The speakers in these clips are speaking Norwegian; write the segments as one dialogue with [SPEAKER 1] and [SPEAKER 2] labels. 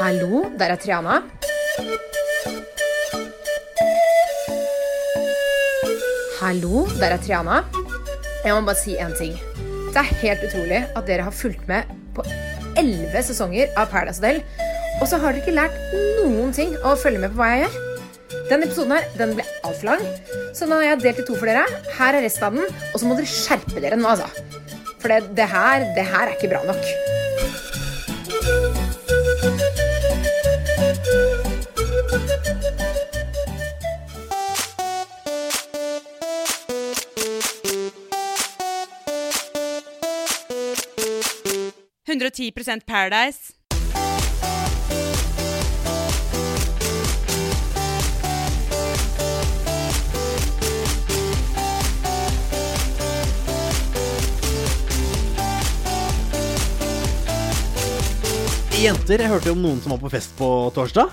[SPEAKER 1] Hallo, der er Triana. Hallo, der er Triana. Jeg må bare si én ting. Det er helt utrolig at dere har fulgt med på elleve sesonger av Paradise Hotel, og så har dere ikke lært noen ting å følge med på hva jeg gjør. Denne episoden her, den ble altfor lang, så nå har jeg delt i to for dere. Her er resten av den, og så må dere skjerpe dere nå, altså. For det, det, her, det her er ikke bra nok.
[SPEAKER 2] Paradise.
[SPEAKER 3] Jenter, jeg hørte jo om noen som var på fest på torsdag.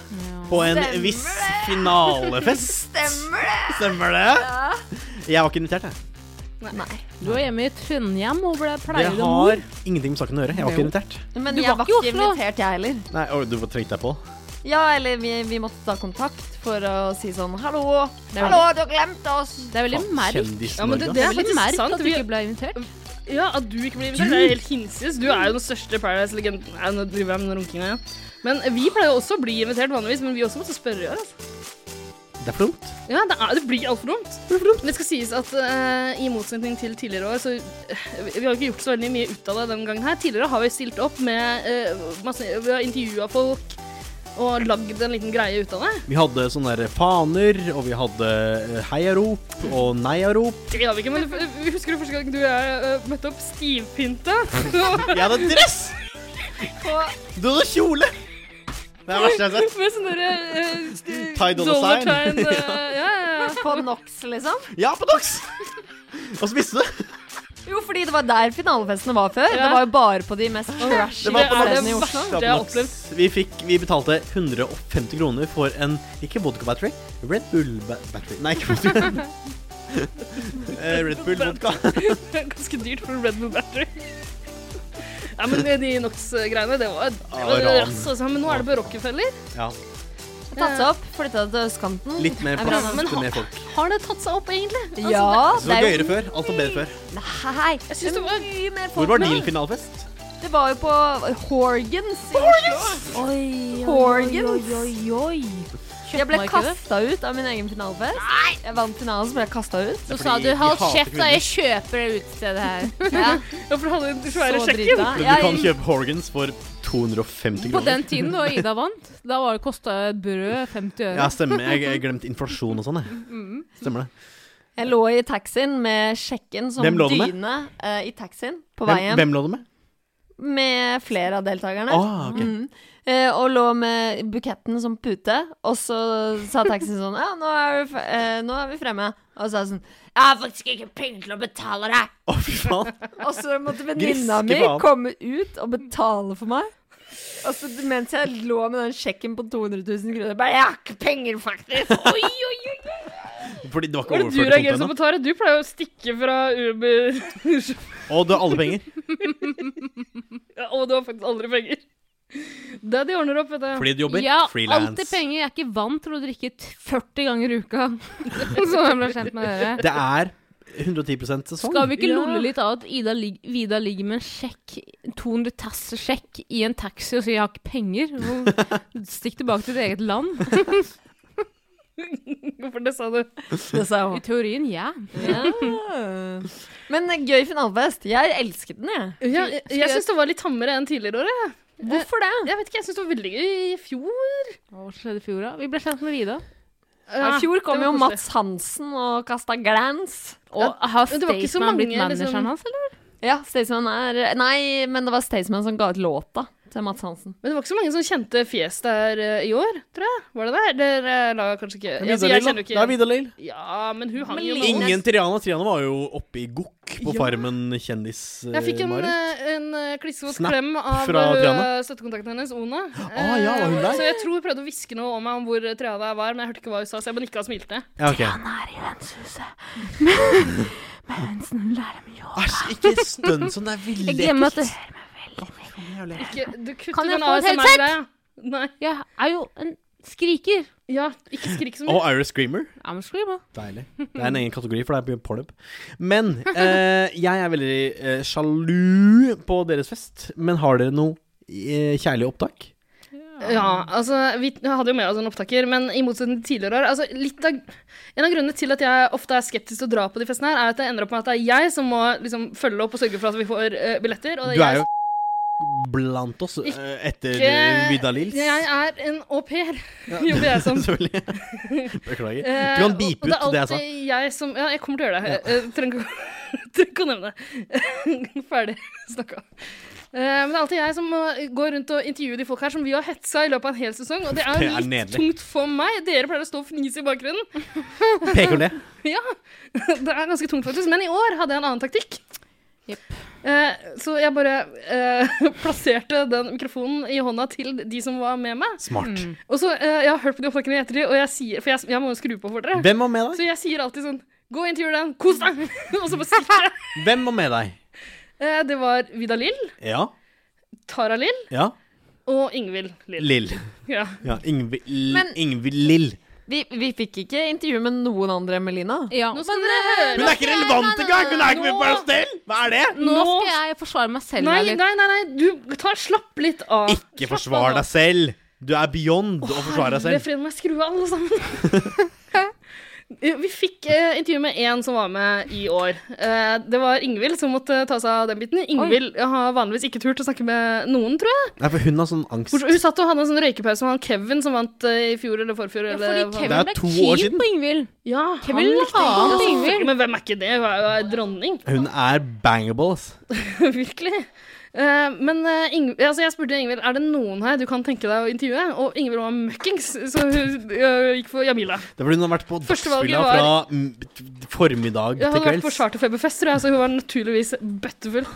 [SPEAKER 3] På en
[SPEAKER 4] Stemmer
[SPEAKER 3] viss finalefest.
[SPEAKER 4] Stemmer det?
[SPEAKER 3] Stemmer det? Jeg var ikke invitert, jeg.
[SPEAKER 4] Nei.
[SPEAKER 5] Du var hjemme i Trondheim og ble
[SPEAKER 3] Det
[SPEAKER 5] pleier og mor.
[SPEAKER 3] har ingenting med saken å gjøre. Jeg var ikke invitert.
[SPEAKER 4] Men
[SPEAKER 5] Du
[SPEAKER 4] jeg
[SPEAKER 5] var
[SPEAKER 4] var
[SPEAKER 5] ikke i
[SPEAKER 4] ikke
[SPEAKER 5] Oslo.
[SPEAKER 4] invitert, jeg heller.
[SPEAKER 3] Nei, å, Du trengte deg på.
[SPEAKER 4] Ja, eller vi, vi måtte ta kontakt for å si sånn Hallo,
[SPEAKER 5] er
[SPEAKER 4] hallo, du har glemt oss.
[SPEAKER 5] Det er veldig merk.
[SPEAKER 3] Kjendis
[SPEAKER 6] Ja, men
[SPEAKER 3] Norge.
[SPEAKER 5] Det er
[SPEAKER 6] Det er
[SPEAKER 5] veldig
[SPEAKER 6] faktisk
[SPEAKER 5] merk
[SPEAKER 6] sant,
[SPEAKER 5] at du
[SPEAKER 6] vi-
[SPEAKER 5] ikke ble invitert.
[SPEAKER 6] Ja, at du ikke blir invitert, det er helt hinsides. Du er jo den største Paradise-legenden. Nei, nå driver jeg med noen runkinga, ja. Men vi pleier jo også å bli invitert vanligvis, men vi også måtte spørre i år. altså.
[SPEAKER 3] Det er for dumt.
[SPEAKER 6] Ja, det, er, det blir altfor dumt. Men det skal sies at eh, i motsetning til tidligere år, så eh, Vi har ikke gjort så veldig mye ut av det denne gangen her. Tidligere har vi stilt opp med eh, masse Vi har intervjua folk og lagd en liten greie ut av det.
[SPEAKER 3] Vi hadde sånne der faner, og vi hadde eh, heiarop og neiarop.
[SPEAKER 6] Det har vi ikke, men vi husker du første gang du og jeg eh, møtte opp stivpynta?
[SPEAKER 3] Jeg hadde dress! Du hadde kjole! Det er det verste jeg har sett.
[SPEAKER 6] med sånn derre eh,
[SPEAKER 3] Thai dollar
[SPEAKER 6] dollar
[SPEAKER 3] sign.
[SPEAKER 6] sign, eh, ja, ja, ja.
[SPEAKER 4] På NOX, liksom?
[SPEAKER 3] Ja, på Dox! Og spiste du.
[SPEAKER 4] Jo, fordi det var der finalefestene var før.
[SPEAKER 6] Ja.
[SPEAKER 4] Det var jo bare på de mest trashy
[SPEAKER 3] Det var på
[SPEAKER 6] er
[SPEAKER 4] stedene
[SPEAKER 6] det
[SPEAKER 4] i Oslo.
[SPEAKER 6] verste
[SPEAKER 3] Ja, på
[SPEAKER 6] jeg har
[SPEAKER 3] Dox.
[SPEAKER 6] opplevd.
[SPEAKER 3] Vi, fikk, vi betalte 150 kroner for en Ikke vodka battery, Red Bull ba battery. Nei, ikke vodka. Eh, Red Bull vodka.
[SPEAKER 6] Det er Ganske dyrt for en Red Bull Battery. Ja, men de NOx-greiene, det var, det var
[SPEAKER 3] Ah, ran.
[SPEAKER 6] rass, altså. Men nå er det på Rockefeller.
[SPEAKER 3] Ja,
[SPEAKER 4] Tatt seg opp, flytta til østkanten.
[SPEAKER 3] litt mer
[SPEAKER 4] Er bra.
[SPEAKER 3] plass
[SPEAKER 6] men
[SPEAKER 3] til
[SPEAKER 6] ha-
[SPEAKER 3] mer folk.
[SPEAKER 6] Har det tatt seg opp, egentlig? Altså,
[SPEAKER 4] Ja,
[SPEAKER 3] Så det var
[SPEAKER 4] jo-
[SPEAKER 3] gøyere før. Alt var bedre før.
[SPEAKER 4] Nei, jeg
[SPEAKER 6] synes det var-
[SPEAKER 4] mye mer
[SPEAKER 3] Hvor
[SPEAKER 4] folk
[SPEAKER 3] var
[SPEAKER 4] nå.
[SPEAKER 3] din finalefest?
[SPEAKER 4] Det var jo på Horgans. i Oslo.
[SPEAKER 5] Oi,
[SPEAKER 4] Horgans.
[SPEAKER 5] oi, oi.
[SPEAKER 4] Jeg ble
[SPEAKER 5] Kjøttmarkedet.
[SPEAKER 4] kasta ut av min egen finalefest. Jeg vant finalen, så ble jeg kasta ut.
[SPEAKER 5] Så
[SPEAKER 3] fordi
[SPEAKER 5] sa du
[SPEAKER 3] de
[SPEAKER 5] 'hold
[SPEAKER 3] hater
[SPEAKER 5] kjeft, da,
[SPEAKER 3] kvinner».
[SPEAKER 5] jeg kjøper det utestedet her'.
[SPEAKER 6] Ja, for det hadde en svære
[SPEAKER 4] Så
[SPEAKER 6] sjekken.
[SPEAKER 4] drita.
[SPEAKER 3] Du
[SPEAKER 4] Jeg-
[SPEAKER 3] kan kjøpe Horgans for 250
[SPEAKER 5] På
[SPEAKER 3] kroner.
[SPEAKER 5] den tiden da Ida vant, da var det kosta brød 50 øre.
[SPEAKER 3] Ja, stemmer. Jeg, jeg glemte inflasjon og sånn, jeg.
[SPEAKER 5] Mm-hmm.
[SPEAKER 3] Stemmer det.
[SPEAKER 4] Jeg lå i taxien med sjekken som
[SPEAKER 3] Hvem lå du med?
[SPEAKER 4] dyne eh, i taxien på vei
[SPEAKER 3] Hvem,
[SPEAKER 4] hjem.
[SPEAKER 3] hvem lå du med?
[SPEAKER 4] Med flere av deltakerne.
[SPEAKER 3] Ah, ok.
[SPEAKER 4] Mm. Eh, og lå med buketten som pute, og så sa taxien sånn Ja, nå er, vi, f- eh, nå er vi fremme. Og så sa jeg sånn Jeg har faktisk ikke penger til å betale deg.
[SPEAKER 3] Å, fy faen.
[SPEAKER 4] Og så måtte venninna
[SPEAKER 3] Griske
[SPEAKER 4] mi
[SPEAKER 3] faen.
[SPEAKER 4] komme ut og betale for meg. Og så mens jeg lå med den sjekken på 200 000 kroner bare, Jeg har ikke penger, faktisk! Oi, oi, oi.
[SPEAKER 3] Fordi det var
[SPEAKER 6] Var
[SPEAKER 3] ikke
[SPEAKER 6] det du
[SPEAKER 3] overført konto
[SPEAKER 6] reagerer som
[SPEAKER 3] ennå.
[SPEAKER 6] på Tare? Du pleier jo å stikke fra Uber.
[SPEAKER 3] Og du har alle penger.
[SPEAKER 6] Ja, Og du har faktisk aldri penger. Det de ordner opp, vet du.
[SPEAKER 3] Fordi du jobber
[SPEAKER 5] Ja,
[SPEAKER 3] frilans.
[SPEAKER 5] alltid penger. Jeg er ikke vant til å drikke t- 40 ganger i uka. Som jeg ble kjent med dere.
[SPEAKER 3] Det er 110 sesong.
[SPEAKER 5] Skal vi ikke
[SPEAKER 6] Ja.
[SPEAKER 5] lolle litt av at Ida lig Vida ligger med en sjekk, 200 tasser sjekk, i en taxi og sier 'jeg har ikke penger'? Hvor- Stikk tilbake til ditt eget land.
[SPEAKER 6] Hvorfor det sa du?
[SPEAKER 4] Det sa
[SPEAKER 5] I teorien, ja.
[SPEAKER 4] Ja. Men eh, gøy finalefest. Jeg elsket den, jeg.
[SPEAKER 6] Ja, jeg jeg syns det var litt tammere enn tidligere år. Jeg.
[SPEAKER 4] Hvorfor det?
[SPEAKER 6] jeg vet ikke, jeg syns det var veldig gøy i fjor.
[SPEAKER 5] Hva skjedde i fjor, da? Vi ble kjent med Vida.
[SPEAKER 4] Ja, I fjor kom
[SPEAKER 6] Ah, det
[SPEAKER 4] jo
[SPEAKER 6] var koselig.
[SPEAKER 4] Mats Hansen og kasta glans.
[SPEAKER 5] Og har
[SPEAKER 6] men det var ikke så
[SPEAKER 5] Staysman blitt
[SPEAKER 6] mange, liksom-
[SPEAKER 5] manageren hans, eller?
[SPEAKER 4] Ja, Staysman er Nei, men det var Staysman som ga ut låta til Mats Hansen.
[SPEAKER 6] Men det var ikke så mange som kjente fjes der eh, i år, tror jeg. Var det der? Dere eh, la kanskje ikke jeg, jeg kjenner jo
[SPEAKER 3] Det er
[SPEAKER 6] ikke
[SPEAKER 3] Vidar Lill.
[SPEAKER 6] Ja, men hun hang
[SPEAKER 4] Men
[SPEAKER 6] jo med
[SPEAKER 4] Ingen-
[SPEAKER 3] Ingen Triana. Triana var jo oppe i gokk på
[SPEAKER 6] Ja.
[SPEAKER 3] Farmen kjendis.
[SPEAKER 6] oss. Jeg fikk en,
[SPEAKER 3] Mari.
[SPEAKER 6] eh, en eh, klissvåt
[SPEAKER 3] Snap
[SPEAKER 6] klem av
[SPEAKER 3] fra
[SPEAKER 6] eh,
[SPEAKER 3] Triana.
[SPEAKER 6] støttekontakten hennes, Ona.
[SPEAKER 3] Ah, ja, var hun
[SPEAKER 6] Eh,
[SPEAKER 3] der?
[SPEAKER 6] Så jeg tror hun prøvde å hviske noe om meg om hvor Triana var, men jeg hørte ikke hva hun sa, så jeg bare nikka og smilte.
[SPEAKER 3] Ja, ok.
[SPEAKER 5] er i hønsehuset. Men, lærer meg jobb.
[SPEAKER 3] Æsj, ikke stønn sånn. Det er
[SPEAKER 5] Jeg
[SPEAKER 3] veldig
[SPEAKER 5] glemmer at det
[SPEAKER 3] ekkelt.
[SPEAKER 6] Ikke, du kutter
[SPEAKER 5] Kan jeg
[SPEAKER 6] den
[SPEAKER 5] få et headset?
[SPEAKER 6] ASMR-greia. Nei.
[SPEAKER 5] Jeg er jo en skriker.
[SPEAKER 6] Ja, ikke skrik så
[SPEAKER 3] Og
[SPEAKER 6] mye.
[SPEAKER 3] Iris Screamer.
[SPEAKER 5] I'm a screamer.
[SPEAKER 3] Deilig. Det er en egen kategori, for det er pornhub. Men eh, jeg er veldig eh, sjalu på deres fest. Men har dere noe eh, kjærlig opptak?
[SPEAKER 6] Ja, altså, vi hadde jo med oss en opptaker, men i motsetning til tidligere år altså, litt av, En av grunnene til at jeg ofte er skeptisk til å dra på de festene, her, er at det ender opp med at det er jeg som må liksom, følge opp og sørge for at vi får eh, billetter. Og
[SPEAKER 3] Du
[SPEAKER 6] det
[SPEAKER 3] er
[SPEAKER 6] jeg
[SPEAKER 3] jo blant oss eh, etter
[SPEAKER 6] Ikke-
[SPEAKER 3] Vidda Lils.
[SPEAKER 6] Jeg er en au pair, jobber jeg som.
[SPEAKER 3] Selvfølgelig. Beklager.
[SPEAKER 6] Eh,
[SPEAKER 3] Du kan
[SPEAKER 6] og- og
[SPEAKER 3] bipe ut det jeg sa.
[SPEAKER 6] Det er alltid jeg som Ja, jeg kommer til å gjøre det. Eh, Trenger ikke å- trenger ikke å nevne det. Ferdig snakka. Eh, Men det er alltid jeg som må gå rundt og intervjue de folk her som vi har hetsa i løpet av en hel sesong. Og det er,
[SPEAKER 3] Det er
[SPEAKER 6] litt
[SPEAKER 3] nederlig.
[SPEAKER 6] tungt for meg. Dere pleier å stå og fnise i bakgrunnen.
[SPEAKER 3] Peker du det?
[SPEAKER 6] Ja, det er ganske tungt faktisk. Men i år hadde jeg en annen taktikk. Eh, så jeg bare eh, plasserte den mikrofonen i hånda til de som var med meg.
[SPEAKER 3] Smart.
[SPEAKER 6] Og så, eh, Jeg har hørt på de opptakene i ettertid, og jeg sier, for jeg, jeg må jo skru på for dere.
[SPEAKER 3] Hvem var med deg?
[SPEAKER 6] Så jeg sier alltid sånn Gå inn til Jordan, kos deg! og så bare stikker jeg.
[SPEAKER 3] Hvem var med deg?
[SPEAKER 6] Eh, Det var Vida Lill,
[SPEAKER 3] Ja.
[SPEAKER 6] Tara Lill
[SPEAKER 3] Ja.
[SPEAKER 6] og Ingvild Lill.
[SPEAKER 3] Lill.
[SPEAKER 6] Ja.
[SPEAKER 3] Ja, Ingvild
[SPEAKER 4] Men-
[SPEAKER 3] Ingvi Lill.
[SPEAKER 4] Vi, vi fikk ikke intervju med noen andre enn Melina.
[SPEAKER 5] Ja.
[SPEAKER 6] Nå skal dere høre
[SPEAKER 3] Hun er ikke relevant engang! Hun er ikke med på hostell! Hva er det?
[SPEAKER 5] Nå
[SPEAKER 6] Nå
[SPEAKER 5] skal jeg forsvare meg selv.
[SPEAKER 6] Nei,
[SPEAKER 5] her litt.
[SPEAKER 6] nei, nei, nei. du tar, slapp litt av.
[SPEAKER 3] Ikke forsvar deg selv! Du er beyond å forsvare deg
[SPEAKER 6] Herre
[SPEAKER 3] selv.
[SPEAKER 6] fred meg skru av, alle sammen. Eh, Vi fikk eh, intervju med én som var med i år. Eh, det var Ingvild som måtte ta seg av den biten. Ingvild har vanligvis ikke turt å snakke med noen, tror jeg.
[SPEAKER 3] Nei, for hun har sånn angst.
[SPEAKER 6] Bortsett- Hun satt og hadde en sånn røykepause med han Kevin som vant eh, i fjor eller forfjor.
[SPEAKER 5] Ja, fordi
[SPEAKER 3] Det
[SPEAKER 6] eller hva-
[SPEAKER 3] er
[SPEAKER 5] Kevin ble
[SPEAKER 3] to år
[SPEAKER 5] keen
[SPEAKER 3] siden.
[SPEAKER 5] på Ingvild.
[SPEAKER 6] Ja,
[SPEAKER 5] Kevin
[SPEAKER 6] han
[SPEAKER 5] la
[SPEAKER 6] likte
[SPEAKER 5] an
[SPEAKER 6] ikke det,
[SPEAKER 5] til
[SPEAKER 6] selvfølgelig,
[SPEAKER 5] Ingvild.
[SPEAKER 6] Men hvem er ikke det? Hun er jo en dronning,
[SPEAKER 3] Hun er bangable, ass.
[SPEAKER 6] virkelig. Eh, men eh, Ingv- altså jeg spurte Ingvild er det noen her du kan tenke deg å intervjue. Og Ingvild var møkkings, så hun eh, gikk for Jamila.
[SPEAKER 3] Det er fordi hun har vært på
[SPEAKER 6] Førstevalget
[SPEAKER 3] Dagsfylla fra mm, formiddag
[SPEAKER 6] Jeg
[SPEAKER 3] til
[SPEAKER 6] hadde vært på
[SPEAKER 3] kvelds.
[SPEAKER 6] charterfeberfest, tror jeg, så hun var naturligvis bøttefull.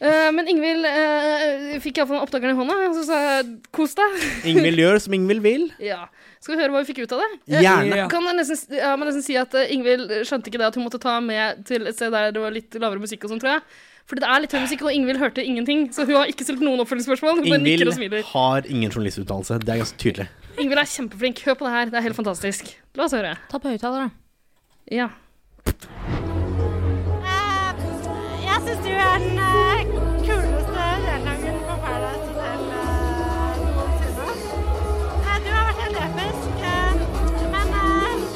[SPEAKER 6] Eh, men Ingvild eh, fikk iallfall opptakeren i hånda, så sa jeg kos deg.
[SPEAKER 3] Ingvild gjør som Ingvild vil.
[SPEAKER 6] Ja. Skal vi høre hva vi fikk ut av det?
[SPEAKER 3] Gjerne.
[SPEAKER 6] Kan jeg nesten, s- ja, må nesten si at eh, Ingvild skjønte ikke det at hun måtte ta med til et sted der det var litt lavere musikk og sånn, tror jeg. Fordi det er litt høy musikk, og Ingvild hørte ingenting. Så hun har ikke stilt noen oppfølgingsspørsmål. Hun bare nikker
[SPEAKER 3] Ingvild
[SPEAKER 6] og smiler.
[SPEAKER 3] har ingen journalistutdannelse. Det er ganske tydelig.
[SPEAKER 6] Ingvild er kjempeflink. Hør på det her. Det er helt fantastisk. La oss høre.
[SPEAKER 5] Ta på høyttaler, da.
[SPEAKER 6] Ja.
[SPEAKER 7] Eh, Jeg syns du er den eh, kuleste deltakeren på Paradise Hotel eh, noensinne. Eh, Du har vært helt episk. eh, Men eh,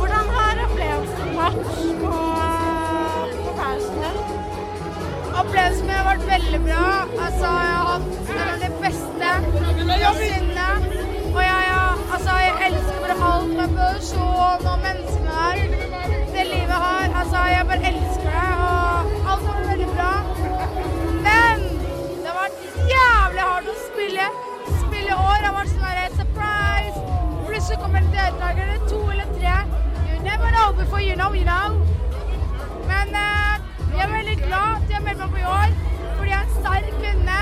[SPEAKER 7] hvordan har opplevelsen vært på, eh, på Paradise Hotel? Opplevelsen min har vært veldig bra. Altså, jeg har hatt en av de beste noensinne. Og jeg, jeg, altså, jeg elsker bare alt med produksjon og menneskene der. Det livet her. Altså, jeg bare elsker det. Og alt har vært veldig bra. Men det har vært jævlig hardt å spille. Spille i år har vært sånn her surprise. Plutselig kommer det deltakere, to eller tre. You never know before you know, you know. Men eh, jeg er veldig glad at jeg melder meg på i år, fordi jeg er en sterk kvinne.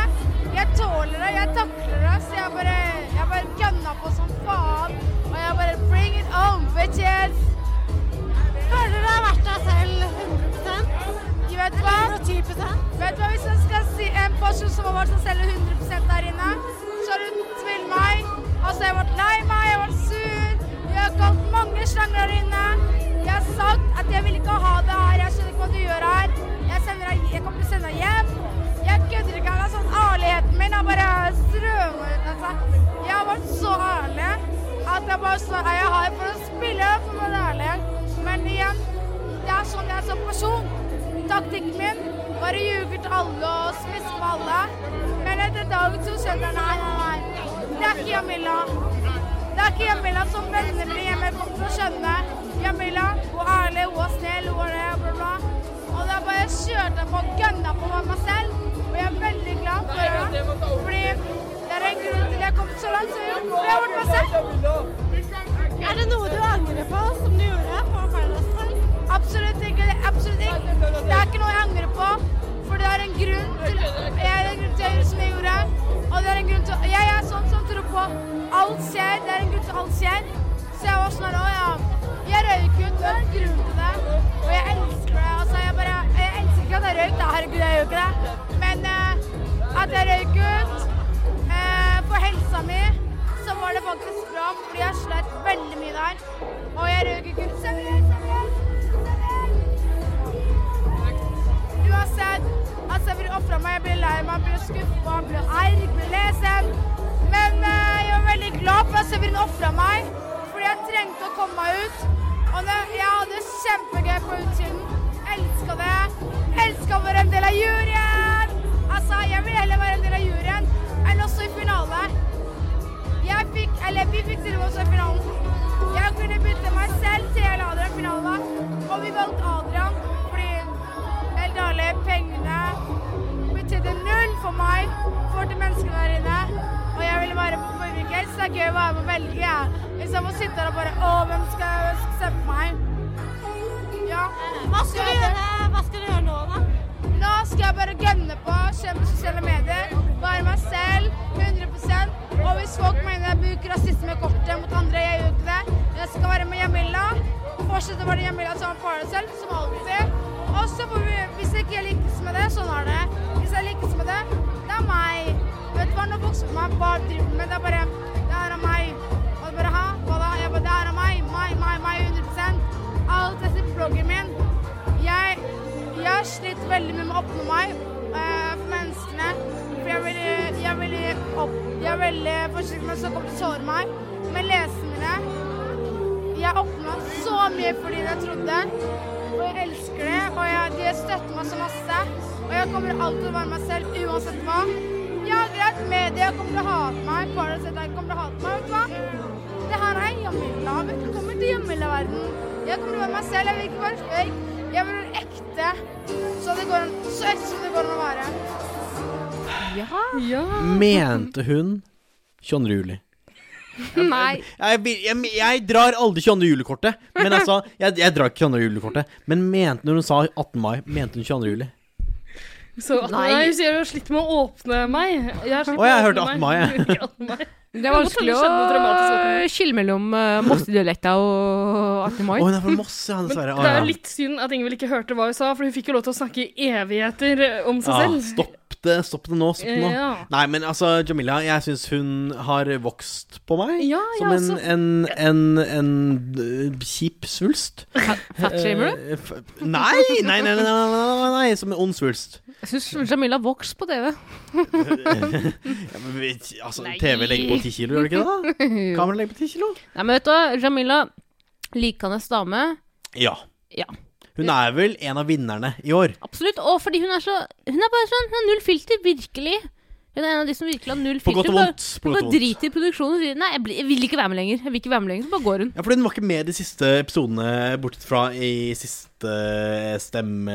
[SPEAKER 7] Jeg tåler det, jeg takler det, så jeg bare, jeg bare gønna på som faen. Og jeg bare bring it on, bitches! Føler du har vært deg selv 100 Vet du hva? Vet du hva, hvis jeg skal si en person som har vært seg selv 100 der inne, så er det uten tvil meg. Altså, jeg har vært lei meg, jeg har vært sur, jeg har kalt mange slanger der inne. Jeg har sagt at jeg vil ikke ha det her, jeg skjønner ikke hva du gjør her. Jeg, sender deg, jeg kommer til å sende deg hjem. Jeg kødder ikke engang. Sånn ærligheten min har bare strømmet ut. Altså. Jeg har vært så ærlig at jeg bare så er jeg her for å spille for å være ærlig. Men igjen, det er sånn jeg er som person. Taktikken min bare ljuger til alle og smisker med alle. Men etter dag to skjønner jeg nei, nei, nei. Det er ikke Jamila. Det er ikke Jamila som vennene mine hjemme kommer til å skjønne. Jamila, hun er ærlig, hun er snill, hun er det, bla, bla. Og da bare kjørte jeg på og gønna på med meg selv. Og jeg er veldig glad for det. Fordi det er en grunn til jeg kom så langt som jeg har gjort. For jeg har vært meg selv. Er det noe du angrer på som du gjorde på Ferdinand? Absolutt ikke. det- Absolutt ikke. Det er ikke noe jeg angrer på. For det er en grunn til jeg er en grunn til å gjøre som jeg gjorde. Og det er en grunn til Jeg er sånn som tror på alt skjer. Det er en grunn til alt skjer. Så jeg var sånn her, å ja. Jeg røyk ut, det er en grunn til det. Og jeg elsker det. Altså, jeg bare Jeg elsker ikke at jeg røyk, da. Herregud, jeg gjør ikke det. Men eh, at jeg røyk ut eh, for kona mi, så var det faktisk bra, fordi jeg slet veldig mye der. Og jeg røk ikke ut seriøst, seriøst, seriøst. Uansett, altså jeg blir ofra meg, jeg blir lei meg, jeg blir skuffa, jeg blir arg, jeg blir lesen. Men eh, jeg var veldig glad for at Severin ofra meg, fordi jeg trengte å komme meg ut. Og det, jeg hadde det kjempegøy på utsiden. Elska det. Elska å være en del av juryen! Altså, jeg vil heller være en del av juryen enn å stå i finale. Jeg fikk, eller vi fikk til oss i finalen. Jeg kunne bytte meg selv til hele Adrian-finalen. Og vi valgte Adrian fordi helt ærlig, pengene betydde null for meg, for de menneskene der inne. Og jeg ville være på Borgerkell, så det er gøy å være med og velge. jeg. Hvis jeg må sitte der og bare Å, hvem skal hvem skal stemme på meg? Ja.
[SPEAKER 2] Hva skal du gjøre, hva skal du gjøre nå, da?
[SPEAKER 7] Nå skal jeg bare gønne på kjempe sosiale medier. Være meg selv 100 Og hvis folk mener jeg bruker rasismekortet mot andre, jeg gjør ikke det. Jeg skal være med Jamila. Fortsette å være Jamila som har faren selv, som alltid. Og så får vi Hvis jeg ikke lykkes med det, sånn er det. Hvis jeg lykkes med det, det er meg. Vet du hva, nå vokser på meg hva jeg driver med. Det er bare Det her er meg. Og det bare Hæ, hva da? Jeg bare Det her er meg. Meg, meg, meg. 100 Alt jeg sier på bloggen min jeg, jeg har slitt veldig mye med å oppnå meg eh, for menneskene. For jeg er veldig, jeg er veldig, opp, jeg er veldig forsiktig med å snakke om det sårer meg. Men lesene mine Jeg oppnå så mye fordi jeg trodde. Og jeg elsker det. Og jeg, de støtter meg så masse. Og jeg kommer alltid til å være meg selv uansett hva. Ja, greit, media kommer til å hate meg. Paracet kommer til å hate meg. Vet du hva? Det her er hjemmehylda. Velkommen til hjemmehyldeverden. Jeg kommer til å være meg selv. Jeg vil ikke være fake. Jeg vil være ekte. Så, det går an, så ekte som det går an å være.
[SPEAKER 6] Ja.
[SPEAKER 3] Mente hun 22. juli?
[SPEAKER 5] Nei.
[SPEAKER 3] Jeg, jeg, jeg, jeg drar aldri 22. juli-kortet. Men altså, jeg, jeg drar ikke 22. juli-kortet. Men mente når hun sa 18. mai, mente hun 22. juli?
[SPEAKER 6] Så 18.
[SPEAKER 4] Nei.
[SPEAKER 6] mai sier jeg har slitt med å åpne meg. Jeg har slitt
[SPEAKER 3] Å, jeg
[SPEAKER 6] med å
[SPEAKER 3] hørte
[SPEAKER 6] åpne
[SPEAKER 3] 18. mai, jeg.
[SPEAKER 6] Ikke 18. mai.
[SPEAKER 5] Det er vanskelig å eh, skille mellom uh, Mossedialekta og 18. mai.
[SPEAKER 3] Å, hun er fra Moss, ja,
[SPEAKER 6] Men
[SPEAKER 3] dessverre. Å,
[SPEAKER 6] det er jo
[SPEAKER 3] ja.
[SPEAKER 6] litt synd at Ingvild ikke hørte hva hun sa, for hun fikk jo lov til å snakke i evigheter eh, om seg
[SPEAKER 3] Ah,
[SPEAKER 6] selv.
[SPEAKER 3] stopp det, stopp det nå. Stopp det nå.
[SPEAKER 6] Ja.
[SPEAKER 3] Nei, men altså, Jamila, jeg syns hun har vokst på meg.
[SPEAKER 6] Ja,
[SPEAKER 3] Som
[SPEAKER 6] ja,
[SPEAKER 3] en,
[SPEAKER 6] altså.
[SPEAKER 3] en, en, en, øh, kjip svulst.
[SPEAKER 5] Fatshamer du?
[SPEAKER 3] Eh, f- Nei, nei, nei, nei, nei, nei, nei, nei som en ond svulst.
[SPEAKER 5] Jeg syns Jamila vokste på TV.
[SPEAKER 3] Ja, men vi- altså, TV legger på 10 kilo, gjør det ikke det? da? Kamera legger på 10 kilo?
[SPEAKER 5] Nei, men vet du hva, Jamila likende dame.
[SPEAKER 3] Ja.
[SPEAKER 5] Ja.
[SPEAKER 3] Hun er vel en av vinnerne i år.
[SPEAKER 5] Absolutt. Og fordi hun er så Hun er bare sånn, hun har null filter, virkelig. Hun er en av de som virkelig har null
[SPEAKER 3] På godt
[SPEAKER 5] filter.
[SPEAKER 3] og
[SPEAKER 5] Bare-
[SPEAKER 3] vondt. På godt
[SPEAKER 5] Bare
[SPEAKER 3] og vondt.
[SPEAKER 5] driter i produksjonen og sier nei, jeg, blir, jeg vil ikke være med lenger. Jeg vil ikke være med lenger, Så bare går hun.
[SPEAKER 3] Ja, for hun var ikke med i de siste episodene, bortsett fra i siste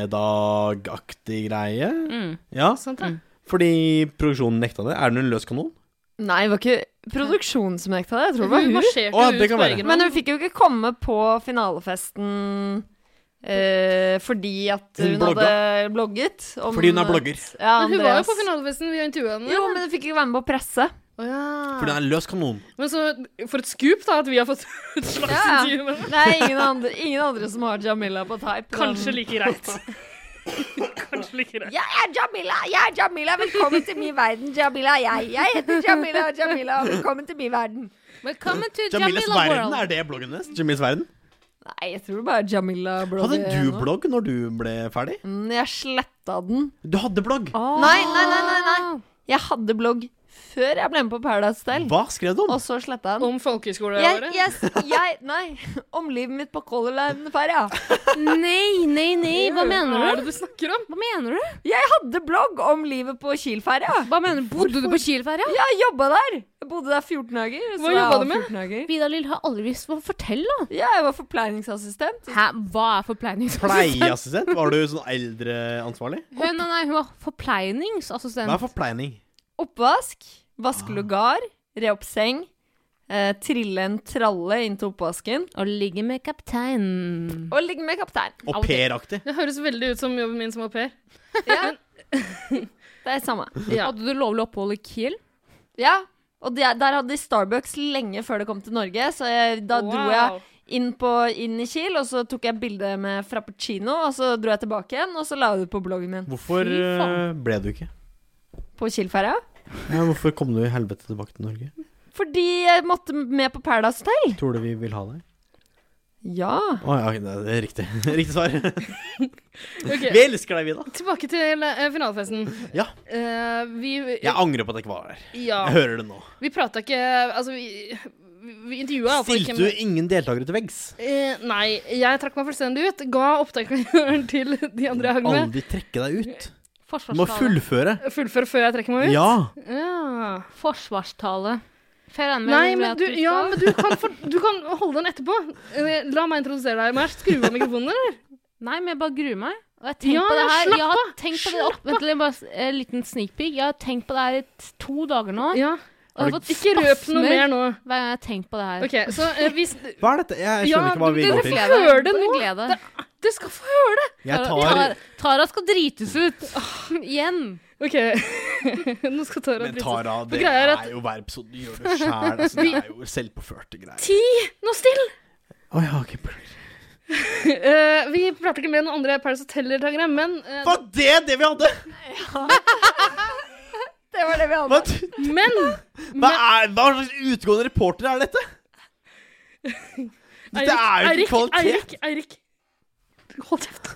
[SPEAKER 3] stemmedagaktig greie.
[SPEAKER 5] Mm.
[SPEAKER 3] Ja,
[SPEAKER 6] Sant det?
[SPEAKER 3] fordi produksjonen nekta det. Er hun en løs kanon?
[SPEAKER 4] Nei, det var ikke produksjonen som nekta det. Jeg tror det var
[SPEAKER 6] Hun
[SPEAKER 4] hun.
[SPEAKER 6] marsjerte
[SPEAKER 3] Å, det
[SPEAKER 6] ut
[SPEAKER 3] kan
[SPEAKER 6] på
[SPEAKER 3] være.
[SPEAKER 6] egen
[SPEAKER 4] Men
[SPEAKER 6] hånd.
[SPEAKER 4] hun fikk jo ikke komme på finalefesten eh, fordi at
[SPEAKER 3] Hun
[SPEAKER 4] hun,
[SPEAKER 3] blogga.
[SPEAKER 4] hadde blogget. om-
[SPEAKER 3] Fordi hun er blogger.
[SPEAKER 4] Ja,
[SPEAKER 6] Men eh, hun var jo
[SPEAKER 4] Andreas.
[SPEAKER 6] på finalefesten, vi har intervjua henne.
[SPEAKER 4] Jo, men hun fikk ikke være med på presse.
[SPEAKER 3] For
[SPEAKER 6] Å
[SPEAKER 3] hun
[SPEAKER 6] ja.
[SPEAKER 3] er en løs kanon.
[SPEAKER 6] Men så, for et skup, da, at vi har fått et slags
[SPEAKER 4] Ja, ja.
[SPEAKER 6] intervju med henne.
[SPEAKER 4] Det er ingen andre, ingen andre som har Jamila på type.
[SPEAKER 6] Kanskje like greit. Sånn. Kanskje like greit.
[SPEAKER 4] Jeg er Jamila! Jeg er Jamila! Velkommen til min verden, Jamila. Jeg, heter Jamila, Jamila. Velkommen til min verden.
[SPEAKER 5] Velkommen til
[SPEAKER 3] Jamilas verden, er det bloggen hennes? Jamilas verden?
[SPEAKER 4] Nei, jeg tror det bare er Jamila
[SPEAKER 3] Hadde
[SPEAKER 4] blogger
[SPEAKER 3] du
[SPEAKER 4] nå.
[SPEAKER 3] blogg når du ble ferdig?
[SPEAKER 4] Mm, Jeg sletta den.
[SPEAKER 3] Du hadde blogg!
[SPEAKER 4] Nei, nei, nei, nei, nei. Jeg hadde blogg før jeg ble med på Paradise Hotel,
[SPEAKER 3] Hva skrev du om?
[SPEAKER 4] og så sletta jeg den.
[SPEAKER 6] Om
[SPEAKER 4] Jeg,
[SPEAKER 6] folkehøyskoleåret.
[SPEAKER 4] jeg, jeg, nei, om livet mitt på Color Line-ferja.
[SPEAKER 5] Nei, nei, nei. Hva
[SPEAKER 6] Hva
[SPEAKER 5] mener
[SPEAKER 6] er
[SPEAKER 5] du?
[SPEAKER 6] det du snakker om?
[SPEAKER 5] Hva mener du?
[SPEAKER 4] Jeg hadde blogg om livet på Kiel-ferja.
[SPEAKER 5] Hva mener du? Bodde du på Kielferja?
[SPEAKER 4] Jeg jobba der. Jeg bodde der 14 dager. så
[SPEAKER 6] Hva
[SPEAKER 4] var jeg
[SPEAKER 6] jobba du
[SPEAKER 4] av
[SPEAKER 6] med?
[SPEAKER 4] 14 dager.
[SPEAKER 5] Vidar Lill har aldri visst hva Fortell, da.
[SPEAKER 4] Ja, jeg var forpleiningsassistent.
[SPEAKER 5] Hæ, hva er forpleiningsassistent?
[SPEAKER 3] Pleieassistent? Var du sånn eldreansvarlig?
[SPEAKER 5] Hun, nei, nei, hun var
[SPEAKER 3] Hva er
[SPEAKER 5] forpleiningsassistent.
[SPEAKER 3] forpleining?
[SPEAKER 4] Oppvask,
[SPEAKER 3] Ah.
[SPEAKER 4] vaske lugar, re opp seng, eh, trille en tralle inn til oppvasken
[SPEAKER 5] Og ligge med kapteinen.
[SPEAKER 4] og ligge med kaptein.
[SPEAKER 3] Au pair-aktig?
[SPEAKER 6] Det høres veldig ut som jobben min som au pair.
[SPEAKER 4] Ja. Det er samme.
[SPEAKER 6] Ja.
[SPEAKER 5] Hadde du lovlig opphold i Kiel?
[SPEAKER 4] Ja. Og de, der hadde de Starbucks lenge før det kom til Norge, så jeg, da dro jeg
[SPEAKER 6] Wow.
[SPEAKER 4] inn, på, inn i Kiel, og så tok jeg bilde med frappuccino, og så dro jeg tilbake igjen, og så la jeg det ut på bloggen min.
[SPEAKER 3] Hvorfor
[SPEAKER 5] Fy faen.
[SPEAKER 3] eh, ble du ikke?
[SPEAKER 4] På Kiel-ferja.
[SPEAKER 3] Ja, hvorfor kom du i helvete tilbake til Norge?
[SPEAKER 4] Fordi jeg måtte med på Paradise Hotel.
[SPEAKER 3] Tror du vi vil ha deg?
[SPEAKER 4] Ja.
[SPEAKER 3] Å ja, ok, det er riktig. Riktig svar.
[SPEAKER 6] Ok,
[SPEAKER 3] Vi elsker deg, Vida.
[SPEAKER 6] Tilbake til eh, finalefesten.
[SPEAKER 3] Ja.
[SPEAKER 6] Eh, vi
[SPEAKER 3] Jeg angrer på at jeg ikke var der.
[SPEAKER 6] ja,
[SPEAKER 3] Jeg hører det nå.
[SPEAKER 6] vi prata ikke Altså, vi, vi, vi intervjua
[SPEAKER 3] Stilte du ingen deltakere til veggs?
[SPEAKER 6] Eh, nei, jeg trakk meg fullstendig ut. Ga opptakeren til de andre jeg hang med.
[SPEAKER 3] Aldri trekke deg ut. Du må
[SPEAKER 5] Forsvarstale.
[SPEAKER 3] fullføre.
[SPEAKER 6] Fullfør før jeg trekker meg ut?
[SPEAKER 3] Ja.
[SPEAKER 6] Ja.
[SPEAKER 5] Forsvarstale. For jeg regner med
[SPEAKER 6] Nei, men
[SPEAKER 5] at
[SPEAKER 6] du,
[SPEAKER 5] skal-
[SPEAKER 6] ja, men du, kan for, du kan holde den etterpå. Eh, La meg introdusere deg, Mers. Skru av mikrofonen, eller?
[SPEAKER 5] Nei, men jeg bare gruer meg. Og jeg har tenkt
[SPEAKER 6] Ja,
[SPEAKER 5] på det
[SPEAKER 6] ja,
[SPEAKER 5] her
[SPEAKER 6] slapp
[SPEAKER 5] Jeg har tenkt på det opp, Vent litt, bare s- eh, liten sneak peek. Jeg har tenkt på det her i t- to dager nå.
[SPEAKER 6] Ja.
[SPEAKER 5] Og jeg har fått
[SPEAKER 6] Ikke røp noe
[SPEAKER 5] spasmer
[SPEAKER 6] mer nå.
[SPEAKER 5] hver gang jeg har tenkt på det her.
[SPEAKER 6] OK, så eh, hvis
[SPEAKER 3] Hva er dette? Jeg skjønner
[SPEAKER 6] Ja,
[SPEAKER 3] ikke hva vi
[SPEAKER 5] Dere
[SPEAKER 3] går til.
[SPEAKER 5] gleder-
[SPEAKER 6] Hør det
[SPEAKER 5] dere
[SPEAKER 6] nå.
[SPEAKER 5] gleder.
[SPEAKER 6] Du skal få høre det!
[SPEAKER 3] Jeg
[SPEAKER 5] Tara,
[SPEAKER 3] tar
[SPEAKER 5] Tara skal drites ut. Igjen.
[SPEAKER 6] OK. Nå skal Tara
[SPEAKER 3] Men
[SPEAKER 6] drite seg-
[SPEAKER 3] Tara, det
[SPEAKER 6] For greia er
[SPEAKER 3] er
[SPEAKER 6] at-
[SPEAKER 3] jo hver episode du gjør det sjæl. Altså, det er jo selvpåførte greier.
[SPEAKER 6] Ti! Nå still!
[SPEAKER 3] Å ja, ok, beklager.
[SPEAKER 6] Eh, vi prater ikke med noen andre Paris Hotel-deltakere, men eh,
[SPEAKER 3] Var det det vi hadde?
[SPEAKER 4] Det var det vi
[SPEAKER 3] Hva,
[SPEAKER 6] Men
[SPEAKER 3] hva, er, hva slags utgående reporter er dette? Dette er jo
[SPEAKER 6] Eirik,
[SPEAKER 3] ikke kvalitet.
[SPEAKER 6] Eirik, Eirik. Hold kjeft.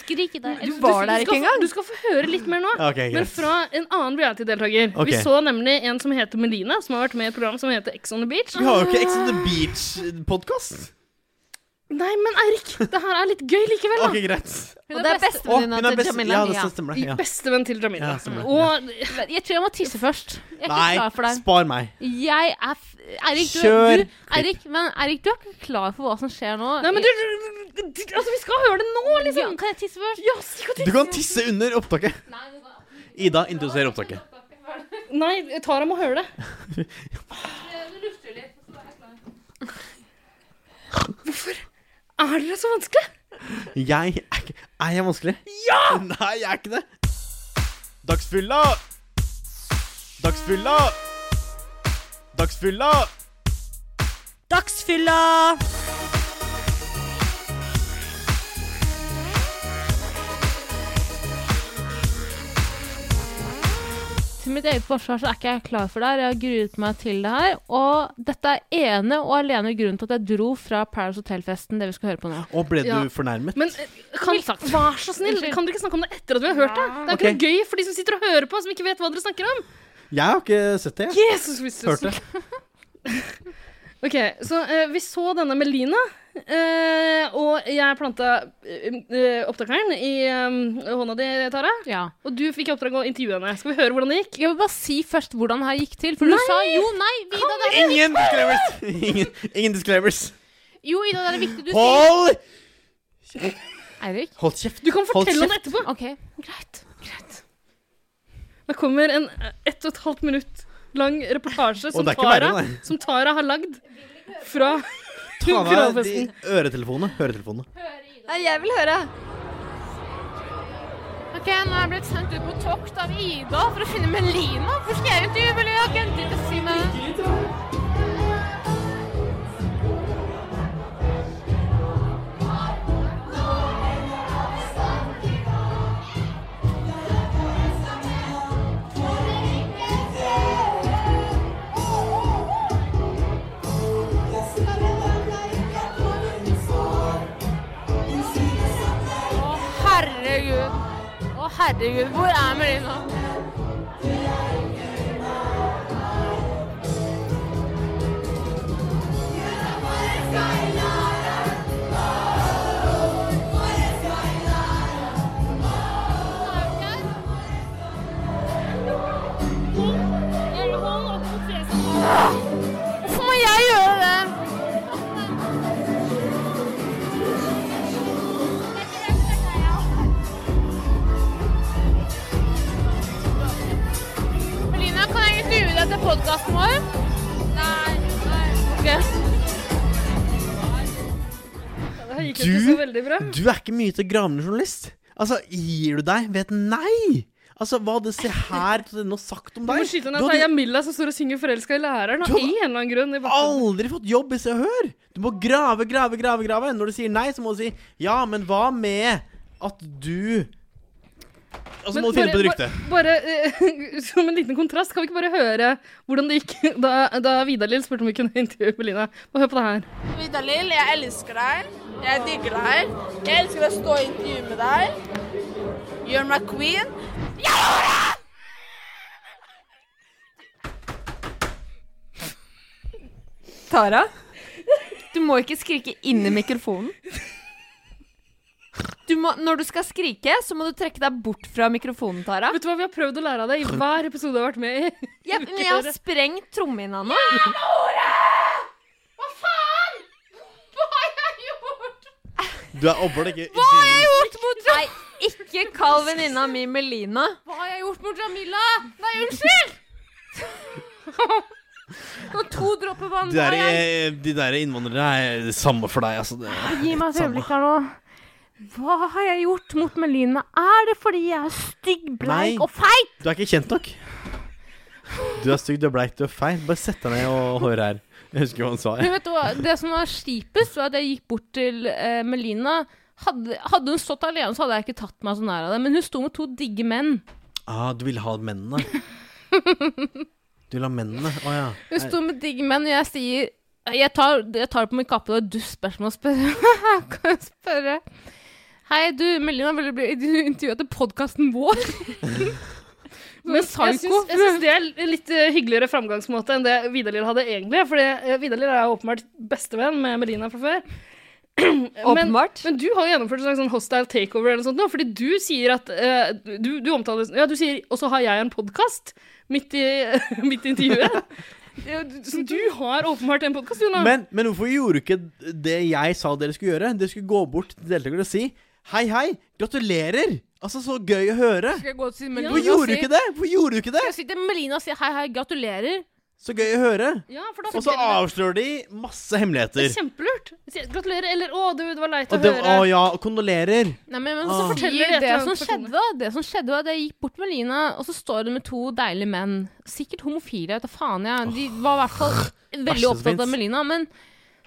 [SPEAKER 5] Skrik i deg.
[SPEAKER 6] Du-
[SPEAKER 4] var
[SPEAKER 6] du-
[SPEAKER 4] der
[SPEAKER 6] du
[SPEAKER 4] ikke
[SPEAKER 6] skal få-
[SPEAKER 4] engang.
[SPEAKER 6] Du skal få høre litt mer nå.
[SPEAKER 3] Ja, ok,
[SPEAKER 6] Men
[SPEAKER 3] greit.
[SPEAKER 6] fra en annen reality-deltaker.
[SPEAKER 3] Ok.
[SPEAKER 6] Vi så nemlig en som heter Melina, som har vært med i et program som heter Ex on the Beach.
[SPEAKER 3] Vi har jo ikke Ex on the Beach-podkast.
[SPEAKER 6] Nei, men Eirik, det her er litt gøy likevel, da.
[SPEAKER 3] Ok, greit.
[SPEAKER 4] Og det er
[SPEAKER 3] Å,
[SPEAKER 4] bestevenninna
[SPEAKER 3] hun er
[SPEAKER 4] til
[SPEAKER 3] best.
[SPEAKER 4] Jamila.
[SPEAKER 3] Ja, det
[SPEAKER 4] Nia.
[SPEAKER 3] stemmer. det,
[SPEAKER 6] I
[SPEAKER 3] Ja.
[SPEAKER 6] Bestevenn til Jamila.
[SPEAKER 3] Ja, stemmer det,
[SPEAKER 6] og
[SPEAKER 5] Jeg tror jeg må tisse først. Jeg er ikke klar for
[SPEAKER 3] Nei,
[SPEAKER 5] deg.
[SPEAKER 3] spar meg.
[SPEAKER 5] Jeg er f Eirik, du,
[SPEAKER 3] Kjør
[SPEAKER 5] du, Eirik, men Eirik, du er ikke klar for hva som skjer nå.
[SPEAKER 6] Nei, men du Altså, vi skal høre det nå,
[SPEAKER 5] ja,
[SPEAKER 6] liksom!
[SPEAKER 5] Kan jeg tisse først?
[SPEAKER 6] Ja, si hva du
[SPEAKER 3] Du kan tisse under opptaket. Ida, introduser opptaket.
[SPEAKER 6] Nei, Tara må høre det. Hvorfor er dere så vanskelig?
[SPEAKER 3] Jeg er ikke Er jeg vanskelig? Ja! Nei, jeg er ikke det. Dagsfylla! Dagsfylla! Dagsfylla!
[SPEAKER 4] Dagsfylla!
[SPEAKER 5] Til mitt eget forsvar så er ikke jeg klar for det her. Jeg har gruet meg til det her. Og dette er ene og alene grunnen til at jeg dro fra Paradise Hotel-festen, det vi skal høre på nå.
[SPEAKER 3] Å, ble
[SPEAKER 6] Ja.
[SPEAKER 3] du fornærmet?
[SPEAKER 6] Men eh, kan, vær så snill,
[SPEAKER 5] Unnskyld.
[SPEAKER 6] kan dere ikke snakke om det etter at vi har hørt det? Det er ikke
[SPEAKER 3] Ok.
[SPEAKER 6] noe gøy for de som sitter og hører på, som ikke vet hva dere snakker om.
[SPEAKER 3] Jeg har ikke sett det. jeg.
[SPEAKER 6] Jesus Kristus.
[SPEAKER 3] Hørt det.
[SPEAKER 6] Ok, så eh, vi så denne Melina, eh, og jeg planta eh, opptakeren i eh, hånda di, Tara.
[SPEAKER 5] Ja.
[SPEAKER 6] Og du fikk i oppdrag å intervjue henne. Skal vi høre hvordan det gikk?
[SPEAKER 5] Jeg vil bare si først hvordan det her gikk til. For du sa jo, nei, Ida, det er,
[SPEAKER 3] Ingen disclaimers! Ingen, ingen disclaimers.
[SPEAKER 5] jo, Ida, det er viktig du sier.
[SPEAKER 3] Hold
[SPEAKER 5] Eirik?
[SPEAKER 3] Hold kjeft.
[SPEAKER 6] Du kan
[SPEAKER 3] Hold
[SPEAKER 6] fortelle om det etterpå.
[SPEAKER 5] OK, greit. Greit.
[SPEAKER 6] Det kommer en eh, ett og et halvt minutt lang reportasje som,
[SPEAKER 3] det er ikke verre,
[SPEAKER 6] Tara,
[SPEAKER 3] nei.
[SPEAKER 6] som Tara har lagd fra
[SPEAKER 3] Ta av deg de
[SPEAKER 6] Finalefesten.
[SPEAKER 3] øretelefonene. Høretelefonene.
[SPEAKER 4] Nei, jeg vil høre.
[SPEAKER 5] Ok, Nå er jeg blitt sendt ut på tokt av Ida for å finne Melina. Hvor skal jeg intervjue Melina? Å, herregud. Å, herregud. Hvor er Melina? Hvorfor må jeg gjøre det? Melina, kan jeg intervjue deg til podkasten vår? Nei.
[SPEAKER 6] Det her gikk jo ikke så
[SPEAKER 3] Du,
[SPEAKER 6] veldig bra.
[SPEAKER 3] du er ikke mye til gravende journalist. Altså, gir du deg ved et nei? Altså, hva det ser her til denne har sagt om
[SPEAKER 6] Du
[SPEAKER 3] deg
[SPEAKER 6] må skyte ned
[SPEAKER 3] Du
[SPEAKER 6] at
[SPEAKER 3] hadde-
[SPEAKER 6] det er Milla som står og synger 'Forelska i læreren' av
[SPEAKER 3] Du
[SPEAKER 6] en
[SPEAKER 3] hadde-
[SPEAKER 6] eller annen grunn. i bakgrunnen.
[SPEAKER 3] aldri fått jobb i Se og Hør. Du må grave, grave, grave. grave Når du sier nei, så må du si ja, men hva med at du Og så Altså,
[SPEAKER 6] Men
[SPEAKER 3] må du finne på et
[SPEAKER 6] bare-
[SPEAKER 3] rykte.
[SPEAKER 6] Bare, eh, Som en liten kontrast, kan vi ikke bare høre hvordan det gikk da, da Vidar-Lill spurte om vi kunne intervjue Melina? Og hør på det her.
[SPEAKER 7] Vidar-Lill, jeg elsker deg. Jeg digger deg. Jeg elsker å stå i intervju med deg. You're my queen.
[SPEAKER 4] Tara, du må ikke skrike inn i mikrofonen. Du må, når du skal skrike, så må du trekke deg bort fra mikrofonen, Tara.
[SPEAKER 6] Vet du hva, vi har prøvd å lære av det i hver episode jeg har vært med i.
[SPEAKER 4] Jeg, men jeg har sprengt trommehinna nå.
[SPEAKER 3] Du er åpenbart ikke Hva
[SPEAKER 4] Nei, ikke kall venninna mi Melina.
[SPEAKER 5] Hva har jeg gjort mot Jamila? Nei, unnskyld! Det var to dråper vann.
[SPEAKER 3] de der, eh, de der innvandrere er det samme for deg, altså. Det er
[SPEAKER 5] Gi meg et
[SPEAKER 3] samme.
[SPEAKER 5] øyeblikk her nå. Hva har jeg gjort mot Melina? Er det fordi jeg er stygg,
[SPEAKER 3] Nei.
[SPEAKER 5] bleik og feit?
[SPEAKER 3] Du er ikke kjent nok. Du er stygg, du er bleik, du er feil. Bare sett deg ned og hør her. Jeg husker hva han sa.
[SPEAKER 5] Men vet du hva, det som var kjipest, var at jeg gikk bort til eh, Melina. Hadde, hadde hun stått alene, så hadde jeg ikke tatt meg så nær av det. Men hun sto med to digge menn.
[SPEAKER 3] Ah, du vil ha mennene. Du vil ha mennene? Å ja.
[SPEAKER 5] Hun sto med digge menn, og jeg sier Jeg tar, jeg tar det på min kappe, det var et dust spørsmål å spørre. kan jeg spørre? Hei, du, Melina ville bli intervjua til podkasten vår.
[SPEAKER 6] Men jeg
[SPEAKER 5] psyko.
[SPEAKER 6] syns, jeg syns det er en litt eh, hyggeligere framgangsmåte enn det Vidar-Lill hadde egentlig. For Vidar-Lill er jo åpenbart bestevenn med Melina fra før. Men-
[SPEAKER 4] Åpenbart.
[SPEAKER 6] Men du har jo gjennomført en slags sånn hostile takeover eller noe sånt nå, fordi du sier at eh, du, du omtaler Ja, du sier 'og så har jeg en podkast' midt i midt i intervjuet. Ja, du- Så du har åpenbart en podkast, Jona.
[SPEAKER 3] Men, men hvorfor gjorde du ikke det jeg sa dere skulle gjøre? Dere skulle gå bort til deltakerne og si hei, hei, gratulerer! Altså, så gøy å høre!
[SPEAKER 5] Skal jeg gå til Melina
[SPEAKER 3] Hvorfor gjorde du ikke det? Hvorfor gjorde du ikke det?
[SPEAKER 5] Jeg sitter med Melina og sier hei, hei, gratulerer.
[SPEAKER 3] Så gøy å høre!
[SPEAKER 6] ja, for da
[SPEAKER 3] Og så avslører de masse
[SPEAKER 6] det er
[SPEAKER 3] hemmeligheter.
[SPEAKER 6] kjempelurt. Sier, Gratulerer, eller 'å, du, det var leit å
[SPEAKER 3] Og det,
[SPEAKER 6] høre'.
[SPEAKER 3] å ja, og kondolerer.
[SPEAKER 5] Nei, men, men
[SPEAKER 3] Ah.
[SPEAKER 5] så
[SPEAKER 6] Forteller
[SPEAKER 5] forteller
[SPEAKER 6] det
[SPEAKER 5] de
[SPEAKER 6] et
[SPEAKER 5] det
[SPEAKER 6] eller
[SPEAKER 5] som
[SPEAKER 6] annet
[SPEAKER 5] skjedde. da. Det som skjedde var at Jeg gikk bort med Melina, og så står hun med to deilige menn. Sikkert homofile, jeg vet da faen. Jeg. De var i hvert fall
[SPEAKER 3] verste
[SPEAKER 5] veldig
[SPEAKER 3] som
[SPEAKER 5] opptatt
[SPEAKER 3] finnes.
[SPEAKER 5] av Melina. Men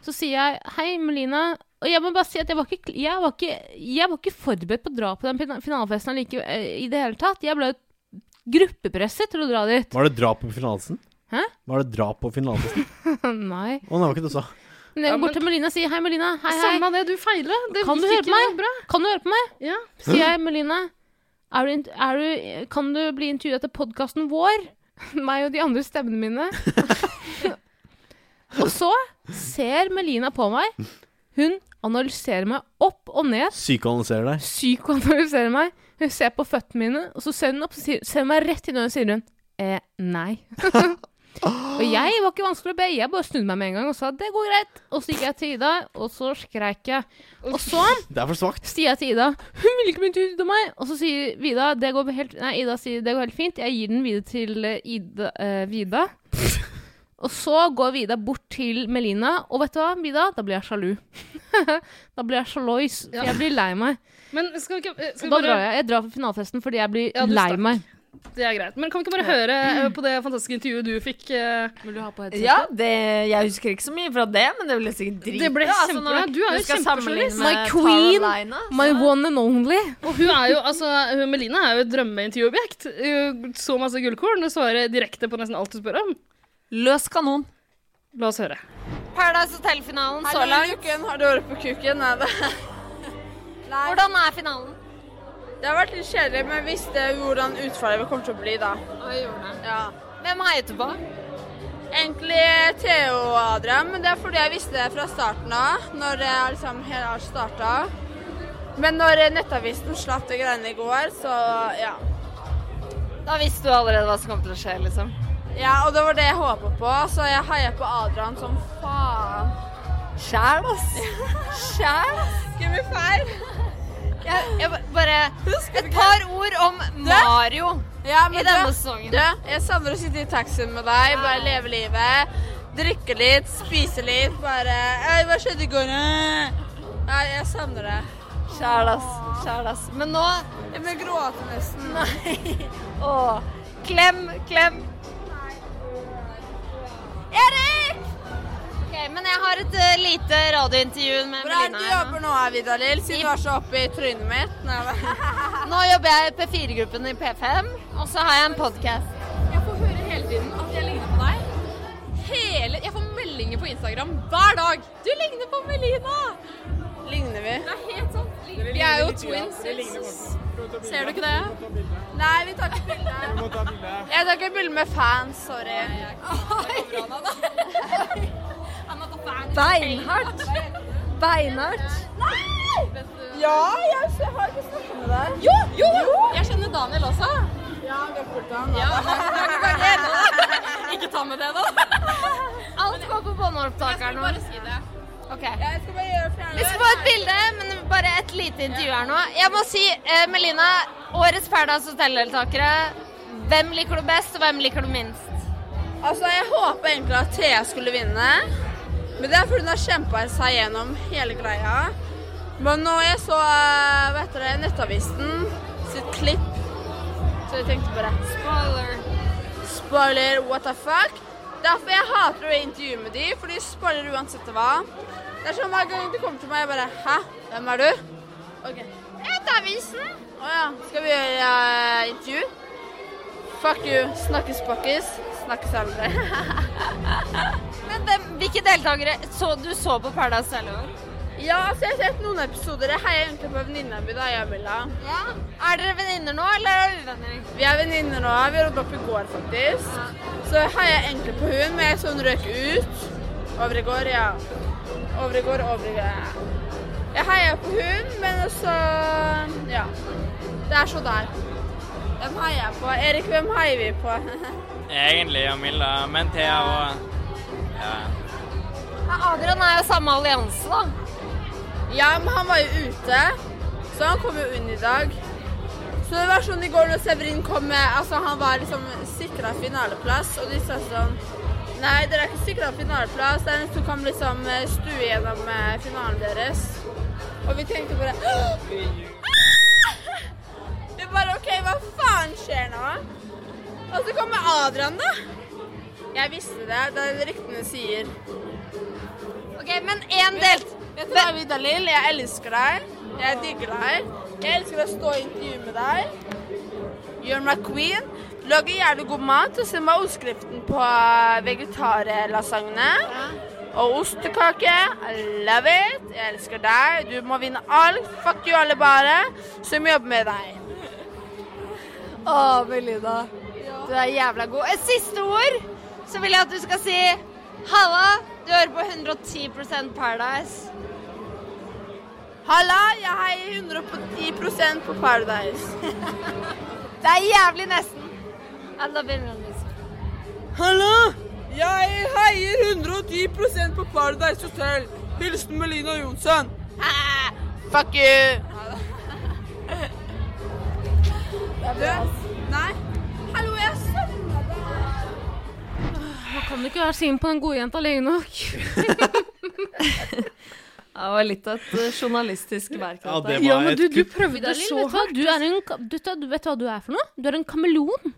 [SPEAKER 5] så sier jeg 'hei, Melina'. Og jeg må bare si at jeg var ikke, jeg var ikke, jeg var ikke forberedt på å dra på den pina- finalefesten allike, eh, i det hele tatt. Jeg ble gruppepresset til å dra dit.
[SPEAKER 3] Var det drap på finansen?
[SPEAKER 5] Hæ?
[SPEAKER 3] Var det drap på finansen?
[SPEAKER 5] Nei.
[SPEAKER 3] Å, nei, det var ikke det du sa.
[SPEAKER 5] Men jeg
[SPEAKER 6] Ja,
[SPEAKER 5] går
[SPEAKER 6] men-
[SPEAKER 5] bort til Melina og sier 'hei, Melina'. Hei, hei.
[SPEAKER 6] Samme det, du feiler. Det
[SPEAKER 5] Kan du
[SPEAKER 6] gikk
[SPEAKER 5] høre
[SPEAKER 6] ikke
[SPEAKER 5] på meg?
[SPEAKER 6] noe Bra.
[SPEAKER 5] Kan du høre på meg?
[SPEAKER 6] Ja.
[SPEAKER 5] Sier jeg, Melina, er du, int- er du, kan du bli intervjuet etter podkasten vår? Meg og de andre stemmene mine. og så ser Melina på meg. Hun analyserer meg opp og ned.
[SPEAKER 3] Psykoanalyserer deg.
[SPEAKER 5] Psykoanalyserer meg. Hun ser på føttene mine, og så ser hun opp og sier, ser hun meg rett i øynene og sier hun eh, nei. og jeg var ikke vanskelig å be. Jeg bare snudde meg med en gang og sa det går greit. Og så gikk jeg til Ida, og så skreik jeg. Og så
[SPEAKER 3] Det er for svakt.
[SPEAKER 5] sier jeg til Ida Hun vil ikke bli intervjuet av meg! Og så sier Vida det går helt, Nei, Ida sier det går helt fint. Jeg gir den videre til eh, Ida, eh, Vida. Og så går Vida bort til Melina, og vet du hva, Vida? Da blir jeg sjalu. da blir jeg sjalois. for
[SPEAKER 6] Ja.
[SPEAKER 5] Jeg blir lei meg.
[SPEAKER 6] Men skal vi ikke eh,
[SPEAKER 5] Og
[SPEAKER 6] skal vi
[SPEAKER 5] da
[SPEAKER 6] bare,
[SPEAKER 5] drar jeg. Jeg drar på finalefesten fordi jeg blir
[SPEAKER 6] Ja, du
[SPEAKER 5] lei
[SPEAKER 6] stakk.
[SPEAKER 5] meg.
[SPEAKER 6] Det er greit. Men kan vi ikke bare høre eh, på det fantastiske intervjuet du fikk? eh,
[SPEAKER 5] Vil du ha på
[SPEAKER 4] Ja, det, jeg husker ikke så mye fra det, men det ble sikkert dritbra.
[SPEAKER 6] Det ble
[SPEAKER 4] altså,
[SPEAKER 6] kjempebra.
[SPEAKER 4] når
[SPEAKER 6] Du er jo
[SPEAKER 4] skal
[SPEAKER 6] kjempejournalist.
[SPEAKER 4] sammenligne
[SPEAKER 5] My
[SPEAKER 4] med
[SPEAKER 5] queen.
[SPEAKER 4] Carolina, så-
[SPEAKER 5] My one and only.
[SPEAKER 6] Og hun er jo, altså, hun Melina er jo et drømmeintervjuobjekt. Eh, Så masse gullkorn. Hun svarer direkte på nesten alt du spør om.
[SPEAKER 4] Løs kanon.
[SPEAKER 6] La oss høre.
[SPEAKER 4] Paradise Hotel-finalen så langt.
[SPEAKER 7] Kuken, har du hørt på kuken? Nei, det. Nei.
[SPEAKER 4] Hvordan er finalen?
[SPEAKER 7] Det har vært litt kjedelig, men jeg visste hvordan utfallet kommer til å bli, da. Ja.
[SPEAKER 4] Hvem heiet du på?
[SPEAKER 7] Egentlig Theo og Adrian, men det er fordi jeg visste det fra starten av, når eh, alle sammen hele alt starta. Men når eh, Nettavisen slapp de greiene i går, så ja.
[SPEAKER 4] Da visste du allerede hva som kom til å skje, liksom.
[SPEAKER 7] Ja, og det var det jeg håpa på, så jeg heier på Adrian som faen.
[SPEAKER 4] Sjæl, ass. Sjæl.
[SPEAKER 7] Skal vi feil?
[SPEAKER 4] Jeg, jeg ba- bare Et par ord om Mario
[SPEAKER 7] Ja,
[SPEAKER 4] i
[SPEAKER 7] men
[SPEAKER 4] denne
[SPEAKER 7] du-
[SPEAKER 4] sesongen.
[SPEAKER 7] Du, jeg savner å sitte i taxien med deg, bare leve livet. Drikke litt, spise litt, bare «Ei, Hva skjedde i går? Nei, jeg savner det.
[SPEAKER 4] Sjæl, ass. Sjæl, ass. Men nå
[SPEAKER 7] Jeg begynner å gråte nesten.
[SPEAKER 4] Nei. Åh. Klem, klem. Erik! OK, men jeg har et eh, lite radiointervju med
[SPEAKER 7] Hvor er det
[SPEAKER 4] Melina.
[SPEAKER 7] du
[SPEAKER 4] her nå.
[SPEAKER 7] jobber nå, Vidalil? Siden du er så oppe i trynet mitt. Nei, hva-
[SPEAKER 4] Nå jobber jeg i P4-gruppen i P5, og så har jeg en podkast.
[SPEAKER 8] Jeg får høre hele tiden at jeg ligner på deg. Hele, jeg får meldinger på Instagram hver dag. Du ligner på Melina!
[SPEAKER 7] Ligner vi?
[SPEAKER 8] Det er helt sant. Vi er jo twins. Ser du ikke det?
[SPEAKER 7] Nei, vi tar ikke bilde. Jeg tar ikke bilde med fans, sorry.
[SPEAKER 4] Beinhardt. Beinhardt.
[SPEAKER 7] Ja, jeg har ikke snakket med deg.
[SPEAKER 8] Jo, jo! Jeg kjenner Daniel også.
[SPEAKER 7] Ja, vi har fulgt ham. da.
[SPEAKER 8] Ja, men det er ikke bare det nå. Ikke ta med det nå.
[SPEAKER 4] Alt går på båndopptakeren nå.
[SPEAKER 8] Bare si det.
[SPEAKER 4] Ok.
[SPEAKER 7] Jeg skal bare gjøre
[SPEAKER 4] Vi skal få et bilde, men bare et lite intervju her nå. Jeg må si, eh, Melina, årets Paradise Hotel-deltakere. Hvem liker du best, og hvem liker du minst?
[SPEAKER 7] Altså, jeg håpa egentlig at Thea skulle vinne. Men det er fordi hun har kjempa seg gjennom hele greia. Men når jeg så eh, hva heter det, Nettavisen sitt klipp, så jeg tenkte bare
[SPEAKER 4] Spoiler.
[SPEAKER 7] Spoiler, what the fuck? Derfor jeg hater å intervjue med de, for de spoiler uansett hva. Det er sånn hver gang de kommer til meg, jeg bare Hæ? Hvem er du? OK. Nettavisen. Å ja. Skal vi gjøre eh, intervju? Fuck you. Snakkes pakkes. Snakkes aldri.
[SPEAKER 4] Men hvem, hvilke deltakere så du så på Paradise Hotel i år?
[SPEAKER 7] Ja, altså jeg har sett noen episoder. Jeg heier egentlig på venninna mi, da, jeg og Milla.
[SPEAKER 4] Ja. Er dere venninner nå, eller er dere uvenner?
[SPEAKER 7] Vi er venninner nå. Vi rodde opp i går, faktisk. Så jeg heier egentlig på hun, men jeg så hun røk ut. Over i går, ja. Over i går, over i går. Jeg heier på hun, men også Ja. Det er så der. Hvem heier jeg på? Erik, hvem heier vi på?
[SPEAKER 9] Egentlig og Milla, men Thea og ja.
[SPEAKER 4] Ja, Adrian er jo samme allianse, da.
[SPEAKER 7] ja, men han var jo ute, så han kom jo inn i dag. Så det var sånn i går når Severin kom med Altså, han var liksom sikra finaleplass, og de sa sånn Nei, dere er ikke sikra finaleplass. Det er den som kan liksom eh, stue gjennom eh, finalen deres. Og vi tenkte bare «Åh!» Vi bare OK, hva faen skjer nå? Og så kommer Adrian, da. Jeg visste det. Det er det ryktene sier.
[SPEAKER 4] Ok, Men én delt...
[SPEAKER 7] Vet du hva, Vidalil? Jeg elsker deg. Jeg digger deg. Jeg elsker å stå i intervju med deg. You're my queen. Du lager jævlig god mat. Du sender meg oppskriften på eh, vegetarlasagne. Og ostekake. I love it. Jeg elsker deg. Du må vinne alt. Fuck you alle bare som jobber med deg.
[SPEAKER 4] Å, Melina. Du er jævla god. Et siste ord, så vil jeg at du skal si Halla, du hører på 110 Paradise.
[SPEAKER 7] Halla, jeg heier 110 på Paradise.
[SPEAKER 4] Det er jævlig nesten. I love you, Melissa.
[SPEAKER 7] Hallo! Jeg heier 110 på Paradise Hotel. Hilsen Melina Jonsson. fuck you! Du? Nei? Hallo, jeg savner deg.
[SPEAKER 5] Man kan jo ikke være sint på den gode jenta lenge nok.
[SPEAKER 4] Det var litt av et journalistisk verk.
[SPEAKER 3] Ja, det
[SPEAKER 6] Ja,
[SPEAKER 3] var
[SPEAKER 6] men
[SPEAKER 3] et
[SPEAKER 6] du, du
[SPEAKER 3] kupp.
[SPEAKER 6] prøvde
[SPEAKER 5] Vidalil,
[SPEAKER 6] så
[SPEAKER 5] vet du hva? Du er en, ka- du, vet hva- vet du hva du er for noe? Du er en kameleon.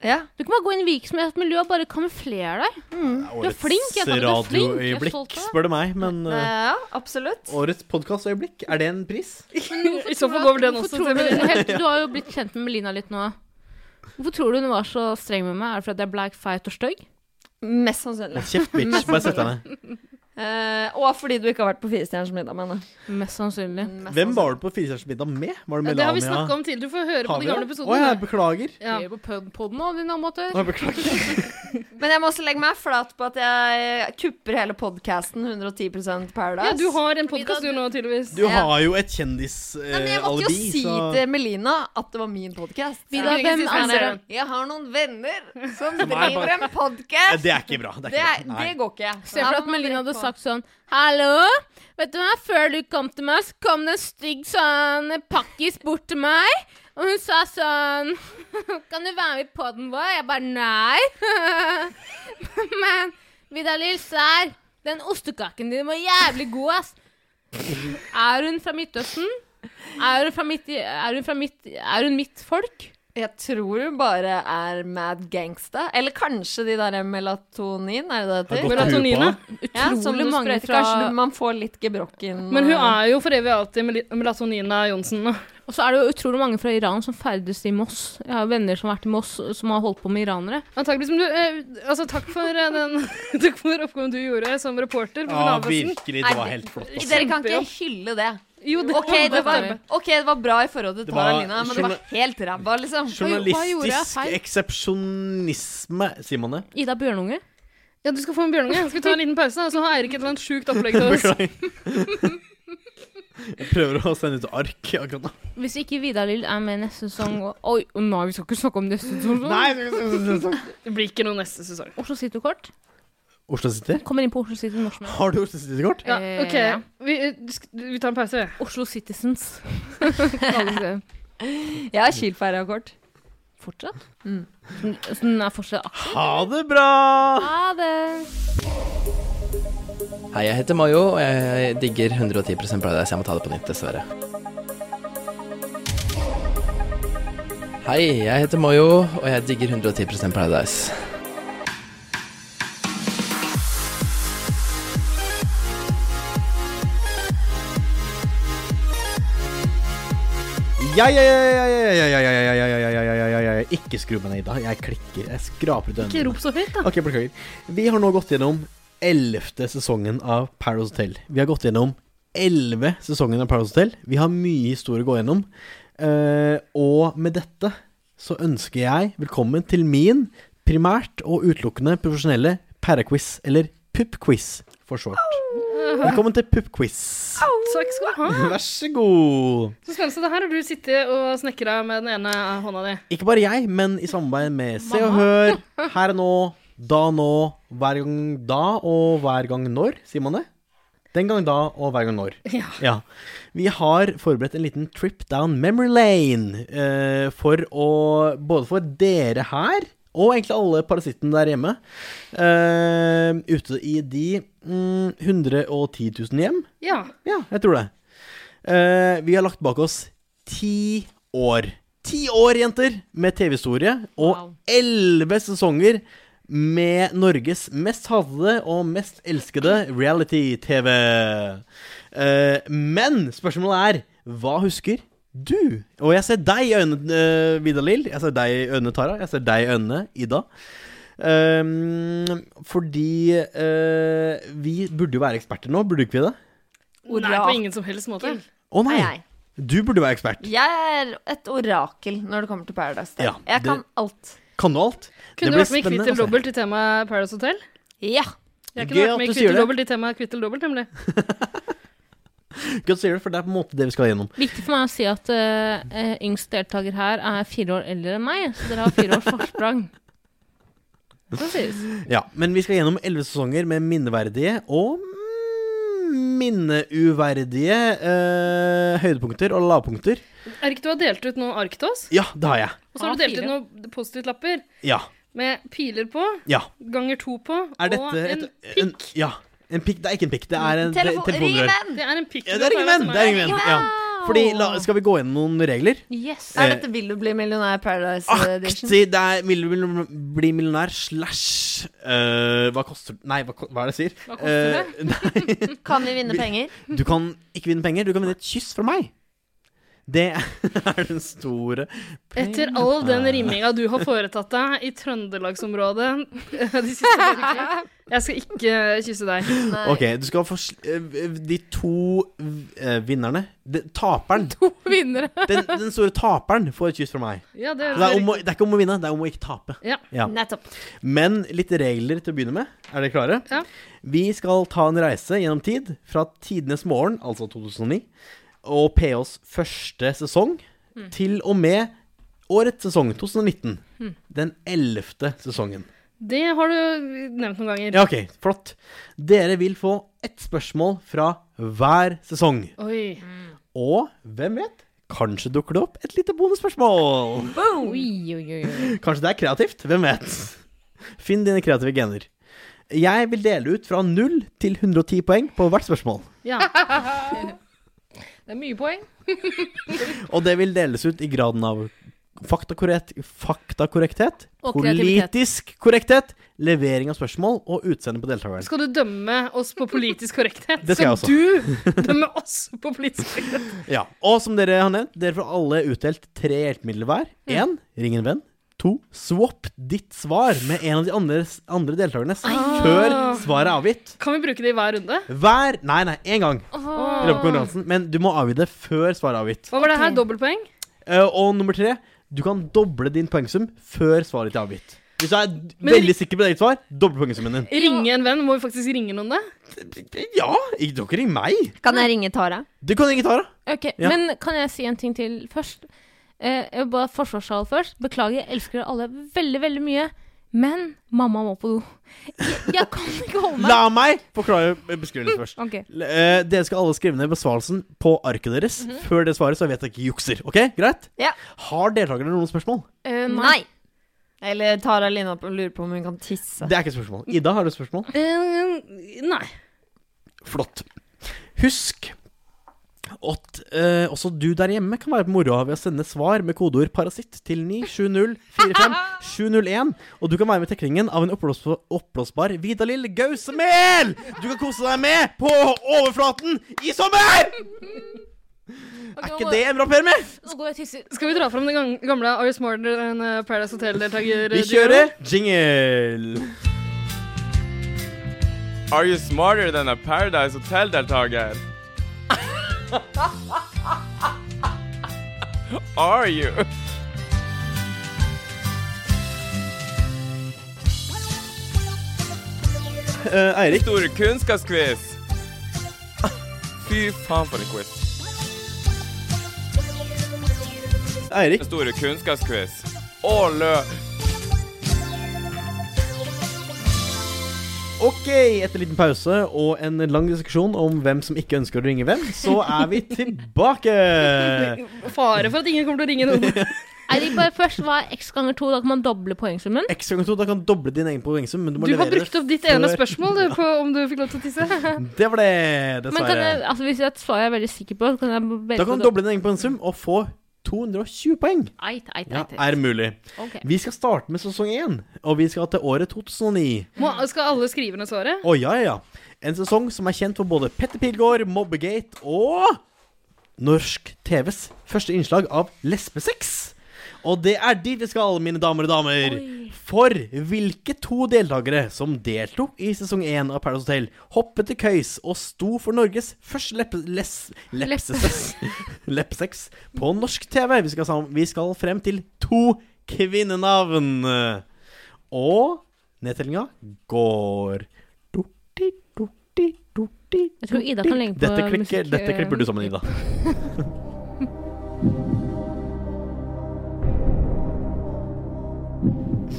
[SPEAKER 4] Ja.
[SPEAKER 5] Du kan bare gå inn i virksomhetsmiljøet og bare kamuflere deg. Du er flink, jeg sa du er flink. Jeg er stolt
[SPEAKER 3] radioøyeblikk,
[SPEAKER 5] av deg.
[SPEAKER 3] spør du meg. Men eh,
[SPEAKER 4] Ja, absolutt.
[SPEAKER 3] årets podkastøyeblikk, er det en pris?
[SPEAKER 6] I så fall går vel den
[SPEAKER 5] Hvorfor
[SPEAKER 6] også
[SPEAKER 5] tror
[SPEAKER 6] til
[SPEAKER 5] du, Nå, helt, du har jo blitt kjent med Melina litt nå. Hvorfor tror du hun var så streng med meg? Er det fordi jeg er black, feit og stygg?
[SPEAKER 4] Mest sannsynlig.
[SPEAKER 3] Kjeft, bitch. Bare sett deg ned.
[SPEAKER 4] Eh, og fordi du ikke har vært på Firestjerners middag med henne.
[SPEAKER 5] Mest sannsynlig.
[SPEAKER 3] Hvem var du på Firestjerners middag med? Var det
[SPEAKER 6] Det har vi snakka
[SPEAKER 3] Melania?
[SPEAKER 6] om tidligere. Du får høre på de gamle
[SPEAKER 3] Havre? Å
[SPEAKER 6] episodene.
[SPEAKER 3] ja, beklager.
[SPEAKER 6] Ja.
[SPEAKER 5] Vi er på pod- podden nå, din amatør.
[SPEAKER 3] Å, beklager.
[SPEAKER 4] Men jeg må også legge meg flat på at jeg kupper hele podkasten 110 Paradise.
[SPEAKER 6] Ja, du har en podkast du nå, tydeligvis.
[SPEAKER 3] Du har jo et eh, kjendisalibi,
[SPEAKER 4] Men jeg måtte jo si til Melina at det var min podkast.
[SPEAKER 5] Vidar,
[SPEAKER 6] Ja.
[SPEAKER 5] hvem er dere?
[SPEAKER 4] Jeg har noen venner som
[SPEAKER 3] er
[SPEAKER 4] driver
[SPEAKER 3] bare-
[SPEAKER 4] en podkast.
[SPEAKER 3] Det er ikke bra. Det er
[SPEAKER 4] Det, er-
[SPEAKER 3] ikke bra.
[SPEAKER 4] det
[SPEAKER 3] Nei.
[SPEAKER 4] går ikke.
[SPEAKER 5] Se for
[SPEAKER 4] Her
[SPEAKER 5] deg at
[SPEAKER 4] må man rett
[SPEAKER 5] Melina hadde
[SPEAKER 4] på.
[SPEAKER 5] sagt sånn Hallo, vet du hva, før du kom til meg, så kom det en stygg sånn pakkis bort til meg. Og hun sa sånn Kan du være med på den vår? Jeg bare nei. Men Vidar Lill Sær, den ostekaken din var jævlig god, ass. Er hun fra Midtøsten? Er hun fra mitt, i- er hun fra mitt, er hun mitt folk?
[SPEAKER 4] Jeg tror hun bare er mad gangsta. Eller kanskje de der melatonin, er det det
[SPEAKER 3] Har gått
[SPEAKER 4] heter?
[SPEAKER 3] på huet på
[SPEAKER 6] Melatonina.
[SPEAKER 3] det.
[SPEAKER 4] Ja, som du
[SPEAKER 5] Utrolig mange
[SPEAKER 4] sprøyter.
[SPEAKER 5] fra-
[SPEAKER 4] Kanskje man får litt gebrokken.
[SPEAKER 6] Men hun er jo for evig og alltid Mel- Melatonina Johnsen nå.
[SPEAKER 5] Og så er det jo utrolig mange fra Iran som ferdes i Moss. Jeg har venner som har vært i Moss, som har holdt på med iranere.
[SPEAKER 6] Antakeligvis, men du, eh, altså, takk, for, eh, den, takk for oppgaven du gjorde som reporter. På
[SPEAKER 3] Ja,
[SPEAKER 6] Finalavisen.
[SPEAKER 3] virkelig. Det var helt flott. ass.
[SPEAKER 4] Dere kan ikke hylle det.
[SPEAKER 6] jo, det,
[SPEAKER 4] OK, det var, ok, det var bra i forhold til
[SPEAKER 3] Det var
[SPEAKER 4] Taralina, men det var helt ræva, liksom.
[SPEAKER 3] Journalistisk
[SPEAKER 5] feil?
[SPEAKER 3] eksepsjonisme, sier man det?
[SPEAKER 5] Ida Bjørnunge.
[SPEAKER 6] Ja, du skal få en bjørnunge. Skal vi ta en liten pause, da? så har Eirik et eller annet sjukt opplegg til oss.
[SPEAKER 3] Beklager. Jeg prøver å sende ut ark akkurat nå.
[SPEAKER 5] Hvis ikke Vidar Lill er med neste sesong og Oi, å nei, vi skal ikke snakke om neste sesong.
[SPEAKER 6] Det blir ikke noe neste sesong.
[SPEAKER 5] Oslo City-kort.
[SPEAKER 3] Oslo City?
[SPEAKER 5] Kommer inn på Oslo City når som helst.
[SPEAKER 3] Har du Oslo City-kort?
[SPEAKER 6] Ja,
[SPEAKER 5] Eh,
[SPEAKER 6] OK. Vi, eh, sk- vi tar en pause, vi.
[SPEAKER 5] Oslo Citizens. Kalles det.
[SPEAKER 4] Jeg har Kielferga-kort.
[SPEAKER 5] fortsatt? Mm. Så den er fortsatt aktiv?
[SPEAKER 3] Ha det bra!
[SPEAKER 5] Ha det!
[SPEAKER 10] Hei, jeg heter Mayo, og jeg digger 110 Paradise. Jeg må ta det på nytt, dessverre. Hei, jeg heter Mayo, og jeg digger 110 Paradise.
[SPEAKER 3] Jeg, jeg, jeg, jeg, jeg, jeg, jeg, jeg, jeg, jeg, jeg, jeg, jeg, jeg, Ikke skru meg ned, Ida. Jeg klikker. Jeg skraper ut
[SPEAKER 6] Ikke
[SPEAKER 3] øynene.
[SPEAKER 6] rop så høyt, da.
[SPEAKER 3] Ok, beklager. Vi har nå gått gjennom ellevte sesongen av Paradise Hotel. Vi har gått gjennom elleve sesongen av Paradise Hotel. Vi har mye historie å gå gjennom. Eh, og med dette så ønsker jeg velkommen til min primært og utelukkende profesjonelle pærequiz, eller puppquiz for short. Velkommen til puppquiz.
[SPEAKER 6] Takk skal du ha.
[SPEAKER 3] Vær så god.
[SPEAKER 6] Så spennende. så Det her har du sittet og snekra med den ene hånda di.
[SPEAKER 3] Ikke bare jeg, men i samarbeid med Se og Hør, Her og Nå, Da og Nå, Hver gang da og Hver gang når, sier man det? Den gang da og hver gang når. Ja. Vi har forberedt en liten trip down memory lane eh, for å Både for dere her, og egentlig alle parasittene der hjemme, eh, ute i de mm, 110 000 hjem.
[SPEAKER 6] Ja.
[SPEAKER 3] Ja, jeg tror det. Eh, vi har lagt bak oss ti år. Ti år, jenter, med TV-historie. Og elleve sesonger med Norges mest hadde og mest elskede reality-TV. Eh, men spørsmålet er hva husker du? Og jeg ser deg i øynene, eh, Vidar Lill. Jeg ser deg i øynene, Tara. Jeg ser deg i øynene, Ida. Eh, fordi eh, vi burde jo være eksperter nå, burde ikke vi det?
[SPEAKER 6] Nei, på ingen som helst måte.
[SPEAKER 3] Å
[SPEAKER 4] Nei,
[SPEAKER 3] nei!
[SPEAKER 4] jeg.
[SPEAKER 3] Du burde være ekspert.
[SPEAKER 4] jeg er et orakel når det kommer til Paradise. Hotel.
[SPEAKER 3] Ja,
[SPEAKER 4] jeg
[SPEAKER 3] det-
[SPEAKER 4] kan alt.
[SPEAKER 3] Kan du alt?
[SPEAKER 6] Kunne du
[SPEAKER 3] blir
[SPEAKER 6] vært med i Kvitt
[SPEAKER 3] spennende å
[SPEAKER 6] eller
[SPEAKER 3] se.
[SPEAKER 6] dobbelt i temaet Paradise Hotel?
[SPEAKER 4] Ja.
[SPEAKER 3] Gøy at
[SPEAKER 6] Jeg kunne vært
[SPEAKER 3] du sier
[SPEAKER 6] med i Kvitt eller
[SPEAKER 3] det.
[SPEAKER 6] dobbelt i temaet Kvitt eller dobbelt, nemlig.
[SPEAKER 3] Godt sier du, for det er på en måte det vi skal gjennom.
[SPEAKER 5] Viktig for meg å si at eh, eh, yngst deltaker her er fire år eldre enn meg, så dere har fire års forsprang. Så sies.
[SPEAKER 3] Ja, Men vi skal gjennom elleve sesonger med minneverdige og mm, minneuverdige eh, høydepunkter og lavpunkter.
[SPEAKER 6] Erik, du har delt ut noen ark til oss,
[SPEAKER 3] Ja, det har jeg.
[SPEAKER 6] og så har du delt
[SPEAKER 5] A4.
[SPEAKER 6] ut noen Post-It-lapper
[SPEAKER 3] Ja.
[SPEAKER 6] med piler på,
[SPEAKER 3] ja.
[SPEAKER 6] ganger to på,
[SPEAKER 3] Er
[SPEAKER 6] og
[SPEAKER 3] dette
[SPEAKER 6] en
[SPEAKER 3] et en, Ja. En pikk Det er ikke en pikk, det er en te-
[SPEAKER 4] Telefon
[SPEAKER 3] telefonduell.
[SPEAKER 4] Ringen!
[SPEAKER 6] Det er en pikk.
[SPEAKER 3] Ja, det er ingen venn! Det er ingen venn. Ja. Fordi, la, skal vi gå gjennom noen regler?
[SPEAKER 5] Yes.
[SPEAKER 3] Eh,
[SPEAKER 4] Er dette Vil du bli millionær Paradise
[SPEAKER 3] Ah,
[SPEAKER 4] Edition?
[SPEAKER 3] Aktig! Det er vil du bli millionær slash eh, Hva koster Nei, hva, ko- hva er det jeg sier? Eh, Hva koster det?
[SPEAKER 4] Kan vi vinne penger?
[SPEAKER 3] Du kan ikke vinne penger, du kan vinne et kyss fra meg. Det er den store
[SPEAKER 6] Etter all den rimminga du har foretatt deg i Trøndelagsområdet de siste dagene Jeg skal ikke kysse deg.
[SPEAKER 4] Nei.
[SPEAKER 3] Ok, du skal få sl- eh, De to eh, vinnerne de, Taperen.
[SPEAKER 5] Vinnere.
[SPEAKER 3] Den, den store taperen får et kyss fra meg.
[SPEAKER 6] Ja, det,
[SPEAKER 3] Så Det er, om å, det er ikke om å vinne, det er om å ikke tape.
[SPEAKER 4] Nettopp.
[SPEAKER 3] Men litt regler til å begynne med. Er dere klare?
[SPEAKER 6] Ja.
[SPEAKER 3] Vi skal ta en reise gjennom tid fra tidenes morgen, altså 2009, og PHs første sesong, til og med årets sesong, 2019. Den ellevte sesongen.
[SPEAKER 6] det har du nevnt noen ganger.
[SPEAKER 3] Ja, ok, flott. Dere vil få ett spørsmål fra hver sesong.
[SPEAKER 6] Oi.
[SPEAKER 3] Og hvem vet, kanskje dukker det opp et lite bonusspørsmål.
[SPEAKER 5] Oi, oi, oi, oi.
[SPEAKER 3] Kanskje det er kreativt, hvem vet? Finn dine kreative gener. Jeg vil dele ut fra 0 til 110 poeng på hvert spørsmål.
[SPEAKER 6] Ja.
[SPEAKER 5] Det er mye poeng.
[SPEAKER 3] Og det vil deles ut i graden av faktakorrekt, faktakorrekthet,
[SPEAKER 6] Og kreativitet.
[SPEAKER 3] politisk korrekthet, levering av spørsmål og utseende på deltakeren.
[SPEAKER 6] Skal du dømme oss på politisk korrekthet?
[SPEAKER 3] Det skal jeg
[SPEAKER 6] også. du dømme oss på politisk korrekthet?
[SPEAKER 3] Ja, Og som dere har nevnt, dere får alle utdelt tre hjelpemidler hver. Én, ring en venn. To, swap ditt svar med en av de andre, andre deltakerne før svaret er avgitt.
[SPEAKER 6] Kan vi bruke det i hver runde?
[SPEAKER 3] Hver Nei, nei, én gang i løpet
[SPEAKER 5] Ah.
[SPEAKER 3] av konkurransen. Men du må avgi det før svaret er avgitt.
[SPEAKER 6] Hva var det her? Dobbeltpoeng?
[SPEAKER 3] Eh, og nummer tre, du kan doble din poengsum før svaret ditt er avgitt. Hvis du er
[SPEAKER 6] Men- Eh,
[SPEAKER 3] veldig sikker på ditt svar, doble poengsummen din.
[SPEAKER 6] Ringe en venn? Må vi faktisk ringe noen, da?
[SPEAKER 3] Ja, ikke dere ring meg.
[SPEAKER 4] Kan jeg ringe Tara?
[SPEAKER 3] Du kan ringe Tara.
[SPEAKER 5] Ok,
[SPEAKER 3] Ja.
[SPEAKER 5] Men kan jeg si en ting til først? Eh, jeg vil bare Forsvarssal først. Beklager, jeg elsker dere alle veldig, veldig mye. Men mamma må på do. Jeg, jeg kan ikke holde meg.
[SPEAKER 3] La meg forklare beskrivelsen først.
[SPEAKER 5] Ok.
[SPEAKER 3] L- eh, dere skal alle skrive ned besvarelsen på arket deres før det svaret, så jeg vet jeg ikke jukser. Ok, greit?
[SPEAKER 4] Ja.
[SPEAKER 3] Har deltakerne noen spørsmål?
[SPEAKER 5] Eh, nei.
[SPEAKER 4] Nei. Eller Tara Lina på- lurer på om hun kan tisse.
[SPEAKER 3] Det er ikke spørsmål. Ida, har du spørsmål?
[SPEAKER 6] Eh, nei.
[SPEAKER 3] Flott. Husk at eh, også du der hjemme kan være på moroa ved å sende svar med kodeord 'parasitt' til 97045701. Og du kan være med i trekningen av en oppblås- oppblåsbar Vidalil Gausemel! Du kan kose deg med på overflaten i sommer! Er ikke det en bra premie?
[SPEAKER 5] Nå går jeg og tisser.
[SPEAKER 6] Skal vi dra fram den gang- gamle Are Smarter enn eh, Paradise Hotel-deltaker? eh,
[SPEAKER 3] Vi kjører jingle.
[SPEAKER 9] Are you smarter than a Paradise Hotel-deltaker? Are you?
[SPEAKER 3] Eh, Eirik,
[SPEAKER 9] Store kunnskapsquiz. Fy faen for en quiz.
[SPEAKER 3] Eirik,
[SPEAKER 9] Store kunnskapsquiz. Og lø...
[SPEAKER 3] Ok, etter en liten pause og en lang diskusjon om hvem som ikke ønsker å ringe hvem, så er vi tilbake.
[SPEAKER 6] Fare for at ingen kommer til å ringe noen.
[SPEAKER 5] Eirik, bare først hva er x ganger to? Da kan man doble poengsummen.
[SPEAKER 3] X ganger to, da kan doble din egen poengsum, men du må
[SPEAKER 6] Du har
[SPEAKER 3] levere
[SPEAKER 6] brukt opp ditt ene
[SPEAKER 3] før-
[SPEAKER 6] spørsmål du, på om du fikk lov til å tisse.
[SPEAKER 3] Det var det,
[SPEAKER 5] Men kan
[SPEAKER 3] dessverre.
[SPEAKER 5] jeg, altså, hvis jeg svarer jeg er veldig sikker på, kan jeg velge
[SPEAKER 3] Da kan du doble din egen poengsum og få 220 poeng.
[SPEAKER 5] Eit, eit,
[SPEAKER 3] Ja,
[SPEAKER 5] eit, eit.
[SPEAKER 3] er mulig.
[SPEAKER 5] Ok.
[SPEAKER 3] Vi skal starte med sesong én, og vi skal til året 2009.
[SPEAKER 6] Må, skal alle skrive ned svaret?
[SPEAKER 3] Å ja, ja, ja. En sesong som er kjent for både Petter Pilgaard, Mobbegate og norsk TVs første innslag av lesbesex. Og det er dit vi skal, mine damer og damer. For hvilke to deltakere som deltok i sesong én av Paradise Hotel, hoppet til køys og sto for Norges første leppe, les, lepsesex, leppesex på norsk TV? Vi skal, sam- vi skal frem til to kvinnenavn. Og nedtellinga går. Dorti, dorti, dorti,
[SPEAKER 5] Jeg tror Ida kan legge på
[SPEAKER 3] dette, klikker,
[SPEAKER 5] musikk,
[SPEAKER 3] dette
[SPEAKER 5] eh,
[SPEAKER 3] klipper du sammen, Ida.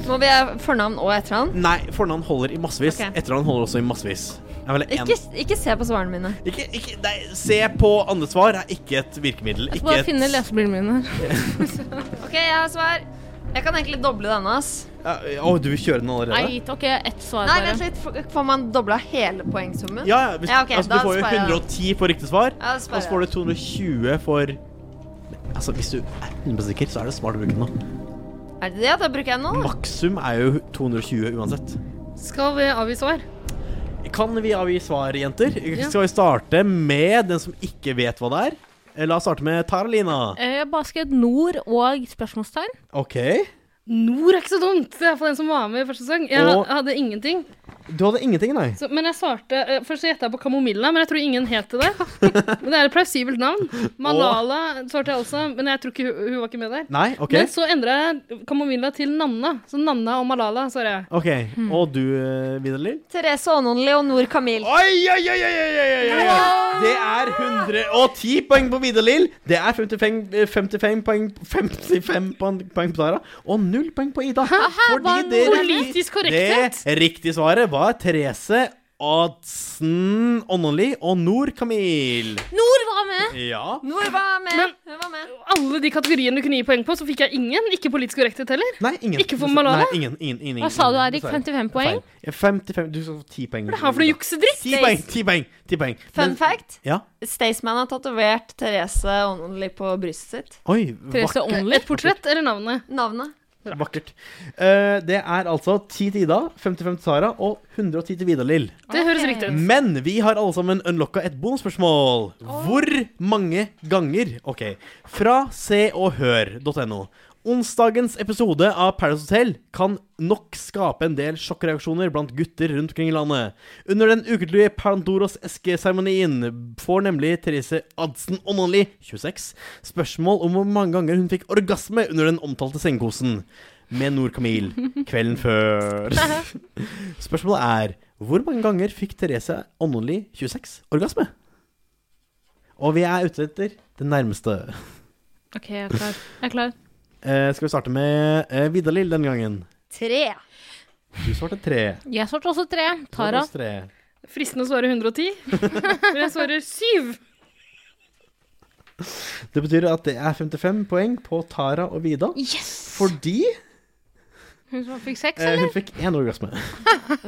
[SPEAKER 4] Må vi ha fornavn og etternavn?
[SPEAKER 3] Nei, fornavn holder i massevis.
[SPEAKER 4] Ok.
[SPEAKER 3] Etternavn holder også i massevis. Jeg er vel en-
[SPEAKER 4] Ikke, ikke se på svarene mine.
[SPEAKER 3] ikke, ikke, nei, se på andre svar er ikke et virkemiddel.
[SPEAKER 5] Jeg skal
[SPEAKER 3] Ikke
[SPEAKER 5] bare finne
[SPEAKER 3] et,
[SPEAKER 5] lesebrillene mine.
[SPEAKER 4] OK, jeg har svar. Jeg kan egentlig doble denne. ass.
[SPEAKER 3] Ja, å, du kjører den allerede?
[SPEAKER 5] Eit, ok, ett svar
[SPEAKER 4] Nei,
[SPEAKER 5] bare.
[SPEAKER 4] vent litt. Får- Får man dobla hele poengsummen?
[SPEAKER 3] Ja, ja, hvis,
[SPEAKER 4] Ja, ok,
[SPEAKER 3] altså,
[SPEAKER 4] da
[SPEAKER 3] du får jo
[SPEAKER 4] sparer jeg den.
[SPEAKER 3] 110 for riktig svar,
[SPEAKER 4] Ja, da sparer
[SPEAKER 3] og så får du 220 for Altså, Hvis du er 100 sikker, så er det smart å bruke den nå.
[SPEAKER 4] Er det det? Da bruker jeg den nå. da.
[SPEAKER 3] Makssum er jo 220 uansett.
[SPEAKER 6] Skal vi avgi svar?
[SPEAKER 3] Kan vi avgi svar, jenter? Skal vi starte med den som ikke vet hva det er? Eh, La oss starte med Taralina.
[SPEAKER 5] Eh, Jeg har bare skrevet nord og spørsmålstegn.
[SPEAKER 3] OK.
[SPEAKER 6] Nord er ikke så dumt. Det er iallfall en som var med i første sesong. Jeg
[SPEAKER 3] Og-
[SPEAKER 6] hadde ingenting.
[SPEAKER 3] Du hadde ingenting, nei?
[SPEAKER 6] Så, men jeg svarte eh, Først så gjetta jeg på Kamomilla, men jeg tror ingen het det. Men det er et plausibelt navn. Malala svarte jeg også, men jeg tror ikke hun, hun var ikke med der.
[SPEAKER 3] Nei, OK.
[SPEAKER 6] Men så endra jeg Kamomilla til Nanna. Så Nanna og Malala, svarer jeg.
[SPEAKER 3] Ok, Og du, eh, Vidar-Lill?
[SPEAKER 4] Therese Aanon, Leonor Camille.
[SPEAKER 3] Oi, oi, oi, oi, oi, oi, oi, oi, oi. Det er 110 poeng på Vidar-Lill. Det er 55, eh, 55 poeng 55 poeng poeng på Tara og null poeng på Ida.
[SPEAKER 5] hva er
[SPEAKER 3] det
[SPEAKER 6] politisk korrekthet?
[SPEAKER 3] Det riktige svaret var Therese Adsen Ånneli og Nord Kamil.
[SPEAKER 5] Nord var var med.
[SPEAKER 3] Ja.
[SPEAKER 5] Nor var med.
[SPEAKER 6] Men-
[SPEAKER 5] Hun var med.
[SPEAKER 6] Alle de kategoriene du kunne gi poeng på, så fikk jeg ingen. Ikke politisk korrekthet heller.
[SPEAKER 3] Nei, ingen.
[SPEAKER 6] Ikke for Malala?
[SPEAKER 3] Nei, ingen, ingen, ingen, ingen,
[SPEAKER 5] Hva sa du,
[SPEAKER 3] ingen,
[SPEAKER 5] Eirik?
[SPEAKER 3] dessverre.
[SPEAKER 5] 55 poeng?
[SPEAKER 3] Feil. Ja, 55 Du skal få 10 poeng.
[SPEAKER 6] Hva er det her for noe juksedritt?
[SPEAKER 3] 10 poeng, 10 poeng, 10 poeng.
[SPEAKER 4] Fun
[SPEAKER 3] Men-
[SPEAKER 4] fact.
[SPEAKER 3] Ja.
[SPEAKER 4] Staysman har tatovert Therese Only på brystet sitt.
[SPEAKER 3] Oi,
[SPEAKER 5] Therese
[SPEAKER 3] vakkert.
[SPEAKER 5] Only.
[SPEAKER 6] Et portrett eller navnet?
[SPEAKER 4] Navnet.
[SPEAKER 3] vakkert. Eh, det er altså 10 til Ida, 55 til Sara og 110 til Vidar-Lill.
[SPEAKER 6] Det høres riktig ut.
[SPEAKER 3] Men vi har alle sammen unlocka et bonusspørsmål. Hvor mange ganger Ok, fra seoghør.no. Onsdagens episode av Paradise Hotel kan nok skape en del sjokkreaksjoner blant gutter rundt omkring i landet. Under den ukentlige Pandoros eske-seremonien får nemlig Therese Adsen Ononli, 26, spørsmål om hvor mange ganger hun fikk orgasme under den omtalte sengekosen med Nor Camille kvelden før. Spørsmålet er hvor mange ganger fikk Therese Annonli 26 orgasme? Og vi er ute etter det nærmeste.
[SPEAKER 5] OK, jeg er klar. Jeg er klar.
[SPEAKER 3] Eh, skal vi starte med eh, Vidar-Lill denne gangen?
[SPEAKER 4] Tre.
[SPEAKER 3] Du svarte tre.
[SPEAKER 5] Jeg svarte også tre. Tara.
[SPEAKER 3] Svarte oss tre.
[SPEAKER 6] Fristende å svare 110, men jeg svarer 7.
[SPEAKER 3] Det betyr at det er 55 poeng på Tara og Vida.
[SPEAKER 5] Yes!
[SPEAKER 3] Fordi
[SPEAKER 5] Hun som fikk seks,
[SPEAKER 3] eh,
[SPEAKER 5] eller?
[SPEAKER 3] hun fikk én orgasme.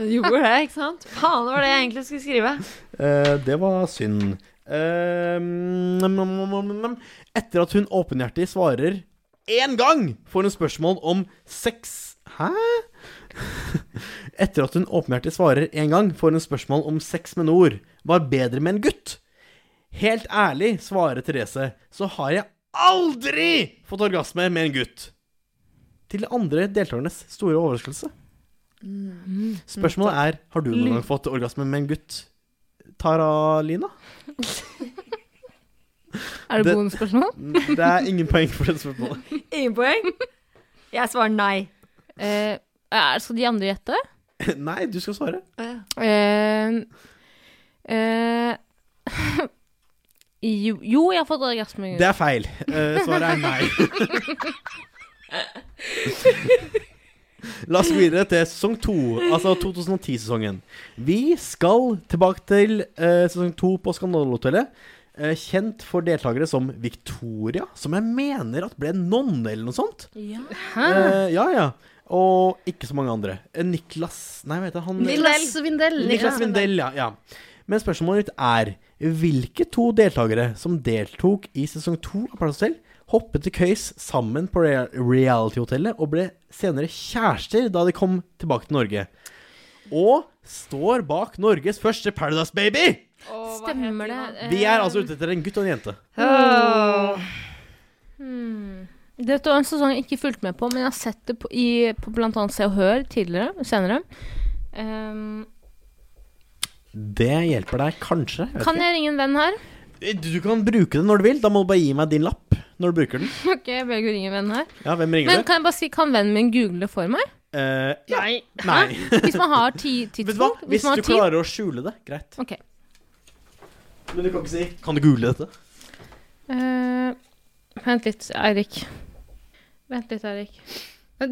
[SPEAKER 4] Gjorde det, ikke sant? Faen, det var det jeg egentlig skulle skrive.
[SPEAKER 3] Eh, det var synd. Eh, nam, nam, nam, nam, nam. etter at hun åpenhjertig svarer én gang, får hun spørsmål om sex Hæ? Etter at hun åpenhjertig svarer én gang, får hun spørsmål om sex med Nord var bedre med en gutt. Helt ærlig, svarer Therese, så har jeg aldri fått orgasme med en gutt. Til de andre deltakernes store overraskelse. Spørsmålet er, har du noen gang fått orgasme med en gutt? Tara Lina?
[SPEAKER 5] Er det
[SPEAKER 3] Eh, det-
[SPEAKER 5] bonusspørsmål?
[SPEAKER 3] Det er ingen poeng for det spørsmålet.
[SPEAKER 4] Ingen poeng. Jeg svarer nei.
[SPEAKER 5] Eh, er- skal de andre gjette?
[SPEAKER 3] Nei, du skal svare.
[SPEAKER 5] Eh, eh, jo, jo, jeg har fått orgasme.
[SPEAKER 3] Det er feil. Eh, svaret er nei. La oss gå videre til sesong to, altså 2010-sesongen. Vi skal tilbake til eh, sesong to på Skandalehotellet. eh, kjent for deltakere som Victoria, som jeg mener at ble nonne eller noe sånt. Eh, ja, ja. Og ikke så mange andre. Eh, Niklas Nei, hva heter han?
[SPEAKER 6] Niklas Vindel.
[SPEAKER 3] Niklas Vindel, ja. ja. Men spørsmålet mitt er hvilke to deltakere som deltok i sesong to av Paradise Hotel, hoppet til køys sammen på rea- reality-hotellet og ble senere kjærester da de kom tilbake til Norge? Og står bak Norges første Paradise Baby!
[SPEAKER 5] Stemmer det? Eh,
[SPEAKER 3] Vi er altså ute etter en gutt og en jente.
[SPEAKER 5] Eh, Dette var en sesong jeg ikke fulgte med på, men jeg har sett det på, i, på blant annet Se og Hør tidligere, senere. Ehm,
[SPEAKER 3] Det hjelper deg kanskje. jeg vet
[SPEAKER 5] kan jeg ringe en venn her?
[SPEAKER 3] ikke. Du kan bruke det når du vil. Da må du bare gi meg din lapp når du bruker den.
[SPEAKER 5] Ok, jeg velger å ringe en venn her.
[SPEAKER 3] Ja, hvem ringer
[SPEAKER 5] Men
[SPEAKER 3] du?
[SPEAKER 5] kan jeg bare si, kan vennen min google for meg?
[SPEAKER 3] Eh, ja.
[SPEAKER 6] Nei.
[SPEAKER 3] Nei.
[SPEAKER 5] Hvis man har ti
[SPEAKER 3] Vet du hva?
[SPEAKER 5] tidspunkt? Hvis
[SPEAKER 3] Hvis
[SPEAKER 5] man
[SPEAKER 3] du
[SPEAKER 5] har tid?
[SPEAKER 3] klarer å skjule det, greit.
[SPEAKER 5] Ok.
[SPEAKER 3] Men du kan ikke si Kan du google dette?
[SPEAKER 5] Eh, vent litt, Eirik. Vent litt, Eirik.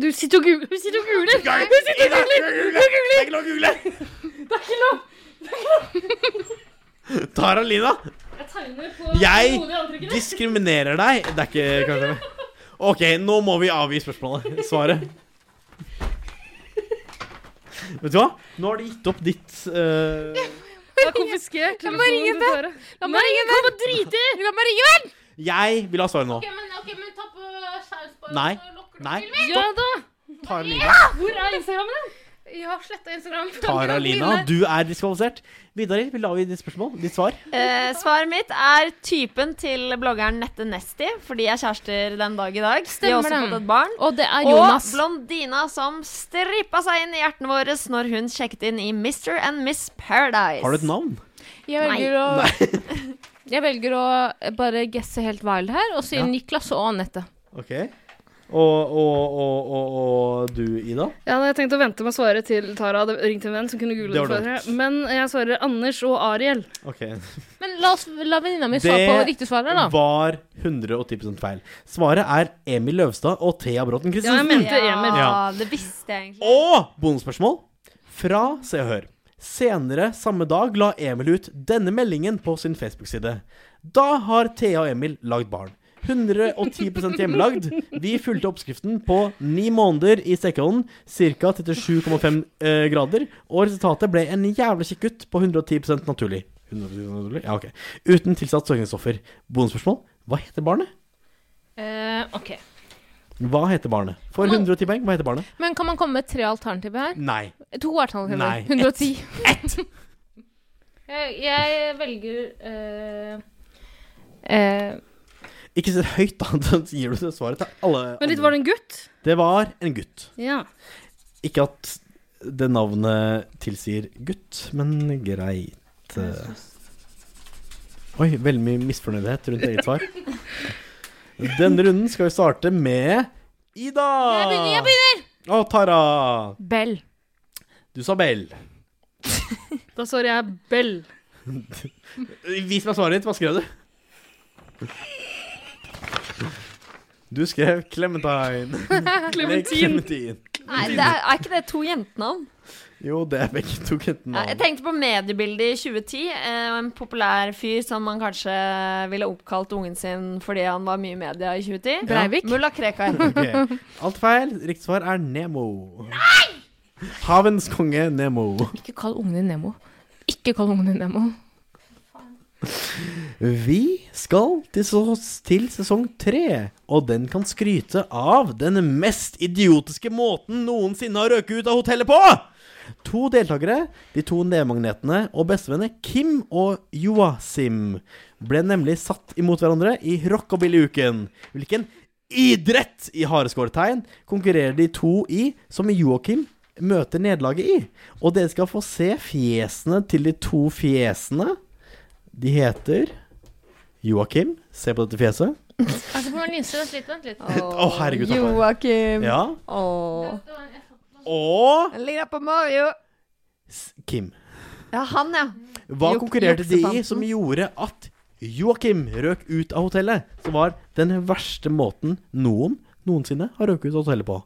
[SPEAKER 6] Du sitter og gu- du sitter og guler! Du sitter og guler!
[SPEAKER 3] Det er ikke lov å google! Det er ikke lov! Tara Lina, jeg diskriminerer deg. Det er ikke kanskje OK, nå må vi avgi spørsmålet. Svaret. Vet du hva? Nå har de gitt opp ditt eh,
[SPEAKER 6] Jeg har konfiskert telefonen til Tara.
[SPEAKER 5] La meg ringe en venn! Kan drite i! La meg ringe en venn!
[SPEAKER 3] Jeg vil ha svaret nå.
[SPEAKER 5] men, ta på saus på
[SPEAKER 3] Nei. Nei.
[SPEAKER 6] Ja da!
[SPEAKER 3] Tara Lina,
[SPEAKER 6] Hvor er Instagrammen din? Jeg har sletta Instagram.
[SPEAKER 3] Tara Lina du er diskvalifisert. Vidar, vil du avgi ditt spørsmål? Ditt svar?
[SPEAKER 4] Eh, svaret mitt er typen til bloggeren Nette Nesti, for de er kjærester den dag i dag. de har
[SPEAKER 5] Stemmer
[SPEAKER 4] også
[SPEAKER 5] det.
[SPEAKER 4] fått et barn.
[SPEAKER 5] Og det er Jonas.
[SPEAKER 4] Og blondina som strippa seg inn i hjertene våre når hun sjekket inn i Mr. and Miss Paradise.
[SPEAKER 3] Har du et navn?
[SPEAKER 5] Jeg velger å Jeg velger å bare gesse helt wild her og si
[SPEAKER 3] Ja.
[SPEAKER 5] Niklas og Anette.
[SPEAKER 3] OK. Og, og, og, og, og du, Ida?
[SPEAKER 6] Ja, da, jeg tenkte å vente med å svare til Tara. Det ringte en venn som kunne google
[SPEAKER 3] Det
[SPEAKER 6] det
[SPEAKER 3] var
[SPEAKER 6] for
[SPEAKER 3] dumt.
[SPEAKER 6] dere. Men jeg svarer Anders og Ariel.
[SPEAKER 3] OK.
[SPEAKER 5] Men la, oss, la venninna mi svare
[SPEAKER 3] Det
[SPEAKER 5] på riktig svar her, da.
[SPEAKER 3] var 110 feil. Svaret er Emil Løvstad og Thea Bråten
[SPEAKER 6] Ja, jeg
[SPEAKER 3] Christensen.
[SPEAKER 6] mente Emil.
[SPEAKER 4] Ja,
[SPEAKER 3] Ja.
[SPEAKER 4] det visste jeg egentlig.
[SPEAKER 3] og bonusspørsmål fra Se og Hør. Senere samme dag la Emil ut denne meldingen på sin Facebook-side. Da har Thea og Emil lagd barn. 110 hjemmelagd. Vi fulgte oppskriften på ni måneder i stekeovnen, ca. 37,5 eh, grader, og resultatet ble en jævla kikk gutt på 110 naturlig. 110% naturlig? Ja, ok. Uten tilsatt søkningsstoffer. Bonusspørsmål? Hva heter barnet?
[SPEAKER 5] Eh, ok.
[SPEAKER 3] Hva heter barnet? For 110 poeng, hva heter barnet?
[SPEAKER 5] Men kan man komme med tre alternativer her?
[SPEAKER 3] Nei.
[SPEAKER 5] To alternativer.
[SPEAKER 3] Nei, ett.
[SPEAKER 5] 110. jeg, jeg velger eh, eh,
[SPEAKER 3] Ikke så høyt, da. Da gir du det svaret til alle.
[SPEAKER 6] Men litt,
[SPEAKER 3] andre.
[SPEAKER 6] var det en gutt?
[SPEAKER 3] Det var en gutt.
[SPEAKER 6] Ja.
[SPEAKER 3] Ikke at det navnet tilsier gutt, men greit. eh. Oi, veldig mye misfornøydhet rundt eget svar. Denne runden skal vi starte med Ida! Jeg begynner! jeg begynner Og Tara.
[SPEAKER 5] Bell.
[SPEAKER 3] Du sa Bell.
[SPEAKER 6] Da svarer jeg Bell.
[SPEAKER 3] Vis meg svaret ditt. Hva skrev du? Du skrev Clementine. Nei,
[SPEAKER 6] Clementine.
[SPEAKER 3] Clementine.
[SPEAKER 4] Nei, det er, er ikke det to jentenavn?
[SPEAKER 3] Jo, det er begge to
[SPEAKER 4] Ja, jeg
[SPEAKER 3] guttenavn.
[SPEAKER 4] tenkte på mediebildet i 2010. eh, og En populær fyr som man kanskje ville oppkalt ungen sin fordi han var mye i media i 2010.
[SPEAKER 5] Breivik?
[SPEAKER 4] Mulla Krekar.
[SPEAKER 3] Ok. Alt feil. Riktig svar er Nemo. Nei! Havens konge Nemo.
[SPEAKER 5] Ikke kall ungen din Nemo. Ikke kall ungen din Nemo.
[SPEAKER 3] Vi skal til, ses- til sesong tre, og den kan skryte av den mest idiotiske måten noensinne har røket ut av hotellet på! To deltakere, de to nevmagnetene og bestevenner Kim og Joasim, ble nemlig satt imot hverandre i rockabilly-uken. Hvilken idrett i hareskårtegn konkurrerer de to i, som Joakim møter nederlaget i? Og dere skal få se fjesene til de to fjesene. De heter Joakim. Se på dette fjeset.
[SPEAKER 5] Altså, må lyse, vent litt, vent litt.
[SPEAKER 3] Å, herregud. takk for det.
[SPEAKER 4] Joakim.
[SPEAKER 3] Ja.
[SPEAKER 4] Åh.
[SPEAKER 3] Og
[SPEAKER 4] Han ligner på Mario.
[SPEAKER 3] S- Kim.
[SPEAKER 4] Ja, han, ja.
[SPEAKER 3] Hva
[SPEAKER 4] Jok-
[SPEAKER 3] konkurrerte de i
[SPEAKER 4] juksefanten.
[SPEAKER 3] som gjorde at Joakim røk ut av hotellet? Som var den verste måten noen noensinne har røket ut av hotellet på.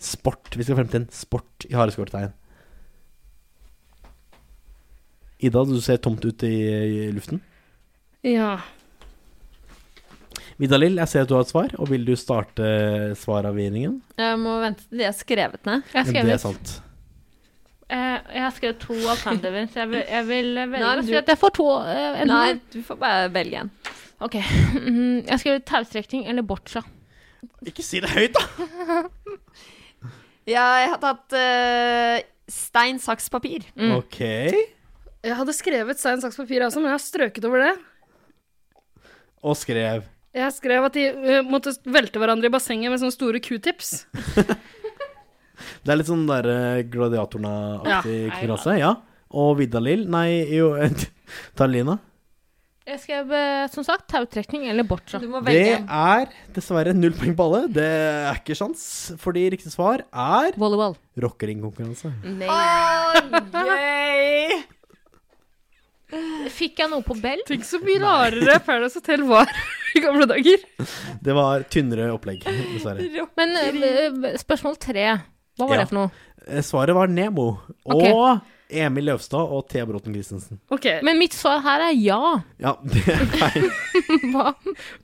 [SPEAKER 3] Sport. Vi skal frem til en sport i hareskårtegn. Ida, du ser tomt ut i, i luften.
[SPEAKER 6] Ja.
[SPEAKER 3] Vidalil, jeg ser at du har et svar, og vil du starte svaravgivningen?
[SPEAKER 4] Jeg må vente til de har skrevet ned.
[SPEAKER 5] Jeg har
[SPEAKER 3] Det er
[SPEAKER 5] skrevet,
[SPEAKER 3] sant.
[SPEAKER 5] eh, jeg har skrevet to alternativer, så jeg vil, jeg vil velge
[SPEAKER 4] Nei,
[SPEAKER 5] å si
[SPEAKER 4] du-
[SPEAKER 5] at jeg får to. eh, enten-
[SPEAKER 4] Nei, du får bare velge en.
[SPEAKER 5] Ok. Mm, Jeg har skrevet taustrekking eller boccia.
[SPEAKER 3] Ikke si det høyt, da!
[SPEAKER 4] Jeg har tatt eh, stein, saks, papir.
[SPEAKER 5] Mm.
[SPEAKER 3] Ok.
[SPEAKER 6] Jeg hadde skrevet stein, saks, papir jeg også, men jeg har strøket over det.
[SPEAKER 3] Og skrev
[SPEAKER 6] Jeg skrev at de eh, måtte velte hverandre i bassenget med sånne store q-tips.
[SPEAKER 3] Det er litt sånn der eh, gladiatorene-aktig konkurranse. Ja. Og Vidalil Nei, jo Tarlina.
[SPEAKER 5] Jeg skrev eh, som sagt tautrekning eller boccia.
[SPEAKER 4] Du må
[SPEAKER 3] Det
[SPEAKER 4] velge en.
[SPEAKER 3] er dessverre null poeng på alle. Det er ikke sjans, fordi riktig svar er
[SPEAKER 5] Volleyball.
[SPEAKER 3] rockeringkonkurranse.
[SPEAKER 4] Yay!
[SPEAKER 5] Fikk jeg noe på Bell?
[SPEAKER 6] Tenk så mye rarere Paradise Hotel var i gamle dager.
[SPEAKER 3] Det var tynnere opplegg, dessverre.
[SPEAKER 5] Men eh, spørsmål tre. Hva var
[SPEAKER 3] Ja.
[SPEAKER 5] det for noe?
[SPEAKER 3] Eh, Svaret var Nemo. Og
[SPEAKER 5] Ok.
[SPEAKER 3] Emil Løvstad og Thea Bråten Christensen.
[SPEAKER 6] Ok,
[SPEAKER 5] Men mitt svar her er ja.
[SPEAKER 3] Ja, det er feil.
[SPEAKER 5] Hva?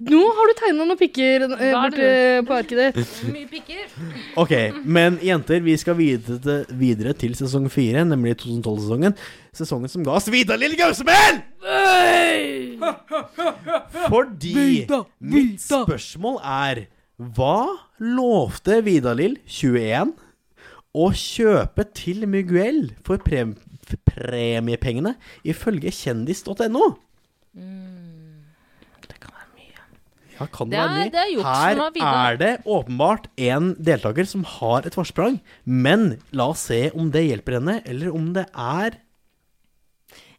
[SPEAKER 6] Nå har du tegna noen pikker eh,
[SPEAKER 5] Da er
[SPEAKER 6] borte på arket ditt.
[SPEAKER 5] Mye pikker.
[SPEAKER 3] Ok, men jenter, vi skal videre til, videre til sesong fire, nemlig 2012-sesongen. Sesongen som ga oss Vidar-Lill Gausemel! Fordi mitt spørsmål er Hva lovte Vidar-Lill 21 å kjøpe til Miguel for prem premiepengene ifølge kjendis.no?
[SPEAKER 5] Mm. Det kan være mye.
[SPEAKER 3] Ja, kan
[SPEAKER 5] Det
[SPEAKER 3] det være
[SPEAKER 5] er-
[SPEAKER 3] mye.
[SPEAKER 5] det er juks som har
[SPEAKER 3] Her
[SPEAKER 5] videre.
[SPEAKER 3] er det åpenbart en deltaker som har et forsprang, men la oss se om det hjelper henne, eller om det er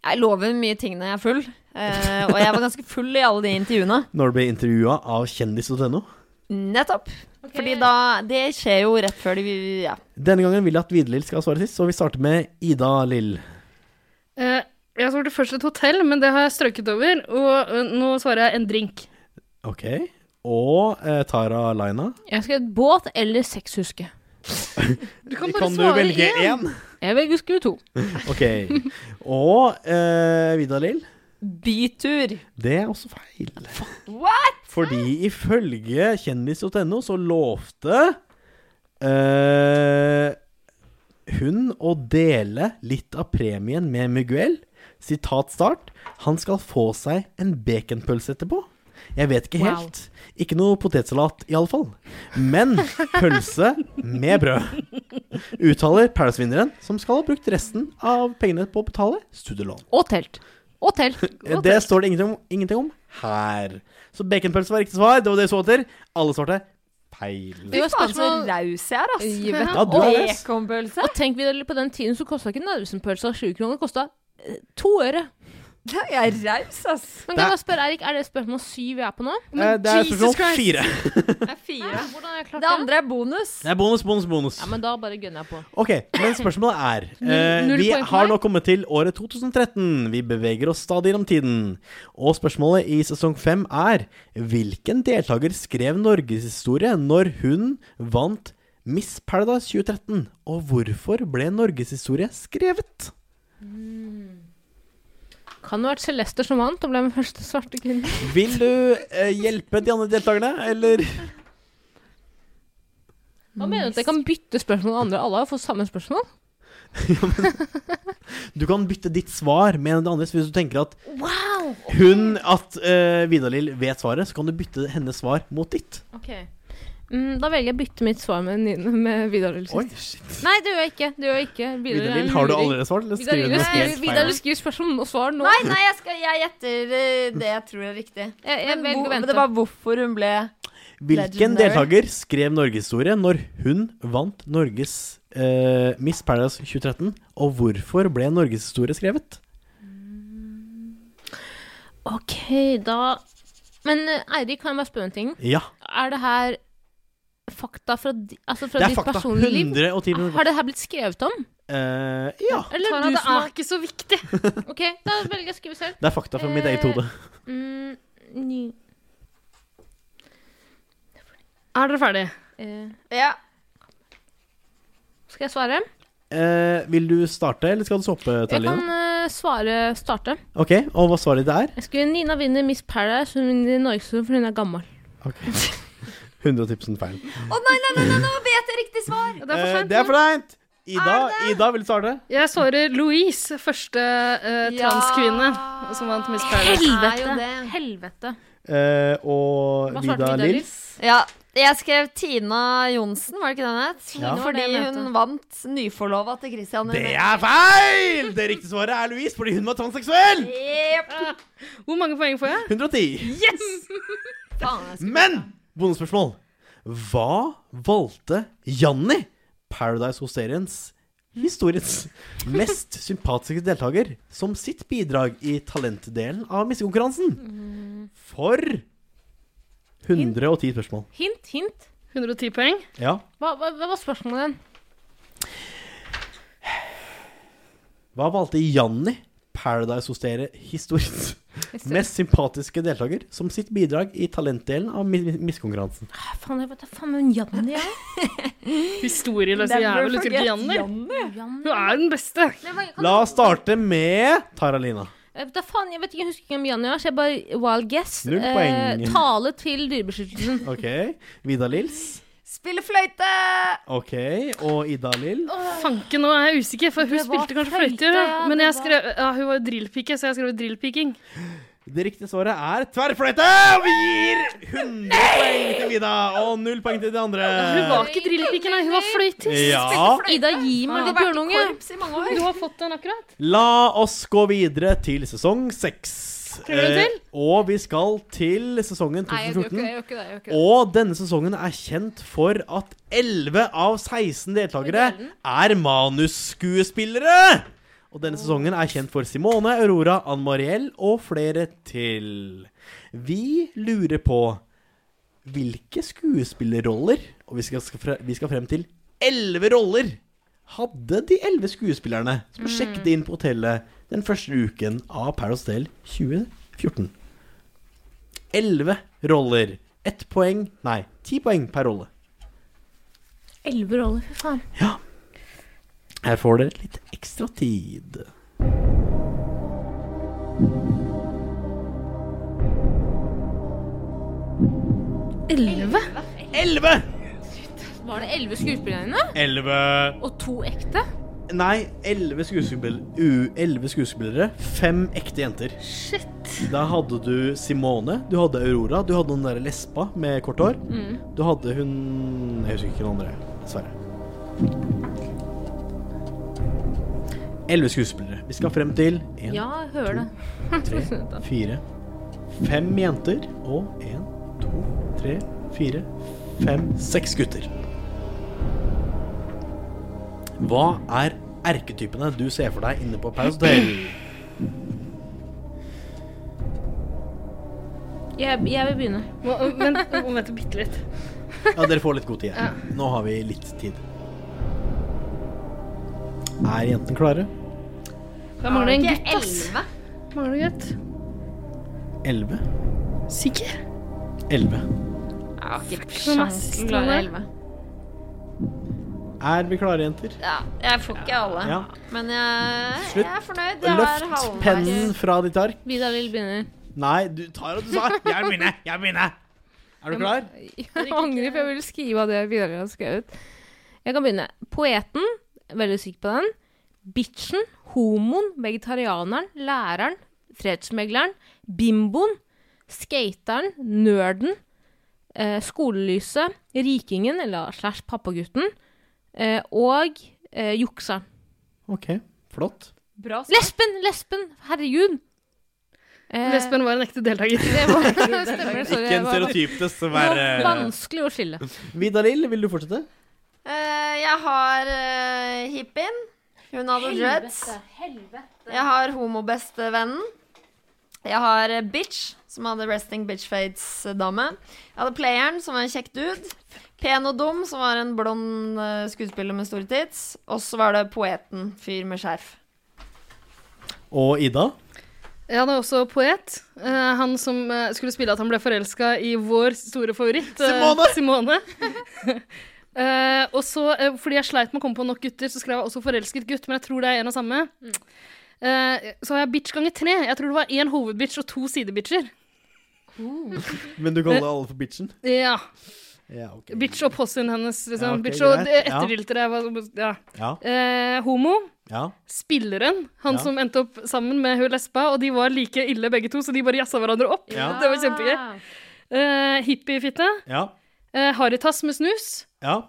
[SPEAKER 4] Jeg lover mye ting når jeg er full. eh, og jeg var ganske full i alle de intervjuene.
[SPEAKER 3] når du blir intervjua av kjendis.no.
[SPEAKER 4] Nettopp. Fordi da Det skjer jo rett før de Ja.
[SPEAKER 3] Denne gangen vil jeg at Videlill skal svare sist, så vi starter med Ida Lill.
[SPEAKER 6] Eh, Jeg svarte først et hotell, men det har jeg strøket over. Og eh, nå svarer jeg en drink.
[SPEAKER 3] Ok. Og eh, Tara Laina.
[SPEAKER 5] Jeg skrev båt eller sexhuske.
[SPEAKER 6] Du kan bare svare én.
[SPEAKER 5] Jeg velger skue to.
[SPEAKER 3] Ok. Og eh, Vidar Lill.
[SPEAKER 11] bytur.
[SPEAKER 3] Det er også feil.
[SPEAKER 11] What?!
[SPEAKER 3] Fordi ifølge kjendis.no så lovte eh, hun å dele litt av premien med Miguel. Sitat start. Han skal få seg en baconpølse etterpå. Jeg vet ikke
[SPEAKER 11] Wow.
[SPEAKER 3] helt. Ikke noe potetsalat, iallfall. Men pølse med brød. Uttaler Paradise-vinneren, som skal ha brukt resten av pengene på å betale studielån.
[SPEAKER 5] Og telt. Og telt. Og
[SPEAKER 3] Det står det ingenting om, ingenting om her. Så baconpølse var riktig svar. Det var det jeg så etter. Alle svarte feil.
[SPEAKER 11] Fy faen, så raus jeg er, ass.
[SPEAKER 5] Gi meg.
[SPEAKER 3] Ja, du er raus.
[SPEAKER 11] Baconpølse.
[SPEAKER 5] Og tenk videre, på den tiden så kosta ikke Narvesen-pølsa 20 kroner, det kosta to øre.
[SPEAKER 11] Jeg er raus, ass.
[SPEAKER 5] Men
[SPEAKER 3] Det er-
[SPEAKER 5] kan jeg bare spørre, Erik, er det spørsmål syv vi er på nå?
[SPEAKER 3] Eh, Det er
[SPEAKER 6] Jesus
[SPEAKER 3] spørsmål
[SPEAKER 6] Christ.
[SPEAKER 3] fire.
[SPEAKER 11] Det er fire.
[SPEAKER 5] Hvordan har jeg klart
[SPEAKER 11] Det andre er bonus.
[SPEAKER 3] Det er bonus, bonus, bonus.
[SPEAKER 5] Ja, men da bare gønner jeg på.
[SPEAKER 3] Ok, men spørsmålet er eh,
[SPEAKER 5] Null- null
[SPEAKER 3] Vi
[SPEAKER 5] poeng for
[SPEAKER 3] har nå
[SPEAKER 5] meg.
[SPEAKER 3] kommet til året 2013. Vi beveger oss stadig gjennom tiden. Og spørsmålet i sesong fem er Hvilken deltaker skrev norgeshistorie når hun vant Miss Paradise 2013? Og hvorfor ble norgeshistorie skrevet?
[SPEAKER 5] Kan det ha vært Celeste som vant og ble den første svarte kvinnen?
[SPEAKER 3] Vil du eh, hjelpe de andre deltakerne, eller?
[SPEAKER 5] Hva mener du at jeg kan bytte spørsmål med andre? Alle har fått samme spørsmål.
[SPEAKER 3] Du kan bytte ditt svar med en av de andres hvis du tenker at hun At uh, Vidar-Lill vet svaret, så kan du bytte hennes svar mot ditt.
[SPEAKER 5] Ok. Mm, da velger jeg å bytte mitt svar med, Nina- med Vidar Lill
[SPEAKER 3] Oi,
[SPEAKER 5] sist.
[SPEAKER 3] shit.
[SPEAKER 5] Nei, det gjør jeg ikke. Det gjør jeg ikke. Vidar Lill er
[SPEAKER 3] Vidar-Lill,
[SPEAKER 5] en
[SPEAKER 3] har du
[SPEAKER 5] luring.
[SPEAKER 3] allerede svart? Eller
[SPEAKER 5] Vidar
[SPEAKER 3] skriver du
[SPEAKER 5] Lill
[SPEAKER 3] noe
[SPEAKER 5] skriver-
[SPEAKER 3] helt
[SPEAKER 5] Vidar Lill
[SPEAKER 3] feil?
[SPEAKER 5] skriver spørsmål og svar nå.
[SPEAKER 11] Nei, nei, jeg, skal, jeg gjetter eh, det jeg tror er riktig.
[SPEAKER 5] Jeg, jeg
[SPEAKER 11] Men
[SPEAKER 5] velger å
[SPEAKER 11] hvor-
[SPEAKER 5] vente.
[SPEAKER 11] det var hvorfor hun ble
[SPEAKER 3] Hvilken
[SPEAKER 11] Legendary.
[SPEAKER 3] deltaker skrev norgeshistorie når hun vant Norges eh, Miss Paradise 2013? Og hvorfor ble norgeshistorie skrevet?
[SPEAKER 5] Ok, da Men eh, Eirik, kan jeg bare spørre en ting?
[SPEAKER 3] Ja,
[SPEAKER 5] Er det her fakta fra, di, altså fra
[SPEAKER 3] det er
[SPEAKER 5] ditt
[SPEAKER 3] fakta.
[SPEAKER 5] personlige liv?
[SPEAKER 3] 110
[SPEAKER 5] Har det her blitt skrevet om?
[SPEAKER 3] Eh, Ja.
[SPEAKER 5] Eller
[SPEAKER 6] Tara,
[SPEAKER 5] du
[SPEAKER 6] det
[SPEAKER 5] som
[SPEAKER 6] er
[SPEAKER 5] har
[SPEAKER 6] ikke så viktig.
[SPEAKER 5] Ok, da velger jeg å skrive selv.
[SPEAKER 3] Det er fakta fra mitt eget hode.
[SPEAKER 5] Mm, ny,
[SPEAKER 6] Er dere ferdige?
[SPEAKER 5] eh,
[SPEAKER 11] Ja.
[SPEAKER 5] skal jeg svare?
[SPEAKER 3] Eh, vil du starte, eller skal du stoppe,
[SPEAKER 5] Jeg kan
[SPEAKER 3] Tarlina?
[SPEAKER 5] eh, svare starte.
[SPEAKER 3] Ok, Og hva svaret ditt er?
[SPEAKER 5] Jeg skriver Nina vinner Miss Paradise, hun vinner Norgesrevyen fordi hun er gammel.
[SPEAKER 3] Ok 110
[SPEAKER 11] Å
[SPEAKER 3] feil.
[SPEAKER 11] nei, nei, nei, nei, nå vet jeg riktig svar!
[SPEAKER 6] Det er for
[SPEAKER 3] Eh,
[SPEAKER 6] sent.
[SPEAKER 3] Det er for seint! Ida, Ida vil starte.
[SPEAKER 6] Jeg svarer Louise, første eh,
[SPEAKER 11] Ja.
[SPEAKER 6] transkvinne som vant Miss
[SPEAKER 11] er
[SPEAKER 6] Paradise.
[SPEAKER 11] jo
[SPEAKER 5] Helvete!
[SPEAKER 11] det.
[SPEAKER 5] Helvete.
[SPEAKER 3] Eh, og
[SPEAKER 5] Hva svarte
[SPEAKER 3] Vida
[SPEAKER 5] Vidar Lill?
[SPEAKER 3] Lill.
[SPEAKER 11] Ja, jeg skrev Tina Johnsen, var det ikke den het? Fordi
[SPEAKER 3] Ja.
[SPEAKER 5] Det var det jeg
[SPEAKER 11] hun
[SPEAKER 5] mente.
[SPEAKER 11] vant nyforlova til Christian.
[SPEAKER 3] Det er feil! Det riktige svaret er Louise, fordi hun var transseksuell!
[SPEAKER 11] Jep.
[SPEAKER 6] Hvor mange poeng får jeg?
[SPEAKER 3] 110.
[SPEAKER 11] Faen, jeg skulle-
[SPEAKER 3] Men bonusspørsmål. Hva valgte Janni, Paradise Hosteriens historiens mest sympatiske deltaker, som sitt bidrag i talentdelen av missekonkurransen? For 110 spørsmål.
[SPEAKER 5] Hint, hint.
[SPEAKER 6] 110 poeng.
[SPEAKER 3] Ja.
[SPEAKER 5] Hva, hva, hva var spørsmålet igjen?
[SPEAKER 3] Hva valgte Janni, Paradise Hostere-historiens mest sympatiske deltaker, som sitt bidrag i talentdelen av mi- mi- missekonkurransen?
[SPEAKER 5] Ah, Faen, jeg vet da faen hvem Janni er.
[SPEAKER 6] Historieløse
[SPEAKER 11] Never
[SPEAKER 6] jævel. Du tror
[SPEAKER 11] forget
[SPEAKER 6] ikke Janni?
[SPEAKER 11] Janni.
[SPEAKER 5] Janni.
[SPEAKER 6] Hun er den beste.
[SPEAKER 5] Nei, hva-
[SPEAKER 3] La oss starte med Tara-Lina.
[SPEAKER 5] Jeg vet Eh, da faen, jeg vet ikke, jeg husker ikke hvem Janni var, så jeg bare wild guess. Eh,
[SPEAKER 3] Null poeng.
[SPEAKER 5] tale til Dyrebeskyttelsen.
[SPEAKER 3] Ok. Vida Lils.
[SPEAKER 11] Spiller fløyte!
[SPEAKER 3] Ok. Og Ida Lill.
[SPEAKER 6] Fanken, nå er jeg usikker, for hun
[SPEAKER 5] Det var
[SPEAKER 6] spilte kanskje
[SPEAKER 5] fløyte,
[SPEAKER 6] fløyte.
[SPEAKER 5] ja,
[SPEAKER 6] Men
[SPEAKER 5] det
[SPEAKER 6] jeg skrev, ja, hun var jo drillpike, så jeg skrev drillpiking.
[SPEAKER 3] Det riktige svaret er tverrfløyte! Og Vi gir 100 poeng til Vida og null poeng til de andre.
[SPEAKER 6] Hun var ikke drillpike, nei, hun var fløytist.
[SPEAKER 3] Ja.
[SPEAKER 5] Ida, gi meg litt bjørnunge.
[SPEAKER 6] Du har fått den akkurat.
[SPEAKER 3] La oss gå videre til sesong seks.
[SPEAKER 6] Prøver du til?
[SPEAKER 3] Eh, og vi skal til sesongen 2014. Og denne sesongen er kjent for at 11 av 16 deltakere er manusskuespillere! Og denne sesongen er kjent for Simone, Aurora, Ann Mariell og flere til. Vi lurer på hvilke skuespillerroller Og vi skal, skal fre- vi skal frem til 11 roller! Hadde de 11 skuespillerne som ble sjekket inn på hotellet den første uken av Paradise Hotel 2014? 11 roller. Ett poeng Nei, ti poeng per rolle.
[SPEAKER 5] Elleve roller, fy faen.
[SPEAKER 3] Her får dere litt ekstra tid.
[SPEAKER 5] Elleve?
[SPEAKER 3] Elleve!
[SPEAKER 5] Var det elleve skuespillere inne?
[SPEAKER 3] Elleve
[SPEAKER 5] Og to ekte?
[SPEAKER 3] Nei, elleve skuespillere, u- elleve skuespillere. Fem ekte jenter.
[SPEAKER 5] Shit.
[SPEAKER 3] Da hadde du Simone, du hadde Aurora, du hadde den der lesba med kort hår.
[SPEAKER 5] Mm.
[SPEAKER 3] Du hadde hun Jeg husker ikke den andre, dessverre. Elleve skuespillere. Vi skal frem til én,
[SPEAKER 5] Ja, jeg hører det.
[SPEAKER 3] tre, fire Fem jenter og én, to, tre, fire, fem, seks gutter. Hva er erketypene du ser for deg inne på Paus Hotel?
[SPEAKER 5] Jeg, jeg vil begynne.
[SPEAKER 6] Må, vent, må vente bitte litt.
[SPEAKER 3] Ja, dere får litt god tid. her. Nå har vi litt tid. Er jentene klare?
[SPEAKER 6] Jeg mangler en
[SPEAKER 4] Ikke
[SPEAKER 6] gutt, ass. Mangler en gutt.
[SPEAKER 3] Elleve?
[SPEAKER 6] Sikker?
[SPEAKER 3] Elleve.
[SPEAKER 4] Ja, ikke
[SPEAKER 6] Som er siste
[SPEAKER 4] klare
[SPEAKER 6] nummer.
[SPEAKER 4] elleve.
[SPEAKER 3] Er vi klare, jenter?
[SPEAKER 4] Ja, jeg får ikke alle.
[SPEAKER 3] Ja.
[SPEAKER 4] Men jeg,
[SPEAKER 3] Slutt.
[SPEAKER 4] jeg er fornøyd. Jeg er
[SPEAKER 3] Løft pennen fra ditt ark.
[SPEAKER 5] Vida vil begynne.
[SPEAKER 3] Nei, du tar og du sa 'jeg begynner', jeg begynner. Er du klar?
[SPEAKER 5] Jeg angrer, for jeg ville skrive av det Vidar har skrevet. Jeg kan begynne. Poeten, veldig syk på den. Bitchen, homoen, vegetarianeren, læreren, fredsmegleren, bimboen, skateren, nerden, eh, skolelyset, rikingen, eller slash pappagutten, eh, og eh, juksa.
[SPEAKER 3] OK, flott.
[SPEAKER 5] Lesben! Lesben! Herregud! Eh,
[SPEAKER 6] Lesben var en ekte deltaker.
[SPEAKER 5] Det var, stemmer, sorry,
[SPEAKER 3] Ikke en
[SPEAKER 5] jeg var-
[SPEAKER 3] stereotyp,
[SPEAKER 5] Det var
[SPEAKER 3] dessverre.
[SPEAKER 5] Vanskelig å skille.
[SPEAKER 3] Vidar-Lill, vil du fortsette?
[SPEAKER 4] Eh, jeg har eh, hippien. Hun hadde dreads. Jeg har homobestevennen. Jeg har eh, bitch, som hadde resting bitch fates-dame. Jeg hadde playeren, som var en kjekk dude. Pen og dum, som var en blond eh, skuespiller med store tits. Og så var det poeten, fyr med skjerf.
[SPEAKER 3] Og Ida?
[SPEAKER 6] Jeg hadde også poet. eh, han som eh, skulle spille at han ble forelska i vår store favoritt,
[SPEAKER 3] Simone!
[SPEAKER 6] eh, Simone. Eh, og så, eh, fordi jeg sleit med å komme på nok gutter, så skrev jeg også 'forelsket gutt', men jeg tror det er en og samme. Eh, så har jeg bitch ganger tre. Jeg tror det var én hovedbitch og to sidebitcher.
[SPEAKER 3] Men du kaller alle for bitchen?
[SPEAKER 6] Ja.
[SPEAKER 3] Ja, OK.
[SPEAKER 6] Bitch og possien hennes,
[SPEAKER 3] Ja,
[SPEAKER 6] liksom.
[SPEAKER 3] ok,
[SPEAKER 6] bitch og
[SPEAKER 3] greit.
[SPEAKER 6] eh,
[SPEAKER 3] Ja.
[SPEAKER 6] etterdiltere. hva- Ja.
[SPEAKER 3] Ja.
[SPEAKER 6] Eh, homo.
[SPEAKER 3] ja.
[SPEAKER 6] Spilleren. Han
[SPEAKER 3] Ja.
[SPEAKER 6] som endte opp sammen med hun lesba, og de var like ille begge to, så de bare jazza hverandre opp.
[SPEAKER 3] Ja.
[SPEAKER 6] Det var kjempegøy.
[SPEAKER 5] Ah.
[SPEAKER 6] Eh, hippiefitte.
[SPEAKER 3] Ja.
[SPEAKER 6] Eh, Haritas med snus.
[SPEAKER 3] Ja.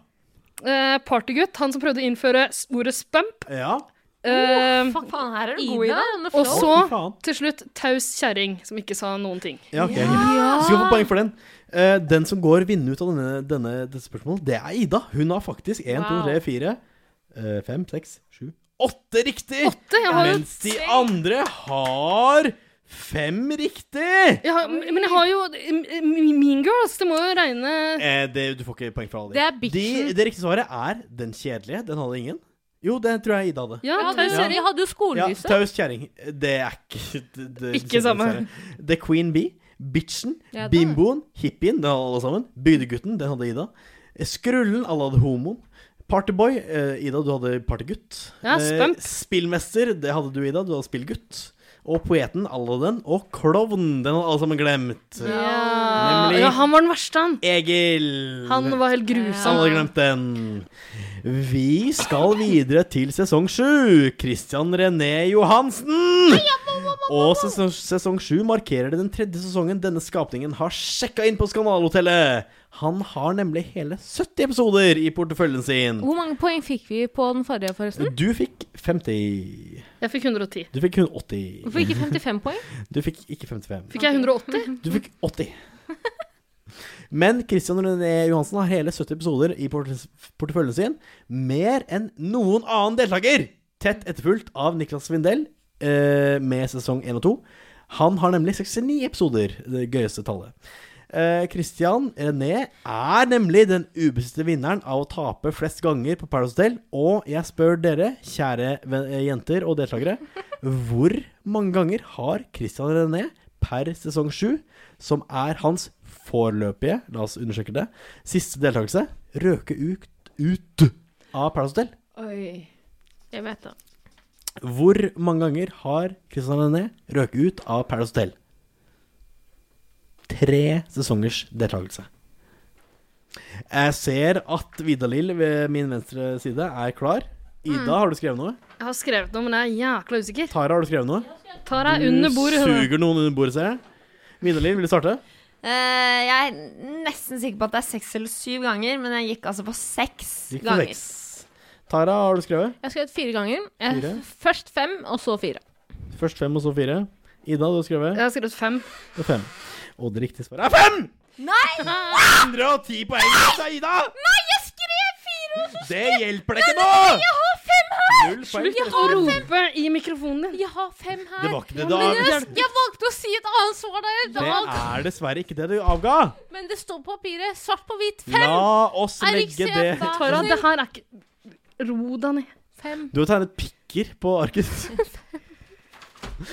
[SPEAKER 6] Eh, partygutt. Han som prøvde å innføre s- ordet spump.
[SPEAKER 3] ja.
[SPEAKER 6] Eh,
[SPEAKER 5] Fuck, faen, her er du god,
[SPEAKER 4] Ida,
[SPEAKER 5] Ida.
[SPEAKER 6] og
[SPEAKER 3] Å, fy
[SPEAKER 6] så,
[SPEAKER 3] faen.
[SPEAKER 6] til slutt, taus kjerring, som ikke sa noen ting.
[SPEAKER 3] Ja, ok. Du skal få poeng for den. Eh, den som går vinnende ut av denne, denne, dette spørsmålet, det er Ida. Hun har faktisk 1, 2, 3, 4, 5, 6, 7, 8 riktig!
[SPEAKER 6] Åtte? Jeg har jo
[SPEAKER 3] Mens de andre har fem riktig!
[SPEAKER 6] jeg har, men jeg har jo m- m- Mean Girls. Det må jo regne
[SPEAKER 3] Eh, det, du får ikke poeng for alle. de.
[SPEAKER 5] Det er bitchen.
[SPEAKER 3] De, det riktige svaret er den kjedelige. Den hadde ingen. Jo, det tror jeg Ida hadde.
[SPEAKER 6] Ja,
[SPEAKER 5] Ja, du
[SPEAKER 6] taus
[SPEAKER 5] ser,
[SPEAKER 6] kjerring.
[SPEAKER 5] jeg hadde jo
[SPEAKER 3] Ja,
[SPEAKER 5] skolelyset.
[SPEAKER 3] Taus kjerring. Det er ikke det, det,
[SPEAKER 6] Ikke samme.
[SPEAKER 3] dessverre. The Queen Bee, Bitchen,
[SPEAKER 5] Ja, da.
[SPEAKER 3] Bimboen, Hippien, den hadde alle sammen. Bygdegutten, den hadde Ida. eh, Skrullen, alle hadde homoen. Partyboy, eh, Ida, du hadde partygutt. eh,
[SPEAKER 6] Ja, spump.
[SPEAKER 3] spillmester, det hadde du, Ida. Du hadde spillgutt. Og poeten, alle hadde den. Og klovn, den hadde alle sammen glemt.
[SPEAKER 6] Ja.
[SPEAKER 3] Nemlig-
[SPEAKER 6] ja, han var den verste, han.
[SPEAKER 3] Egil.
[SPEAKER 6] Han var helt
[SPEAKER 3] Alle
[SPEAKER 6] grusom.
[SPEAKER 3] hadde glemt den. Vi skal videre til sesong sju. Christian René Johansen! Og sesong, sesong sju markerer det den tredje sesongen denne skapningen har sjekka inn på Skandalehotellet. Han har nemlig hele 70 episoder i porteføljen sin.
[SPEAKER 5] Hvor mange poeng fikk vi på den forrige, forresten?
[SPEAKER 3] Du fikk 50.
[SPEAKER 6] Jeg fikk 110.
[SPEAKER 3] Du fikk 180.
[SPEAKER 5] Hvorfor ikke 55 poeng?
[SPEAKER 3] Du fikk ikke 55.
[SPEAKER 6] Fikk jeg 180?
[SPEAKER 3] Du fikk 80. Men Christian René Johansen har hele 70 episoder i porte- porteføljen sin. Mer enn noen annen deltaker! Tett etterfulgt av Niklas Svindel eh, med sesong 1 og 2. Han har nemlig 69 episoder, det gøyeste tallet. Eh, Christian René er nemlig den ubestridte vinneren av å tape flest ganger på Paradise Hotel. Og jeg spør dere, kjære ven- eh, jenter og deltakere, hvor mange ganger har Christian René per sesong 7, som er hans foreløpige, la oss undersøke det, siste deltakelse, røke ut, ut av Paradise Hotel?
[SPEAKER 5] Oi. Jeg vet det.
[SPEAKER 3] Hvor mange ganger har Christian René røket ut av Paradise Hotel? Tre sesongers deltakelse. Jeg ser at Vidar-Lill ved min venstre side er klar. Ida,
[SPEAKER 6] Mm.
[SPEAKER 3] har du skrevet noe?
[SPEAKER 6] Jeg har skrevet noe, men jeg er jækla usikker.
[SPEAKER 3] Tara, har du skrevet noe?
[SPEAKER 6] Tar deg under bordet. hun.
[SPEAKER 3] Suger noen under bordet, ser jeg. Vidar-Lill, vil du starte?
[SPEAKER 4] Eh, jeg er nesten sikker på at det er seks eller syv ganger, men jeg gikk altså på seks
[SPEAKER 3] Gikk for
[SPEAKER 4] ganger.
[SPEAKER 3] seks. Tara, har du skrevet?
[SPEAKER 5] Jeg har skrevet fire ganger. Jeg,
[SPEAKER 3] Fire.
[SPEAKER 5] Først fem, og så fire.
[SPEAKER 3] Først fem, og så fire. Ida, du har skrevet?
[SPEAKER 6] Jeg har skrevet fem.
[SPEAKER 3] Det er fem. Og det riktige svaret er fem!
[SPEAKER 4] Nei!
[SPEAKER 5] Ah.
[SPEAKER 3] 110 poeng til Ida!
[SPEAKER 4] Nei, jeg skrev fire! og så
[SPEAKER 3] Det
[SPEAKER 4] skrev-
[SPEAKER 3] hjelper deg ikke
[SPEAKER 4] Nei,
[SPEAKER 3] nå!
[SPEAKER 4] nei, Jeg har fem her!
[SPEAKER 3] Null poeng
[SPEAKER 6] Slutt
[SPEAKER 3] til
[SPEAKER 6] å
[SPEAKER 3] resten.
[SPEAKER 6] rope i mikrofonen din.
[SPEAKER 5] Jeg har fem her.
[SPEAKER 3] Det var ikke det
[SPEAKER 5] Men
[SPEAKER 3] da.
[SPEAKER 5] jeg, jeg valgte å si et annet svar da jeg
[SPEAKER 3] Det
[SPEAKER 5] valgte.
[SPEAKER 3] er dessverre ikke det du avga.
[SPEAKER 5] Men det står på papiret, svart på hvit, fem!
[SPEAKER 3] La oss
[SPEAKER 5] Er
[SPEAKER 3] legge
[SPEAKER 5] riktig,
[SPEAKER 3] det
[SPEAKER 5] vær så
[SPEAKER 6] Tara,
[SPEAKER 5] snill.
[SPEAKER 6] det her er ikke Ro deg ned.
[SPEAKER 5] Fem.
[SPEAKER 3] Du har tegnet pikker på arket.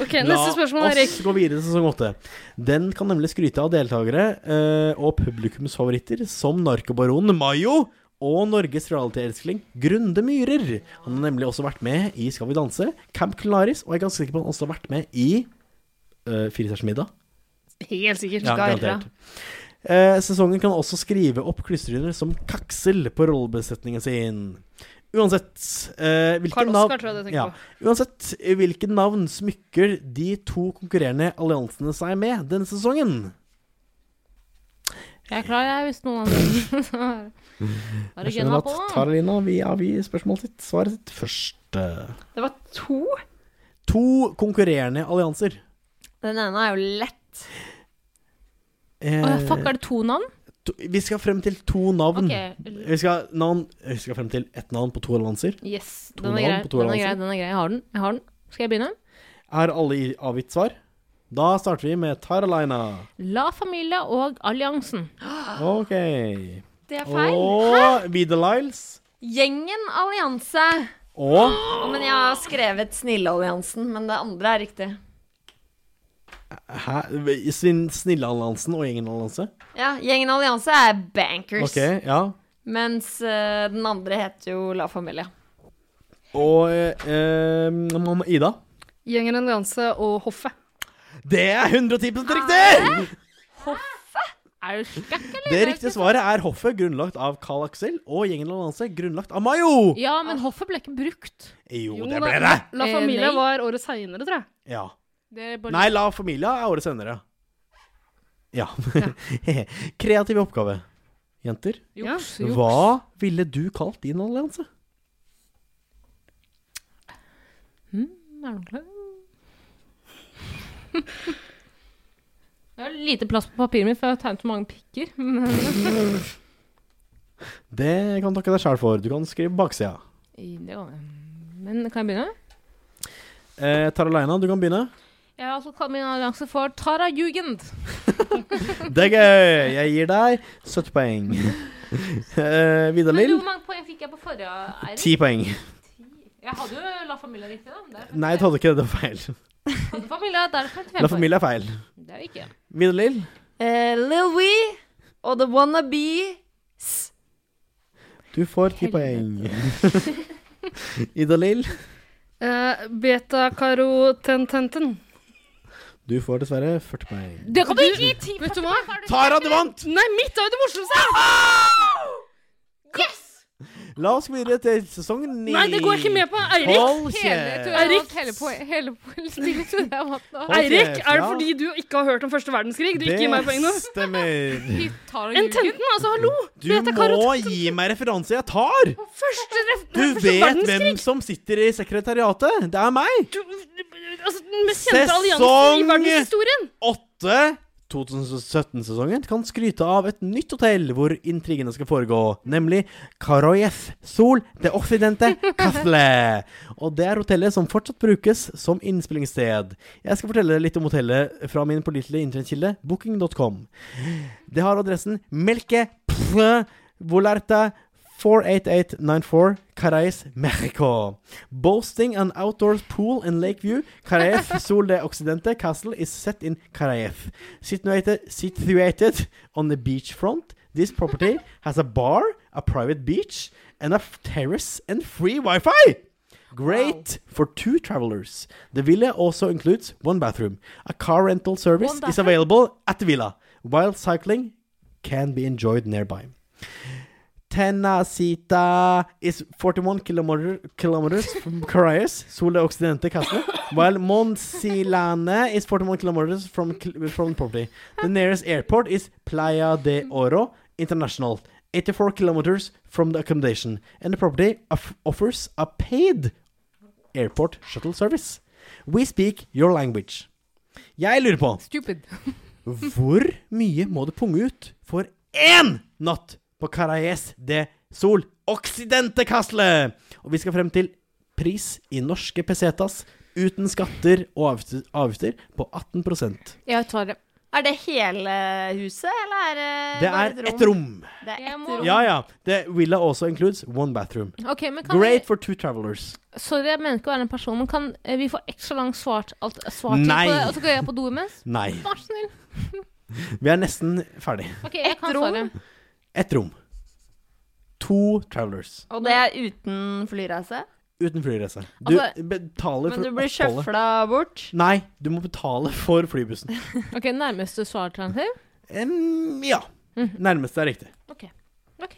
[SPEAKER 6] OK, neste spørsmål,
[SPEAKER 3] La
[SPEAKER 6] Erik.
[SPEAKER 3] oss gå videre til sesong åtte. Den kan nemlig skryte av deltakere eh, og publikumsfavoritter som narkobaronen Mayo og Norges realityelskling Grunde Myhrer. Han har nemlig også vært med i Skal vi danse, Camp Claris, og jeg er ganske sikker på at han også har vært med i uh, Firestjerners middag.
[SPEAKER 6] Helt sikkert.
[SPEAKER 3] Ja, garantert. Eh, sesongen kan også skrive opp klystrehjuler som kaksel på rollebesetningen sin. Uansett eh, hvilke
[SPEAKER 6] Karl
[SPEAKER 3] navn
[SPEAKER 6] Oskar, tror jeg det jeg
[SPEAKER 3] ja.
[SPEAKER 6] tenker på.
[SPEAKER 3] Uansett hvilke navn smykker de to konkurrerende alliansene seg med denne sesongen?
[SPEAKER 5] Jeg er klar, jeg, hvis noen andre Har du
[SPEAKER 3] Jeg skjønner
[SPEAKER 5] gunna på?
[SPEAKER 3] at Taralina vil avgi spørsmålet sitt, svaret sitt først.
[SPEAKER 4] Det var to.
[SPEAKER 3] To konkurrerende allianser.
[SPEAKER 4] Den ene er jo lett.
[SPEAKER 3] Eh,
[SPEAKER 5] Åh, fuck, er det to navn?
[SPEAKER 3] to, vi skal frem til to navn.
[SPEAKER 5] Ok.
[SPEAKER 3] Vi, skal, navn vi skal frem til ett navn på to allianser.
[SPEAKER 5] Yes.
[SPEAKER 3] To
[SPEAKER 5] Den er
[SPEAKER 3] navn altså.
[SPEAKER 5] grei.
[SPEAKER 3] på to
[SPEAKER 5] Den er grei,
[SPEAKER 3] allianser.
[SPEAKER 5] den er grei. Jeg har den. Jeg har den. Skal jeg begynne?
[SPEAKER 3] Er alle i- avgitt svar? Da starter vi med Taralina.
[SPEAKER 5] La Familia og Alliansen.
[SPEAKER 3] Ok.
[SPEAKER 4] Det er feil.
[SPEAKER 3] Og Videliles.
[SPEAKER 4] Gjengen allianse.
[SPEAKER 3] Og
[SPEAKER 4] Å, men jeg har skrevet Snillealliansen, men det andre er riktig.
[SPEAKER 3] Hæ? Sin Snillealliansen og Gjengenallianse?
[SPEAKER 4] Ja, Gjengen allianse er Bankers.
[SPEAKER 3] Ok, ja.
[SPEAKER 4] Mens eh, den andre heter jo La Familia.
[SPEAKER 3] Og eh, eh, Ida.
[SPEAKER 6] Gjengen Allianse og hoffet.
[SPEAKER 3] Det er 110 riktig!
[SPEAKER 5] Er du skakk, eller?
[SPEAKER 3] Det riktige svaret er hoffet, grunnlagt av Carl Axel, og Gjengen Allianse, grunnlagt av Mayo.
[SPEAKER 5] Ja, men hoffet ble ikke brukt.
[SPEAKER 3] Jo,
[SPEAKER 6] Jo,
[SPEAKER 3] det
[SPEAKER 6] da-
[SPEAKER 3] ble det.
[SPEAKER 6] La
[SPEAKER 5] Eh,
[SPEAKER 6] Familia
[SPEAKER 5] nei.
[SPEAKER 6] var året seinere, tror jeg.
[SPEAKER 3] Ja.
[SPEAKER 5] Det er bare
[SPEAKER 3] Nei, La Familia er året senere. Ja. Kreativ oppgave. Jenter,
[SPEAKER 5] juks. juks.
[SPEAKER 3] hva ville du kalt din allianse?
[SPEAKER 5] Er du klar? Jeg har lite plass på papiret mitt, for jeg har tegnet så mange pikker. Men-
[SPEAKER 3] Det kan du takke deg sjæl for. Du kan skrive baksida.
[SPEAKER 5] I- det kan jeg. Men kan jeg begynne?
[SPEAKER 3] Eh, Taraleina, du kan begynne.
[SPEAKER 5] Jeg har altså kalt min allianse for Tara Jugend.
[SPEAKER 3] Det er gøy! Jeg gir deg 70 poeng. Eh, Vidar
[SPEAKER 5] Men
[SPEAKER 3] Lill,
[SPEAKER 5] hvor mange poeng fikk jeg på forrige, Eirik?
[SPEAKER 3] 10 poeng.
[SPEAKER 5] Jeg hadde jo La Familia riktig, da. Det er
[SPEAKER 3] Nei, du hadde ikke det. Det var feil.
[SPEAKER 5] La Familia, der er det 55
[SPEAKER 3] La
[SPEAKER 5] poeng.
[SPEAKER 3] Familia er feil.
[SPEAKER 5] Det er jo ikke.
[SPEAKER 3] Vidar Lill,
[SPEAKER 4] Eh, Lil Wee og The Wannabes.
[SPEAKER 3] du får 10 poeng. Ida Lill,
[SPEAKER 6] Eh, beta Caro Tententen.
[SPEAKER 3] du får dessverre 40 poeng.
[SPEAKER 5] Det kan du ikke gi ti
[SPEAKER 6] Vet du hva?
[SPEAKER 3] Tara, du vant!
[SPEAKER 6] Nei, mitt er jo det morsomste!
[SPEAKER 3] La oss gå videre til sesong 9.
[SPEAKER 6] Nei, det går jeg ikke med på. Eirik,
[SPEAKER 3] Hold
[SPEAKER 5] Hele,
[SPEAKER 3] kjeft.
[SPEAKER 5] tror jeg
[SPEAKER 6] Eirik.
[SPEAKER 5] vant hele poeng. Hele poeng. Stille, tror jeg vant da.
[SPEAKER 3] Hold
[SPEAKER 6] Eirik,
[SPEAKER 3] kjeft,
[SPEAKER 6] er det
[SPEAKER 3] ja.
[SPEAKER 6] fordi du ikke har hørt om første verdenskrig? Du ikke gir meg poeng nå?
[SPEAKER 3] Det stemmer.
[SPEAKER 5] Fy, Tara
[SPEAKER 6] En
[SPEAKER 5] Jugend.
[SPEAKER 6] tenten, altså, hallo!
[SPEAKER 3] Du må gi meg referanse jeg tar!
[SPEAKER 6] Første ref...
[SPEAKER 3] Du vet hvem som sitter i sekretariatet. Det er meg.
[SPEAKER 6] Du, altså, den mest kjente alliansen i
[SPEAKER 3] Sesong-
[SPEAKER 6] verdenshistorien.
[SPEAKER 3] 8. 2017-sesongen kan skryte av et nytt hotell hvor intrigene skal foregå, nemlig Karoyef Sol de Occidente Castle. Og det er hotellet som fortsatt brukes som innspillingssted. Jeg skal fortelle litt om hotellet fra min pålitelige internettkilde booking.com. Det har adressen Melke P- Volerte 48894 Carayes, Mexico. Boasting an outdoor pool in Lakeview, Carayef Sol de Occidente Castle is set in Carayef. Situated, situated on the beachfront, this property has a bar, a private beach, and a f- terrace and free Wi-Fi. Great for two travelers. The villa also includes one bathroom. A car rental service is available at the villa, while cycling can be enjoyed nearby. Tenacita is 41 kilometer, kilometers from Caracas, Sole Occidente Castle, while Monsilane is 41 kilometers from, cl- from the property. The nearest airport is Playa de Oro International, 84 kilometers from the accommodation, and the property of- offers a paid airport shuttle service. We speak your language. Jeg lurer på
[SPEAKER 5] Stupid.
[SPEAKER 3] hvor mye må du punge ut for én natt på Carayes de Sol Occidente Castle? Og vi skal frem til pris i norske pesetas uten skatter og avgifter- avgifter på 18
[SPEAKER 5] Jeg tar det.
[SPEAKER 4] Er det hele huset, eller er det
[SPEAKER 3] Det
[SPEAKER 4] bare
[SPEAKER 3] er ett rom.
[SPEAKER 4] Det er
[SPEAKER 5] Jeg
[SPEAKER 4] ett
[SPEAKER 5] må-
[SPEAKER 4] rom.
[SPEAKER 3] Ja ja. The villa also includes one bathroom.
[SPEAKER 5] Ok, men kan
[SPEAKER 3] Great for two travelers.
[SPEAKER 5] Vi, sorry, jeg mener ikke å være en person, men kan eh, vi få ekstra lang svart, alt, svartid
[SPEAKER 3] Nei.
[SPEAKER 5] på det? Og så går jeg på do imens?
[SPEAKER 3] Nei.
[SPEAKER 5] Vær så snill.
[SPEAKER 3] Vi er nesten ferdig.
[SPEAKER 5] Ok, jeg kan svare.
[SPEAKER 3] Ett rom. To travelers.
[SPEAKER 4] Og det er uten flyreise?
[SPEAKER 3] Uten flyreise. Du
[SPEAKER 4] Altså,
[SPEAKER 3] betaler
[SPEAKER 4] Men
[SPEAKER 3] for
[SPEAKER 4] du blir
[SPEAKER 3] oppholdet.
[SPEAKER 4] sjøfla bort?
[SPEAKER 3] Nei, du må betale for flybussen.
[SPEAKER 5] Ok, Nærmeste svaralternativ?
[SPEAKER 3] Em, ja. Nærmeste er riktig.
[SPEAKER 5] Ok. Ok.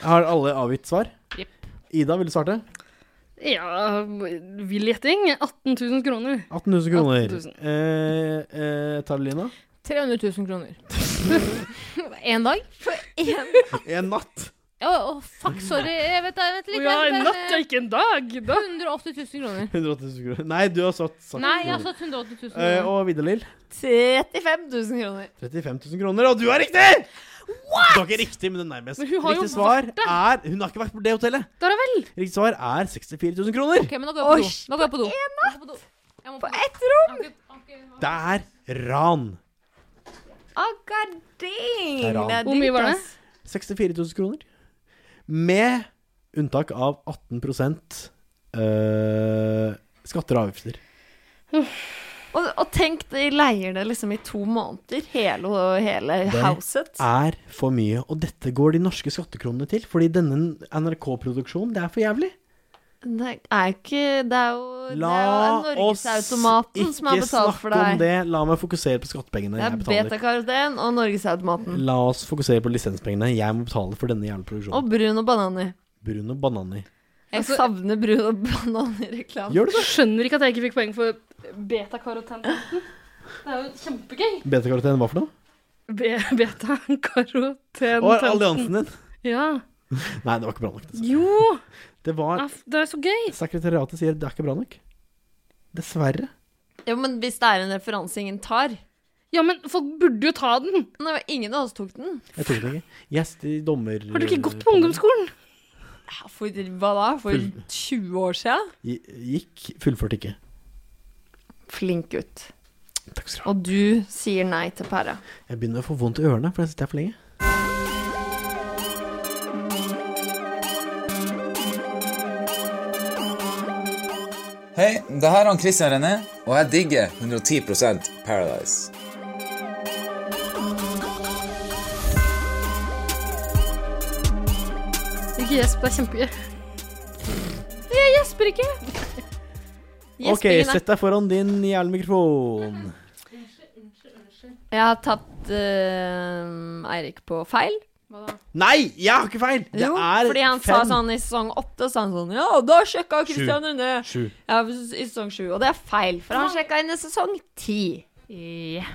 [SPEAKER 3] Har alle avgitt svar?
[SPEAKER 5] Jepp.
[SPEAKER 3] Ida, vil du starte?
[SPEAKER 6] Ja, vill gjetting. 18 000 kroner.
[SPEAKER 3] 18 000 kroner.
[SPEAKER 6] 18 000.
[SPEAKER 3] Eh, eh, Taralina?
[SPEAKER 5] 300 000 kroner. Én dag?
[SPEAKER 3] En natt.
[SPEAKER 5] Å, å, fuck, sorry. Jeg vet, jeg vet
[SPEAKER 6] Å
[SPEAKER 5] litt. eh,
[SPEAKER 6] ja,
[SPEAKER 5] jeg
[SPEAKER 6] en
[SPEAKER 5] vet-
[SPEAKER 6] natt er ikke en dag! Da.
[SPEAKER 5] 180 000 kroner.
[SPEAKER 3] 180 000 kroner. Nei, du har satt sagt
[SPEAKER 5] Nei, jeg har satt
[SPEAKER 3] Eh,
[SPEAKER 5] 180 000 kroner.
[SPEAKER 3] og Vidar-Lill?
[SPEAKER 4] 35 000 kroner.
[SPEAKER 3] 35 000 kroner, og du er riktig! What?! Du har ikke riktig, men det er nærmest.
[SPEAKER 6] Men hun har jo
[SPEAKER 3] Riktig svar er Hun har ikke vært på det hotellet.
[SPEAKER 6] Da er det vel!
[SPEAKER 3] Riktig svar er 64 000 kroner.
[SPEAKER 5] Ok, men nå går jeg på
[SPEAKER 4] Oi,
[SPEAKER 5] do. Nå går jeg på do. Jeg må på do. Jeg må
[SPEAKER 4] På
[SPEAKER 5] på do.
[SPEAKER 4] ett rom?
[SPEAKER 3] Det er ran.
[SPEAKER 4] Å, god dang!
[SPEAKER 3] Det er rart.
[SPEAKER 4] Det er
[SPEAKER 6] Hvor mye
[SPEAKER 4] dyrt,
[SPEAKER 6] var det?
[SPEAKER 4] ass.
[SPEAKER 3] 64 000 kroner. Med unntak av 18 eh, skatter og avgifter.
[SPEAKER 4] Og, og tenk, de leier det liksom i to måneder, hele, hele
[SPEAKER 3] Det
[SPEAKER 4] huset.
[SPEAKER 3] er for mye. Og dette går de norske skattekronene til, fordi denne NRK-produksjonen, det er for jævlig.
[SPEAKER 4] Det er ikke Det er jo det er
[SPEAKER 3] La
[SPEAKER 4] jo
[SPEAKER 3] oss
[SPEAKER 4] Norgesautomaten som har
[SPEAKER 3] ikke
[SPEAKER 4] betalt
[SPEAKER 3] snakke
[SPEAKER 4] for
[SPEAKER 3] om
[SPEAKER 4] deg.
[SPEAKER 3] det. La meg fokusere på skattepengene
[SPEAKER 4] Det er
[SPEAKER 3] jeg betaler.
[SPEAKER 4] betakaroten og Norgesautomaten.
[SPEAKER 3] La oss fokusere på lisenspengene jeg må betale for denne jævla produksjonen.
[SPEAKER 4] Og brun og bananer.
[SPEAKER 3] Brun og banan i.
[SPEAKER 4] Jeg
[SPEAKER 6] Altså-
[SPEAKER 4] savner brun og bananer-reklame.
[SPEAKER 3] Gjør du det?
[SPEAKER 6] Skjønner ikke at jeg ikke fikk poeng for betakaroten. Det er jo kjempegøy.
[SPEAKER 3] Beta-karakteren, hva for noe?
[SPEAKER 6] Be Betakaroten.
[SPEAKER 3] Og alliansen din.
[SPEAKER 6] Ja.
[SPEAKER 3] Nei, det var ikke bra nok. dessverre.
[SPEAKER 6] Jo!
[SPEAKER 3] Det var
[SPEAKER 6] aff, Det er så gøy.
[SPEAKER 3] Sekretariatet sier det er ikke bra nok. Dessverre.
[SPEAKER 4] Ja, men hvis det er en referanse ingen tar
[SPEAKER 6] Ja, men folk burde jo ta den.
[SPEAKER 4] Nei, Ingen av oss tok den.
[SPEAKER 3] Jeg tok det ikke. Yes, de dommer...
[SPEAKER 6] Har du ikke gått på ungdomsskolen?
[SPEAKER 4] Ja, For hva da? For
[SPEAKER 3] Full.
[SPEAKER 4] 20 år siden?
[SPEAKER 3] Gikk, fullførte ikke.
[SPEAKER 4] Flink gutt.
[SPEAKER 3] Takk skal du ha.
[SPEAKER 4] Og du sier nei til pæra.
[SPEAKER 3] Jeg begynner å få vondt i ørene, for jeg sitter her for lenge.
[SPEAKER 12] Hei, det her er han Christian René, og jeg digger 110 Paradise.
[SPEAKER 6] Ikke gjesp, det er kjempegøy.
[SPEAKER 4] Jeg gjesper ikke!
[SPEAKER 3] Ok,
[SPEAKER 4] Gjespingene.
[SPEAKER 3] sett deg foran din jævla mikrofon.
[SPEAKER 4] Jeg har tatt eh, Eirik på feil.
[SPEAKER 3] Nei, jeg har ikke feil! Det
[SPEAKER 4] Jo,
[SPEAKER 3] er
[SPEAKER 4] fordi han sa
[SPEAKER 3] fem.
[SPEAKER 4] sånn i sesong åtte sa han sånn Ja, da sjekka Christian Rune!
[SPEAKER 3] Sju.
[SPEAKER 4] Ja, i sesong sju. Og det er feil, for han sjekka inn i sesong ti.
[SPEAKER 5] Ja.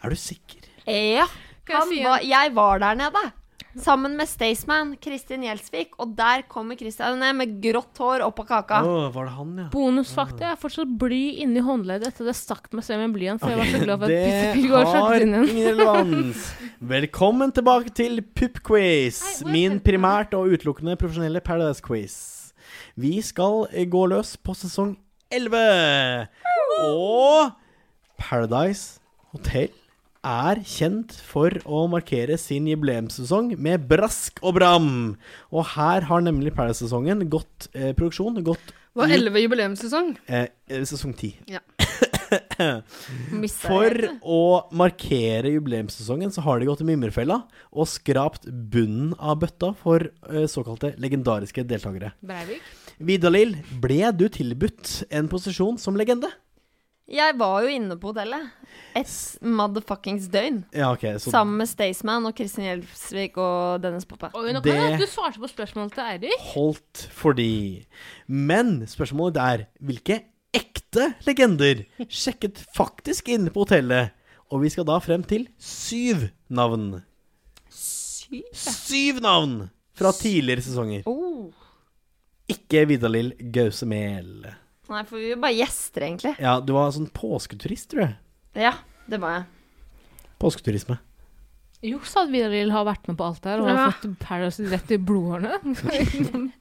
[SPEAKER 3] Er du sikker?
[SPEAKER 4] Ja.
[SPEAKER 5] Kan jeg
[SPEAKER 4] Han
[SPEAKER 5] si en-
[SPEAKER 4] var, jeg var der nede. Sammen med Staysman, Kristin Gjelsvik, og der kommer Christian Rune med grått hår oppå kaka.
[SPEAKER 3] Å, var det han, ja?
[SPEAKER 5] Bonusfakta. Jeg er fortsatt bly inni håndleddet etter det stakk meg selv med blyant. For jeg var så glad for at
[SPEAKER 3] Det
[SPEAKER 5] Pissepigg var
[SPEAKER 3] har
[SPEAKER 5] satt inn igjen.
[SPEAKER 3] ingen relevans. Velkommen tilbake til Pupquiz, min primært og utelukkende profesjonelle Paradise-quiz. Vi skal eh, gå løs på sesong 11. Og Paradise Hotel er kjent for å markere sin jubileumssesong med brask og bram. Og her har nemlig Paradise-sesongen gått eh, produksjon gått
[SPEAKER 6] Det var elleve jubileumssesong.
[SPEAKER 3] eh, eh, sesong 10.
[SPEAKER 4] Missa
[SPEAKER 3] For
[SPEAKER 4] jeg.
[SPEAKER 3] å markere jubileumssesongen så har de gått til Mimrefella og skrapt bunnen av bøtta for eh, såkalte legendariske deltakere.
[SPEAKER 5] Breivik?
[SPEAKER 3] Vidar-Lill, ble du tilbudt en posisjon som legende?
[SPEAKER 4] Jeg var jo inne på hotellet et motherfuckings døgn.
[SPEAKER 3] Ja, ok, så
[SPEAKER 4] Sammen med Staysman og Kristin Gjelsvik og Dennis Poppe.
[SPEAKER 5] Oi, nå kan
[SPEAKER 3] Det-
[SPEAKER 5] jeg hende at Du svarte på spørsmålet til Eirik.
[SPEAKER 3] holdt fordi Men spørsmålet er hvilke ekte legender sjekket faktisk inn på hotellet? Og vi skal da frem til syv navn. Syv? Syv navn fra tidligere sesonger. Ikke Vidar-Lill Gause Mehl.
[SPEAKER 4] Nei, for vi var bare gjester, egentlig.
[SPEAKER 3] Ja, du var sånn påsketurist, tror jeg.
[SPEAKER 4] Ja, det var jeg.
[SPEAKER 3] Påsketurisme.
[SPEAKER 5] Juks at Vidar-Lill har vært med på alt der og
[SPEAKER 4] Ja.
[SPEAKER 5] har fått Paradise rett i blodårene.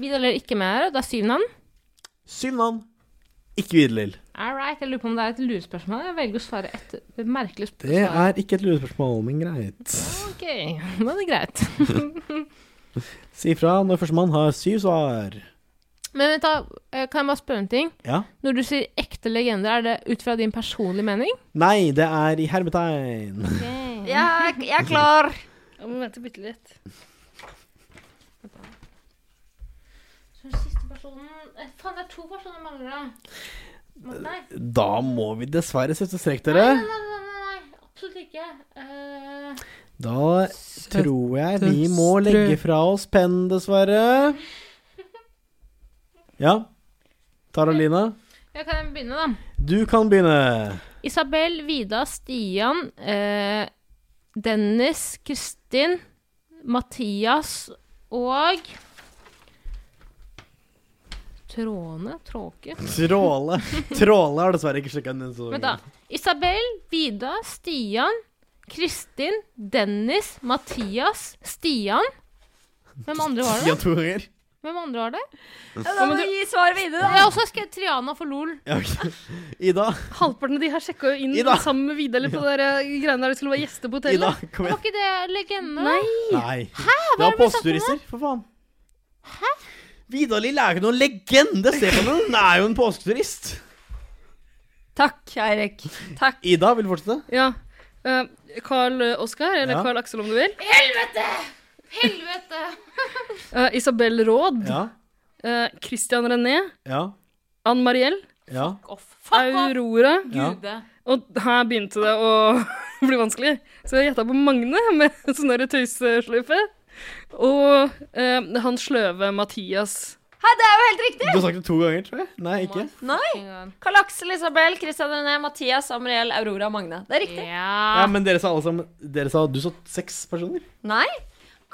[SPEAKER 5] Vidar-Lill ikke med her, og det er syv navn.
[SPEAKER 3] Syv navn. Ikke Vidar-Lill.
[SPEAKER 5] All right, jeg lurer på om det er et lurespørsmål. Jeg velger å svare et et merkelig
[SPEAKER 3] Det
[SPEAKER 5] spørsmål.
[SPEAKER 3] er ikke et lurespørsmål, men greit.
[SPEAKER 5] Ok, da er det greit.
[SPEAKER 3] Si fra når førstemann har syv svar.
[SPEAKER 5] Men vent da, eh, kan jeg bare spørre om en ting?
[SPEAKER 3] Ja.
[SPEAKER 5] Når du sier ekte legender, er det ut fra din personlige mening?
[SPEAKER 3] Nei, det er i hermetegn.
[SPEAKER 4] Jeg, jeg er klar.
[SPEAKER 6] Jeg må vente bitte litt.
[SPEAKER 5] Så den siste personen eh, Faen, det er to personer jeg mangler, da. Må- Nei.
[SPEAKER 3] Da må vi dessverre sette strek,
[SPEAKER 5] Nei,
[SPEAKER 3] dere.
[SPEAKER 5] nei, nei, nei, nei, nei, absolutt ikke. Eh,
[SPEAKER 3] Da tror jeg vi må legge fra oss pennen, dessverre. Ja. Taralina,
[SPEAKER 5] ja, kan jeg begynne, da?
[SPEAKER 3] du kan begynne.
[SPEAKER 5] Isabel, Vida, Stian, eh, Dennis, Kristin, Mathias og Tråne? Tråke?
[SPEAKER 3] Tråle. Tråle har dessverre ikke sjekka den. så-
[SPEAKER 5] Vent, da. Isabel, Vida, Stian, Kristin, Dennis, Mathias, Stian. Hvem andre var
[SPEAKER 3] Ja,
[SPEAKER 5] det?
[SPEAKER 3] to ganger.
[SPEAKER 5] Hvem andre var det?
[SPEAKER 4] Da må du gi svaret videre,
[SPEAKER 5] Jeg har også skrevet Triana for LOL.
[SPEAKER 3] Ja, ok. Ida,
[SPEAKER 6] Halvparten av de her sjekka jo inn
[SPEAKER 3] Ida!
[SPEAKER 6] sammen med Vidar litt på det der greiene der de skulle være gjester på
[SPEAKER 3] Ida,
[SPEAKER 6] hotellet.
[SPEAKER 3] kom
[SPEAKER 5] Var
[SPEAKER 3] igjen.
[SPEAKER 5] ikke det legende?
[SPEAKER 3] Nei. Det var
[SPEAKER 5] Hva er det vi snakker om
[SPEAKER 3] postturister, for faen. Vidar-Lill er jo ikke noen legende. Se på den, hun er jo en påsketurist.
[SPEAKER 4] Takk, Eirik. Takk.
[SPEAKER 3] Ida vil fortsette.
[SPEAKER 6] Ja. Eh, Carl Oskar, eller
[SPEAKER 3] Ja.
[SPEAKER 6] Carl Aksel om du vil.
[SPEAKER 5] Helvete! Helvete!
[SPEAKER 6] Eh, Isabel Råd.
[SPEAKER 3] Ja.
[SPEAKER 6] Eh, Christian René.
[SPEAKER 3] Ja.
[SPEAKER 6] Ann Mariell.
[SPEAKER 3] Ja.
[SPEAKER 6] Aurora.
[SPEAKER 3] Ja.
[SPEAKER 6] Og her begynte det å bli vanskelig. Så jeg gjetta på Magne med sånn der tøysesløyfe. Og eh, han sløve Mathias.
[SPEAKER 4] Hei, det er jo helt riktig!
[SPEAKER 3] Du har sagt det to ganger, tror jeg. Nei, ikke.
[SPEAKER 4] Nei. Karl Aksel, Isabel, Christian René, Mathias, Amriel, Aurora og Magne. Det er riktig.
[SPEAKER 5] Ah.
[SPEAKER 3] Ja, men dere sa alle sammen Dere sa Du sa seks personer.
[SPEAKER 4] Nei.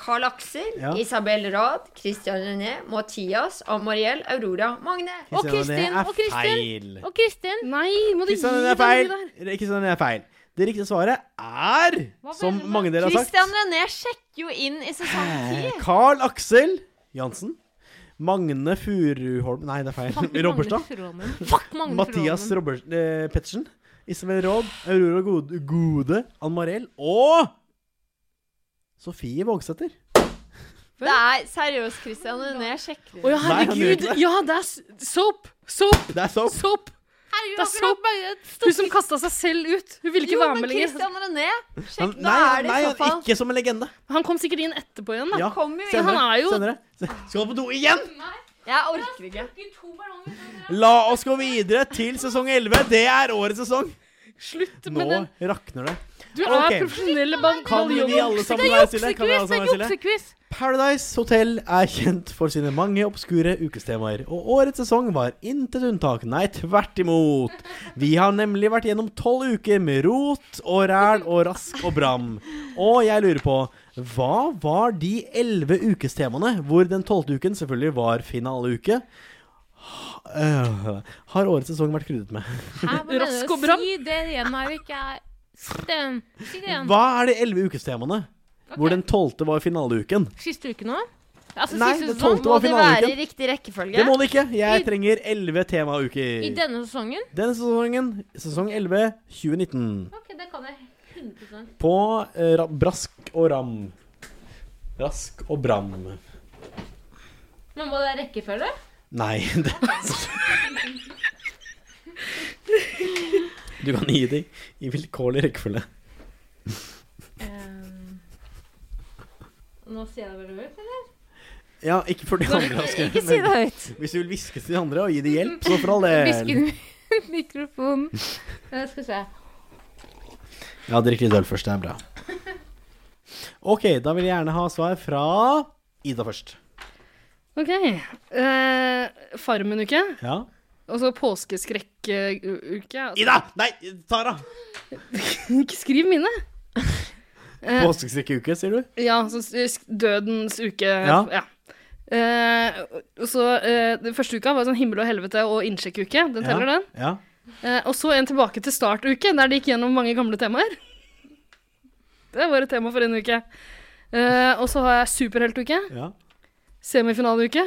[SPEAKER 4] Karl Aksel,
[SPEAKER 3] Ja.
[SPEAKER 4] Isabel Rad, Christian René, Mathias, Amariel, Aurora, Magne.
[SPEAKER 5] Og Kristin.
[SPEAKER 3] Det er
[SPEAKER 5] Og Kristin.
[SPEAKER 3] feil.
[SPEAKER 5] Og Kristin.
[SPEAKER 6] Nei, må du
[SPEAKER 3] Kristian, det
[SPEAKER 6] gi
[SPEAKER 3] er feil. Kristian, det er feil. Det riktige svaret er, som mange av dere har sagt
[SPEAKER 4] Christian René sjekker jo inn i sesong 10.
[SPEAKER 3] Carl Eh, Aksel Jansen. Magne Furuholm Nei, det er feil. Robberstad.
[SPEAKER 5] Fuck Magne
[SPEAKER 3] Mathias
[SPEAKER 5] Furuholmen.
[SPEAKER 3] Robber, eh, Pettersen. Isabel Råd. Aurora Gode, Gode Ann Mariell. Og Sofie Vågsæter.
[SPEAKER 4] Det er seriøst, Christian René sjekker
[SPEAKER 6] Å ja,
[SPEAKER 4] inn.
[SPEAKER 3] Nei, han
[SPEAKER 6] herregud.
[SPEAKER 3] gjør ikke det.
[SPEAKER 6] Ja, det er s- soap. Soap.
[SPEAKER 3] Det er soap.
[SPEAKER 6] Soap.
[SPEAKER 5] Herregud,
[SPEAKER 6] Det er
[SPEAKER 5] akkurat
[SPEAKER 6] så-
[SPEAKER 5] bare et
[SPEAKER 6] Hun
[SPEAKER 5] stort-
[SPEAKER 6] som kasta seg selv ut. Hun ville ikke
[SPEAKER 4] Jo,
[SPEAKER 6] være
[SPEAKER 4] men
[SPEAKER 6] med lenger.
[SPEAKER 4] Christian René
[SPEAKER 3] Han-
[SPEAKER 4] Sjekk, da
[SPEAKER 3] Nei,
[SPEAKER 4] er det
[SPEAKER 3] nei
[SPEAKER 4] i så
[SPEAKER 3] han-
[SPEAKER 4] fall
[SPEAKER 3] ikke som en legende.
[SPEAKER 6] Han kom sikkert inn etterpå igjen, da.
[SPEAKER 3] Ja,
[SPEAKER 4] kom jo inn.
[SPEAKER 3] senere,
[SPEAKER 6] Han er jo-
[SPEAKER 3] senere. Skal du på do igjen?
[SPEAKER 4] Jeg orker ikke.
[SPEAKER 3] La oss gå videre til sesong 11. Det er årets sesong.
[SPEAKER 6] Slutt
[SPEAKER 3] Nå
[SPEAKER 6] med den.
[SPEAKER 3] rakner det.
[SPEAKER 6] Du er
[SPEAKER 3] Ok.
[SPEAKER 6] profesjonell ban-
[SPEAKER 3] Kan vi
[SPEAKER 6] baljong.
[SPEAKER 3] alle sammen
[SPEAKER 5] Det
[SPEAKER 3] være
[SPEAKER 5] er
[SPEAKER 3] stille? Kan vi alle
[SPEAKER 5] juksequiz! Det
[SPEAKER 3] sammen
[SPEAKER 5] er
[SPEAKER 3] være stille?
[SPEAKER 5] juksequiz!
[SPEAKER 3] Paradise Hotel er kjent for sine mange obskure ukestemaer, og årets sesong var intet unntak, nei tvert imot. Vi har nemlig vært gjennom tolv uker med rot og ræl og rask og bram. Og jeg lurer på, hva var de elleve ukestemaene, hvor den tolvte uken selvfølgelig var finaleuke? Øh, har årets sesong vært krydret med?
[SPEAKER 5] Her, hva mener
[SPEAKER 6] Rask
[SPEAKER 5] du?
[SPEAKER 6] og bram.
[SPEAKER 5] Si det igjen, Eirik. Jeg- Si det igjen. Si det igjen.
[SPEAKER 3] Hva er de elleve ukestemaene? Hvor den tolvte var finaleuken?
[SPEAKER 5] Siste uke nå? Altså,
[SPEAKER 3] Nei,
[SPEAKER 5] siste
[SPEAKER 3] det
[SPEAKER 5] sesong.
[SPEAKER 3] tolvte
[SPEAKER 4] Må
[SPEAKER 3] var
[SPEAKER 4] det være i
[SPEAKER 3] finaleuken.
[SPEAKER 4] riktig rekkefølge?
[SPEAKER 3] Det må det ikke. Jeg
[SPEAKER 5] I-
[SPEAKER 3] trenger elleve temauker.
[SPEAKER 5] I denne sesongen?
[SPEAKER 3] Denne sesongen, sesong 11, 2019.
[SPEAKER 5] Ok, det kan jeg 100
[SPEAKER 3] På eh, ra Brask og Ram. Rask og Bram.
[SPEAKER 5] Men må det rekkefølge?
[SPEAKER 3] Nei det... Du kan gi det i vilkårlig rekkefølge.
[SPEAKER 5] Ehm, Nå sier jeg det veldig høyt, eller?
[SPEAKER 3] Ja, ikke for de andre. Aske,
[SPEAKER 4] Ikke si det
[SPEAKER 3] men
[SPEAKER 4] høyt.
[SPEAKER 3] Hvis du vil hviske til de andre og gi dem hjelp, så for all
[SPEAKER 5] Hvisker
[SPEAKER 3] del.
[SPEAKER 5] du Mikrofonen. Eh, Skal vi se.
[SPEAKER 3] Ja, drikk litt øl først. Det er bra. Ok, da vil jeg gjerne ha svar fra Ida først.
[SPEAKER 6] OK. Eh, Farmen-uke.
[SPEAKER 3] Ja.
[SPEAKER 6] Og så påskeskrekk-uke.
[SPEAKER 3] Ida! Nei, Tara!
[SPEAKER 6] Ikke skriv mine! Eh,
[SPEAKER 3] Påskeskrekkuke, sier du?
[SPEAKER 6] Ja, sånn s- dødens uke.
[SPEAKER 3] Ja.
[SPEAKER 6] Eh, og så eh, den første uka var sånn himmel og helvete og innsjekkuke. Den teller, den.
[SPEAKER 3] Ja.
[SPEAKER 6] Eh, og så en tilbake til startuke, der de gikk gjennom mange gamle temaer. Det var et tema for en uke. Eh, og så har jeg superheltuke.
[SPEAKER 3] ja.
[SPEAKER 6] Semifinaleuke.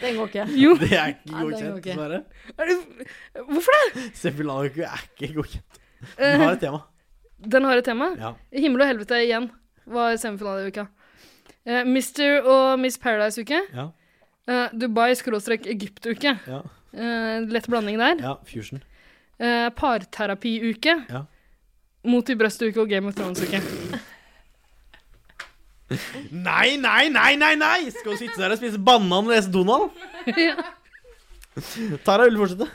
[SPEAKER 4] Den går ikke.
[SPEAKER 6] Jo.
[SPEAKER 3] Det er ikke
[SPEAKER 6] Nei, den går
[SPEAKER 3] godkjent,
[SPEAKER 6] ikke.
[SPEAKER 3] dessverre.
[SPEAKER 6] Er det, hvorfor det?
[SPEAKER 3] Sepilanuku er ikke godkjent. Den har et tema.
[SPEAKER 6] Den har et tema.
[SPEAKER 3] Ja.
[SPEAKER 6] Himmel og helvete igjen var semifinaleuka. Uh, Mister og Miss Paradise-uke.
[SPEAKER 3] Ja.
[SPEAKER 6] Eh, Dubai-Egypt-uke.
[SPEAKER 3] Ja.
[SPEAKER 6] Eh, lett blanding der.
[SPEAKER 3] ja fusion.
[SPEAKER 6] Eh, Parterapi-uke.
[SPEAKER 3] Ja.
[SPEAKER 6] Mot i brøstet-uke og Game of Thrones-uke.
[SPEAKER 3] Nei, nei, nei, nei! nei Skal du sitte der og spise banan og lese Donald? Tara vil du fortsette.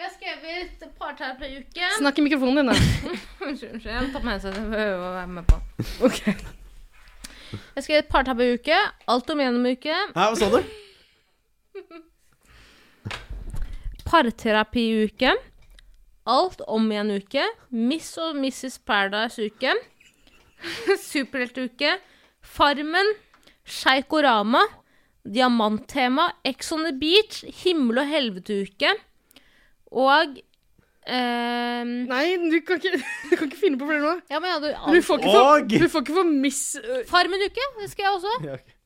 [SPEAKER 5] Jeg har skrevet parterapiuke.
[SPEAKER 6] Snakk i mikrofonen din, da.
[SPEAKER 5] Unnskyld, unnskyld. Jeg må ta med meg det behøver å være med på. Jeg har skrevet parterapiuke, alt om gjennom-uke,
[SPEAKER 3] Hæ, hva sa du?
[SPEAKER 5] parterapiuke, alt om igjen-uke, Miss og Mrs. Paradise-uke, superheltuke, Farmen, Sjeikorama, Diamanttema, Ex on the Beach, Himmel og helvete-uke og ehm,
[SPEAKER 6] Nei, du kan ikke, du kan ikke finne på flere nå.
[SPEAKER 5] Ja, men jeg hadde
[SPEAKER 6] Du får ikke for,
[SPEAKER 3] Og-
[SPEAKER 6] du får ikke for Miss eh,
[SPEAKER 5] Farmen-uke, det skal jeg også.
[SPEAKER 3] Ja, ok.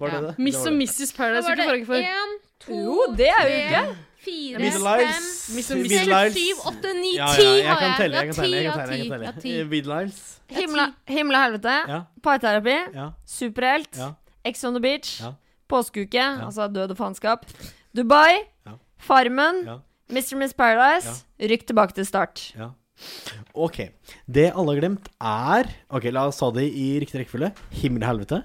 [SPEAKER 3] Var det det?
[SPEAKER 6] Miss
[SPEAKER 3] det
[SPEAKER 6] og Mrs.
[SPEAKER 5] Da
[SPEAKER 6] Paradise
[SPEAKER 5] var
[SPEAKER 6] uke
[SPEAKER 5] det
[SPEAKER 6] får jeg ikke for.
[SPEAKER 5] én, to,
[SPEAKER 4] Jo, det er jo
[SPEAKER 5] tre,
[SPEAKER 4] gøy.
[SPEAKER 5] fire,
[SPEAKER 3] Miss
[SPEAKER 5] fem,
[SPEAKER 3] Liles.
[SPEAKER 6] Miss
[SPEAKER 5] seks,
[SPEAKER 3] Miss Liles.
[SPEAKER 5] syv, åtte, ni,
[SPEAKER 3] Ja,
[SPEAKER 5] ti
[SPEAKER 3] ja, jeg
[SPEAKER 5] har
[SPEAKER 3] kan telle. Jeg kan telle. Jeg
[SPEAKER 5] Ja, ti,
[SPEAKER 3] kan telle, jeg kan
[SPEAKER 5] ja,
[SPEAKER 3] telle.
[SPEAKER 5] ti, ja,
[SPEAKER 3] Eh, Midlines.
[SPEAKER 5] ti.
[SPEAKER 4] Himla, himmel og helvete.
[SPEAKER 3] Ja.
[SPEAKER 4] Parterapi.
[SPEAKER 3] Ja.
[SPEAKER 4] Superhelt.
[SPEAKER 3] Ja.
[SPEAKER 4] Ex on the beach.
[SPEAKER 3] Ja.
[SPEAKER 4] Påskeuke, altså død og faenskap. Dubai.
[SPEAKER 3] Ja.
[SPEAKER 4] Farmen.
[SPEAKER 3] Ja.
[SPEAKER 4] Mr. Miss Paradise. Rykk tilbake til start.
[SPEAKER 3] Ja. Ok. Det alle har glemt, er Ok, la oss ta det i riktig rekkefølge. Himmel og helvete.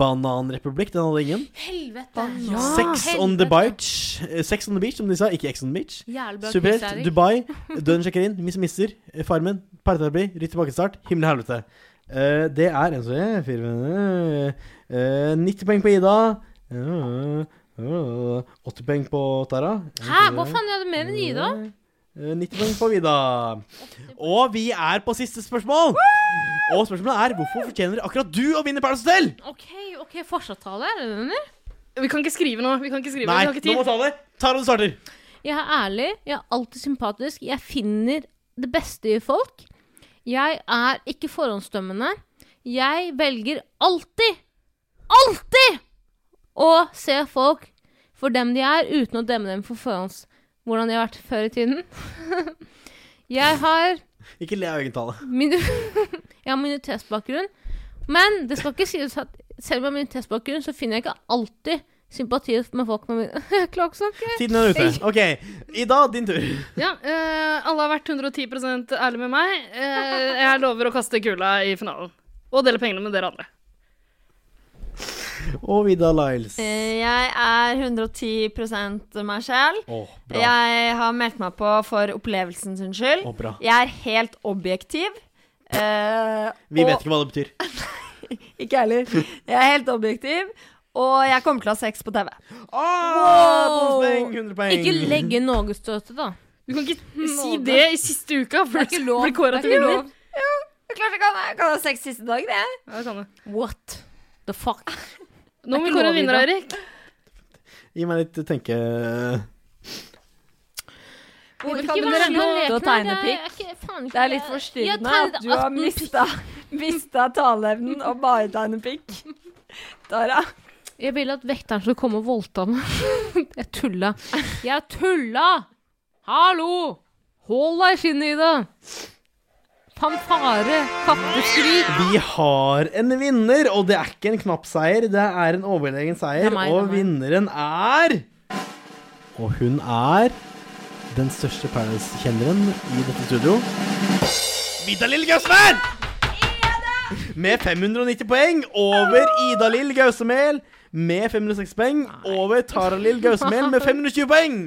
[SPEAKER 3] Bananrepublikk, den hadde ingen.
[SPEAKER 5] Helvete. Ah,
[SPEAKER 3] Sex on the beach. eh, Sex on the beach, som de sa. Ikke Ex on the beach.
[SPEAKER 5] Jævlig bra
[SPEAKER 3] Superhelt,
[SPEAKER 5] quiz, Erik.
[SPEAKER 3] Dubai, Døden sjekker inn, Miss Misser, eh, Farmen, Parterapi, Ritt tilbake til start, Himmel og helvete. Eh, det er en som er fire venner. Eh, 90 poeng på Ida. Eh, eh, 80 poeng på Tara.
[SPEAKER 5] Hæ, hva faen er det mer enn Ida?
[SPEAKER 3] Eh, 90 poeng på Vida. Og vi er på siste spørsmål. Og spørsmålet er hvorfor fortjener akkurat du å vinne Paradise Hotel?
[SPEAKER 5] OK, ok, fortsattale, er det den der?
[SPEAKER 6] Vi kan ikke skrive nå. Vi kan ikke skrive,
[SPEAKER 3] Nei,
[SPEAKER 6] vi har ikke
[SPEAKER 3] nå må
[SPEAKER 6] tid.
[SPEAKER 3] ta det. Tara, du starter.
[SPEAKER 5] Jeg er ærlig, jeg er alltid sympatisk, jeg finner det beste i folk. Jeg er ikke forhåndsdømmende. Jeg velger alltid, alltid å se folk for dem de er, uten å dømme dem for forhånds hvordan de har vært før i tiden. Jeg har
[SPEAKER 3] Ikke le av egentale.
[SPEAKER 5] Min jeg har minoritetsbakgrunn. Men det skal ikke sies at selv om jeg har minoritetsbakgrunn, så finner jeg ikke alltid sympati med folk med min... Jeg klarer ikke å snakke.
[SPEAKER 3] Tiden er ute. OK. Ida, din tur.
[SPEAKER 6] Ja, eh, alle har vært 110 ærlige med meg. Eh, jeg lover å kaste kula i finalen. Og dele pengene med dere andre.
[SPEAKER 3] Og Vida Liles.
[SPEAKER 4] Eh, Jeg er 110 meg selv.
[SPEAKER 3] Å, bra.
[SPEAKER 4] Jeg har meldt meg på for opplevelsen sin skyld.
[SPEAKER 3] Å, bra.
[SPEAKER 4] Jeg er helt objektiv. eh,
[SPEAKER 3] Vi
[SPEAKER 4] og-
[SPEAKER 3] vet ikke hva det betyr.
[SPEAKER 4] Ikke jeg heller. Jeg er helt objektiv. Og jeg kommer til å ha sex på TV.
[SPEAKER 3] Ah,
[SPEAKER 5] Wow!
[SPEAKER 3] Poeng, 100 poeng.
[SPEAKER 5] Ikke legge norgesstøtet, da.
[SPEAKER 6] Du kan ikke si
[SPEAKER 5] Nåde.
[SPEAKER 6] det i siste uka, for
[SPEAKER 5] Det er ikke
[SPEAKER 6] du
[SPEAKER 5] lov.
[SPEAKER 6] blir kåra
[SPEAKER 5] Det er
[SPEAKER 6] til
[SPEAKER 5] ikke
[SPEAKER 6] vinner.
[SPEAKER 5] lov.
[SPEAKER 4] Jeg klart jeg kan, jeg kan ha sex siste dag, det.
[SPEAKER 6] Ja, det kan du.
[SPEAKER 5] What the fuck?
[SPEAKER 6] Nå må
[SPEAKER 5] Det er
[SPEAKER 6] vi
[SPEAKER 5] ikke
[SPEAKER 6] kåre
[SPEAKER 5] lov,
[SPEAKER 6] vinner,
[SPEAKER 5] Ida.
[SPEAKER 6] Eirik.
[SPEAKER 3] Gi meg litt tenke...
[SPEAKER 4] Hvor kan
[SPEAKER 5] Ikke
[SPEAKER 4] du
[SPEAKER 5] vær så
[SPEAKER 4] glemme
[SPEAKER 5] leken
[SPEAKER 4] å
[SPEAKER 5] her,
[SPEAKER 4] tegne
[SPEAKER 5] jeg-
[SPEAKER 4] pikk?
[SPEAKER 5] jeg er ikke- faen ikke-
[SPEAKER 4] Det er litt
[SPEAKER 5] Jeg
[SPEAKER 4] forstyrrende
[SPEAKER 5] tegnet
[SPEAKER 4] at du har
[SPEAKER 5] 18 pikk.
[SPEAKER 4] mista, mista taleevnen og bare tegner pikk. Tara.
[SPEAKER 5] Jeg ville at vekteren skulle komme og voldta meg. Jeg tulla. Jeg tulla! Hallo! Hold deg i skinnet, Ida. Fanfare, katteskrik.
[SPEAKER 3] Vi har en vinner, og det er ikke en knapp seier. Det er en overlegen seier,
[SPEAKER 5] Det er meg,
[SPEAKER 3] og
[SPEAKER 5] det er
[SPEAKER 3] vinneren er Og hun er den største Paradise-kjenneren i dette studio. Vida Lill Gausmel! Med 590 poeng over Ida Lill Gausemel med 506 poeng over Tara Lill Gausemel med 520 poeng.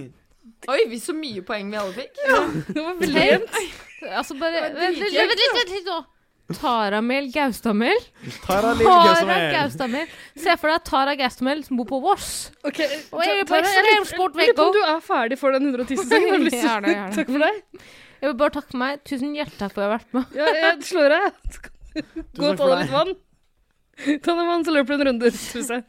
[SPEAKER 4] Oi, vi så mye poeng vi alle fikk.
[SPEAKER 5] Det var veldig jevnt. Altså bare
[SPEAKER 4] Det var
[SPEAKER 5] Vent litt,
[SPEAKER 4] dritjevnt,
[SPEAKER 5] vent litt, vent litt nå. Taramel Gaustamel.
[SPEAKER 3] Tara Lill
[SPEAKER 5] Tara
[SPEAKER 3] Gaustamel.
[SPEAKER 5] Gaustamel. Se for deg Tara Gaustamel som bor på Voss. Og
[SPEAKER 6] Ok,
[SPEAKER 5] jeg er på
[SPEAKER 6] Tara, jeg lurer-
[SPEAKER 5] ekstremsport
[SPEAKER 6] lurer på om
[SPEAKER 5] Veggo.
[SPEAKER 6] du er ferdig for den 110 sesongen. Har du lyst til-
[SPEAKER 5] Gjerne, gjerne.
[SPEAKER 6] Takk for deg.
[SPEAKER 5] Jeg vil bare takke meg. Tusen hjertelig for at jeg har vært med.
[SPEAKER 6] Ja, jeg slår av. Gå
[SPEAKER 5] takk
[SPEAKER 6] og ta
[SPEAKER 5] for
[SPEAKER 6] deg litt
[SPEAKER 5] deg.
[SPEAKER 6] vann. Ta deg vann, så løper du en runde rundt huset.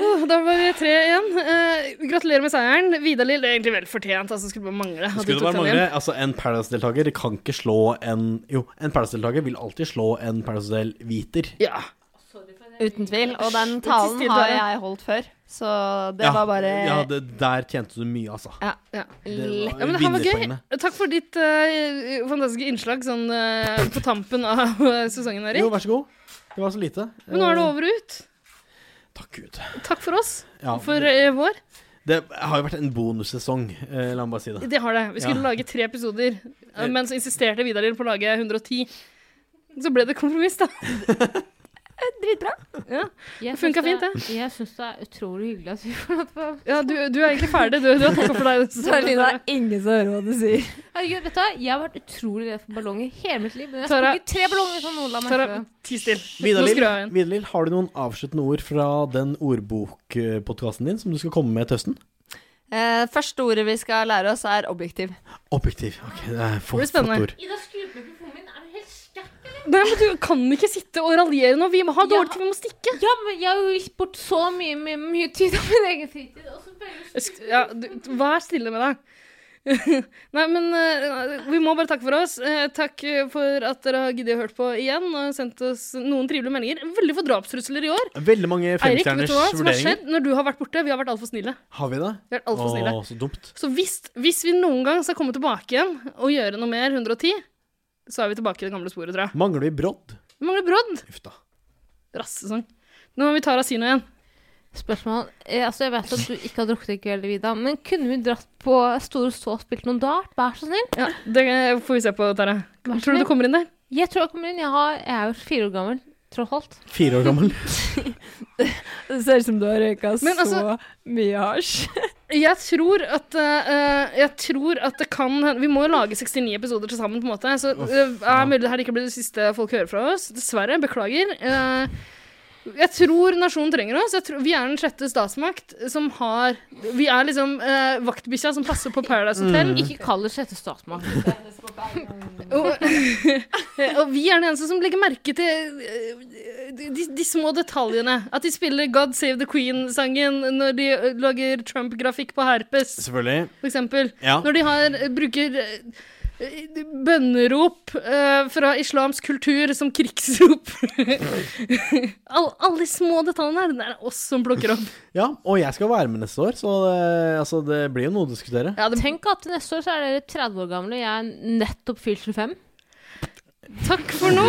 [SPEAKER 6] Åh, Da var det tre igjen. Eh, gratulerer med seieren. Vidar-Lill, det er egentlig vel fortjent. Altså, skulle bare mangle. at du
[SPEAKER 3] Skulle det
[SPEAKER 6] tok
[SPEAKER 3] bare
[SPEAKER 6] den
[SPEAKER 3] mangle.
[SPEAKER 6] igjen.
[SPEAKER 3] Altså, en Paradise-deltaker kan ikke slå en Jo, en Paradise-deltaker vil alltid slå en Paradise-del-hviter.
[SPEAKER 6] Ja.
[SPEAKER 4] Uten tvil. Og den
[SPEAKER 6] Hysj,
[SPEAKER 4] talen
[SPEAKER 6] stil,
[SPEAKER 4] har
[SPEAKER 6] Tara.
[SPEAKER 4] jeg holdt før, så det var bare
[SPEAKER 3] Ja, det, der tjente du mye, altså.
[SPEAKER 4] Ja.
[SPEAKER 6] Ja.
[SPEAKER 3] Det
[SPEAKER 6] Ja,
[SPEAKER 3] var
[SPEAKER 6] men det her var gøy.
[SPEAKER 3] vinnerpoengene.
[SPEAKER 6] Takk for ditt eh, fantastiske innslag sånn, eh, på tampen av eh, sesongen, Erik.
[SPEAKER 3] Jo, vær så god. Det var så lite.
[SPEAKER 6] Men nå er det over og ut.
[SPEAKER 3] Takk Gud.
[SPEAKER 6] Takk for oss.
[SPEAKER 3] Ja,
[SPEAKER 6] for
[SPEAKER 3] det-
[SPEAKER 6] eh, vår.
[SPEAKER 3] Det har jo vært en bonussesong, eh, la meg bare si det.
[SPEAKER 6] Det har det. Vi skulle
[SPEAKER 3] Ja.
[SPEAKER 6] lage tre episoder, eh, men så insisterte Vidar-Lill på å lage 110. Så ble det kompromiss, da.
[SPEAKER 4] Dritbra.
[SPEAKER 6] Ja.
[SPEAKER 5] Jeg
[SPEAKER 6] Det funka
[SPEAKER 5] syns
[SPEAKER 6] fint, det.
[SPEAKER 5] Jeg syns det er utrolig hyggelig at vi får lov til å
[SPEAKER 6] Ja, du, du er egentlig ferdig. Du, du har takka for deg.
[SPEAKER 4] Så er det Lina, ingen som hører hva du sier.
[SPEAKER 5] Herregud, vet du hva? Jeg har vært utrolig redd for ballonger hele mitt liv. Men jeg har
[SPEAKER 6] Tara-
[SPEAKER 5] sprukket tre ballonger hvis noen la meg
[SPEAKER 6] Tara,
[SPEAKER 5] prøve.
[SPEAKER 6] ti still. Nå skrur jeg av
[SPEAKER 3] Vidar-Lill,
[SPEAKER 6] igjen.
[SPEAKER 3] Vidar-Lill, har du noen avsluttende ord fra den ordbokpodkasten din som du skal komme med til høsten?
[SPEAKER 4] Eh, første ordet vi skal lære oss, er objektiv.
[SPEAKER 3] Objektiv. Ok, det er
[SPEAKER 6] Det blir
[SPEAKER 3] flott, flott
[SPEAKER 6] spennende.
[SPEAKER 3] ord.
[SPEAKER 5] Ida, skru på mikrofonen min. Er du helt skækk?
[SPEAKER 6] Nei, men du kan ikke sitte og raljere nå. Vi må ha dårlig
[SPEAKER 5] Ja.
[SPEAKER 6] tid, vi må stikke.
[SPEAKER 5] Ja, men jeg har jo gitt bort så mye, mye, mye tid av min egen fritid. Og så bare
[SPEAKER 6] Sk- Ja, du, vær stille med deg. Nei, men eh, vi må bare takke for oss. Eh, takk eh, for at dere har giddet å høre på igjen og sendt oss noen trivelige meldinger. Veldig få drapstrusler i år.
[SPEAKER 3] Veldig mange
[SPEAKER 6] Eirik, vet
[SPEAKER 3] femstjerners
[SPEAKER 6] du hva som har
[SPEAKER 3] vurderinger.
[SPEAKER 6] skjedd når du har vært borte? Vi har vært altfor snille.
[SPEAKER 3] Har vi det?
[SPEAKER 6] Vi har vært alt for snille.
[SPEAKER 3] Å, så dumt.
[SPEAKER 6] Så hvis, hvis vi noen gang skal komme tilbake igjen og gjøre noe mer 110, så er vi tilbake i det gamle sporet, tror jeg.
[SPEAKER 3] Mangler vi brodd?
[SPEAKER 6] Vi mangler brodd.
[SPEAKER 3] Uff da.
[SPEAKER 6] Rassesang. Nå må vi ta Rasino igjen.
[SPEAKER 5] Spørsmål. Eh, altså, jeg vet at du ikke har drukket i kveld, Vida, men kunne vi dratt på Store Stå og spilt noen dart? Vær så snill.
[SPEAKER 6] Ja, det får vi se på, Tara.
[SPEAKER 5] Vær så
[SPEAKER 6] Tror du
[SPEAKER 5] snill.
[SPEAKER 6] du kommer inn der?
[SPEAKER 5] Jeg tror jeg kommer inn. Jeg, har, jeg er jo fire år gammel, tross alt.
[SPEAKER 3] Fire år gammel.
[SPEAKER 4] Det ser ut som du har røyka
[SPEAKER 6] Men altså-
[SPEAKER 4] så mye hasj.
[SPEAKER 6] Jeg tror at, eh, jeg tror at det kan hende Vi må jo lage 69 episoder til sammen, på en måte. Så det er mulig det her ikke blir det siste folk hører fra oss. Dessverre. Beklager. Eh, jeg tror nasjonen trenger oss. Jeg tror, vi er den sjette statsmakt som har Vi er liksom eh, vaktbikkja som passer på Paradise Hotel.
[SPEAKER 5] Ikke kall det sjette statsmakt.
[SPEAKER 6] Og, og vi er den eneste som legger merke til eh, de, de små detaljene. At de spiller God Save the Queen-sangen når de eh, lager Trump-grafikk på herpes.
[SPEAKER 3] Selvfølgelig.
[SPEAKER 6] For eksempel.
[SPEAKER 3] Ja.
[SPEAKER 6] Når de har, bruker eh, bønnerop eh, fra islamsk kultur som krigsrop. All, alle de små detaljene her. Det er oss som plukker opp.
[SPEAKER 3] Ja, og jeg skal være med neste år, så eh, altså, det blir jo noe å diskutere.
[SPEAKER 6] Ja, det,
[SPEAKER 5] Tenk at til neste år så er dere 30 år gamle, og jeg er nettopp fylt 25.
[SPEAKER 6] takk for nå.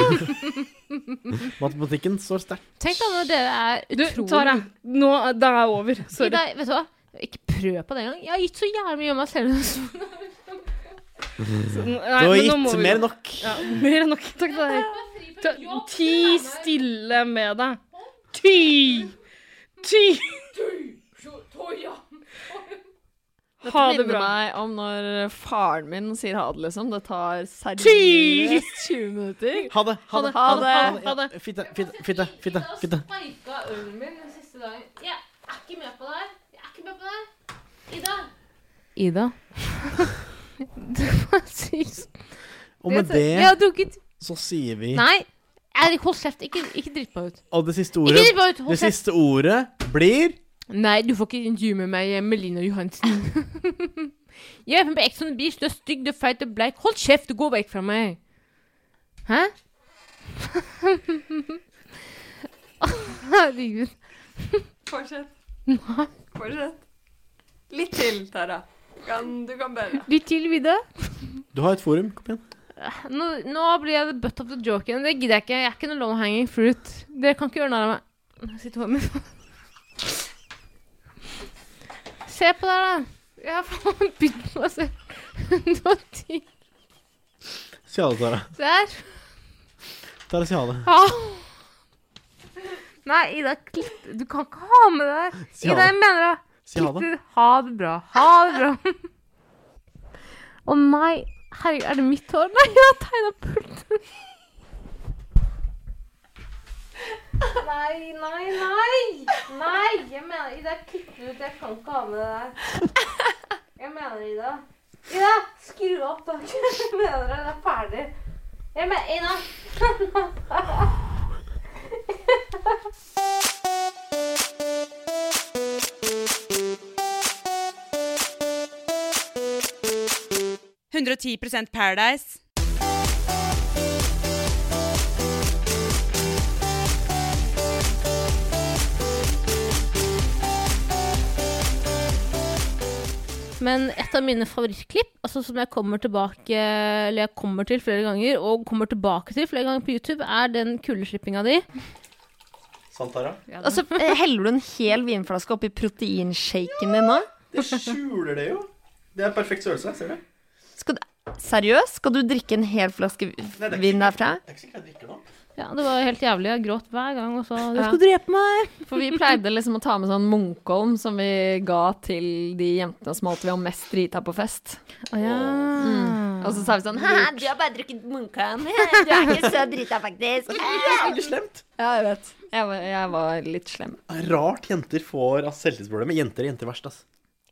[SPEAKER 3] Matematikken står sterkt.
[SPEAKER 5] Tenk da når dere er
[SPEAKER 6] Du,
[SPEAKER 5] utrolig
[SPEAKER 6] Tara, nå, er- det er over. Sorry.
[SPEAKER 5] Ida, vet du hva? Ikke prøv på det engang. Jeg har gitt så jævlig mye av meg selv.
[SPEAKER 6] Nei,
[SPEAKER 3] Du har
[SPEAKER 6] men nå må
[SPEAKER 3] gitt
[SPEAKER 6] vi
[SPEAKER 3] mer
[SPEAKER 6] gå.
[SPEAKER 3] enn nok.
[SPEAKER 6] Ja, mer enn nok. Takk til deg. Ta, ti stille med deg. Ti! Ti! Ha det bra.
[SPEAKER 4] meg om når faren min sier ha det, liksom. Det tar
[SPEAKER 6] Ti!
[SPEAKER 4] seriøst 20 minutter.
[SPEAKER 3] Ha det. Ha det.
[SPEAKER 4] Ha det.
[SPEAKER 3] Ha det. Ja, Fitte, fitte, fitte, fitte. fitte.
[SPEAKER 5] Sparka ølen min den siste dagen. Jeg er ikke med på det her. Jeg er ikke med på det her. Ida. Ida. det var sykt.
[SPEAKER 3] Og med
[SPEAKER 5] Jeg har
[SPEAKER 3] det
[SPEAKER 5] drukket
[SPEAKER 3] så sier vi
[SPEAKER 5] Nei. Erik, hold kjeft. Ikke, ikke dritt meg ut.
[SPEAKER 3] Og det siste
[SPEAKER 5] Ikke
[SPEAKER 3] ordet,
[SPEAKER 5] dritt meg ut.
[SPEAKER 3] det
[SPEAKER 5] Hold kjeft.
[SPEAKER 3] siste ordet blir
[SPEAKER 5] Nei, du får ikke intervjue meg, eh, Melina Johansen. jeg er med på Ex on the Beach. Du er stygg, du er feit, du er bleik. Hold kjeft, du går vekk fra meg. Hæ? Herregud.
[SPEAKER 4] Fortsett. Fortsett. Litt til, Tara. Du kan, du kan bedre.
[SPEAKER 5] Lytt til, Vidar.
[SPEAKER 3] Du har et forum. Kom igjen.
[SPEAKER 5] Nå, nå blir jeg the butt of the joke igjen. Det gidder jeg ikke. Jeg er ikke noe low hanging fruit. Dere kan ikke gjøre narr av meg. Nå sitter håret mitt Se på der, da. Jeg har faen bydd på meg selv. 110.
[SPEAKER 3] Si ha det, Tara.
[SPEAKER 5] Se her.
[SPEAKER 3] Tara, si ha det.
[SPEAKER 5] Ah. Nei, Ida, klipp Du kan ikke ha med det her.
[SPEAKER 3] Si ha
[SPEAKER 5] Ida,
[SPEAKER 3] det.
[SPEAKER 5] jeg mener det.
[SPEAKER 3] Si ha det.
[SPEAKER 5] Kitty, ha det bra. Ha det bra. Å nei. Herregud, er det mitt hår? Nei, jeg har tegna pulten. Nei, nei, nei! Nei, jeg mener Ida, kutt ut. Jeg kan ikke ha med det der. Jeg mener Ida. Ida, skru opp taket. Jeg mener det. Det er ferdig. Jeg mener Ida.
[SPEAKER 13] Paradise.
[SPEAKER 5] Men et av mine favorittklipp, altså som jeg kommer tilbake Eller jeg kommer til flere ganger, og kommer tilbake til flere ganger på YouTube, er den kuldeslippinga di.
[SPEAKER 3] Santara?
[SPEAKER 4] Og så eh, heller du en hel vinflaske oppi proteinshaken din nå?
[SPEAKER 3] Det skjuler det jo. Det er perfekt størrelse, ser du.
[SPEAKER 4] Skal du, seriøst? Skal du drikke en hel flaske vi-
[SPEAKER 3] det er ikke
[SPEAKER 4] vin derfra?
[SPEAKER 3] Det er ikke sikkert jeg drikker nå.
[SPEAKER 5] Ja, det var helt jævlig. Jeg gråt hver gang og sa Du
[SPEAKER 4] Ja.
[SPEAKER 5] skal drepe meg!
[SPEAKER 4] For vi pleide liksom å ta med sånn Munkholm som vi ga til de jentene som alltid var mest drita på fest. Mm. Og så sa vi sånn Hæ, du har bare drukket Munkholm. Du er ikke så drita, faktisk.
[SPEAKER 3] Veldig slemt.
[SPEAKER 4] Ja, jeg vet. Jeg var, jeg var litt slem.
[SPEAKER 3] Rart jenter får altså, selvtillitsproblemer. Jenter er jenter verst, ass.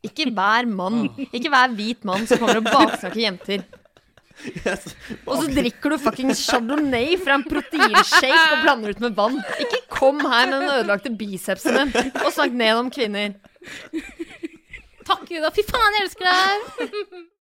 [SPEAKER 4] Ikke hver mann. Ikke hver hvit mann som kommer og baksnakker jenter. Og så drikker du fuckings chardonnay fra en proteinshake og blander ut med vann. Ikke kom her med den ødelagte bicepsen din og snakk ned om kvinner.
[SPEAKER 5] Takk, Ida. Fy faen, jeg elsker deg!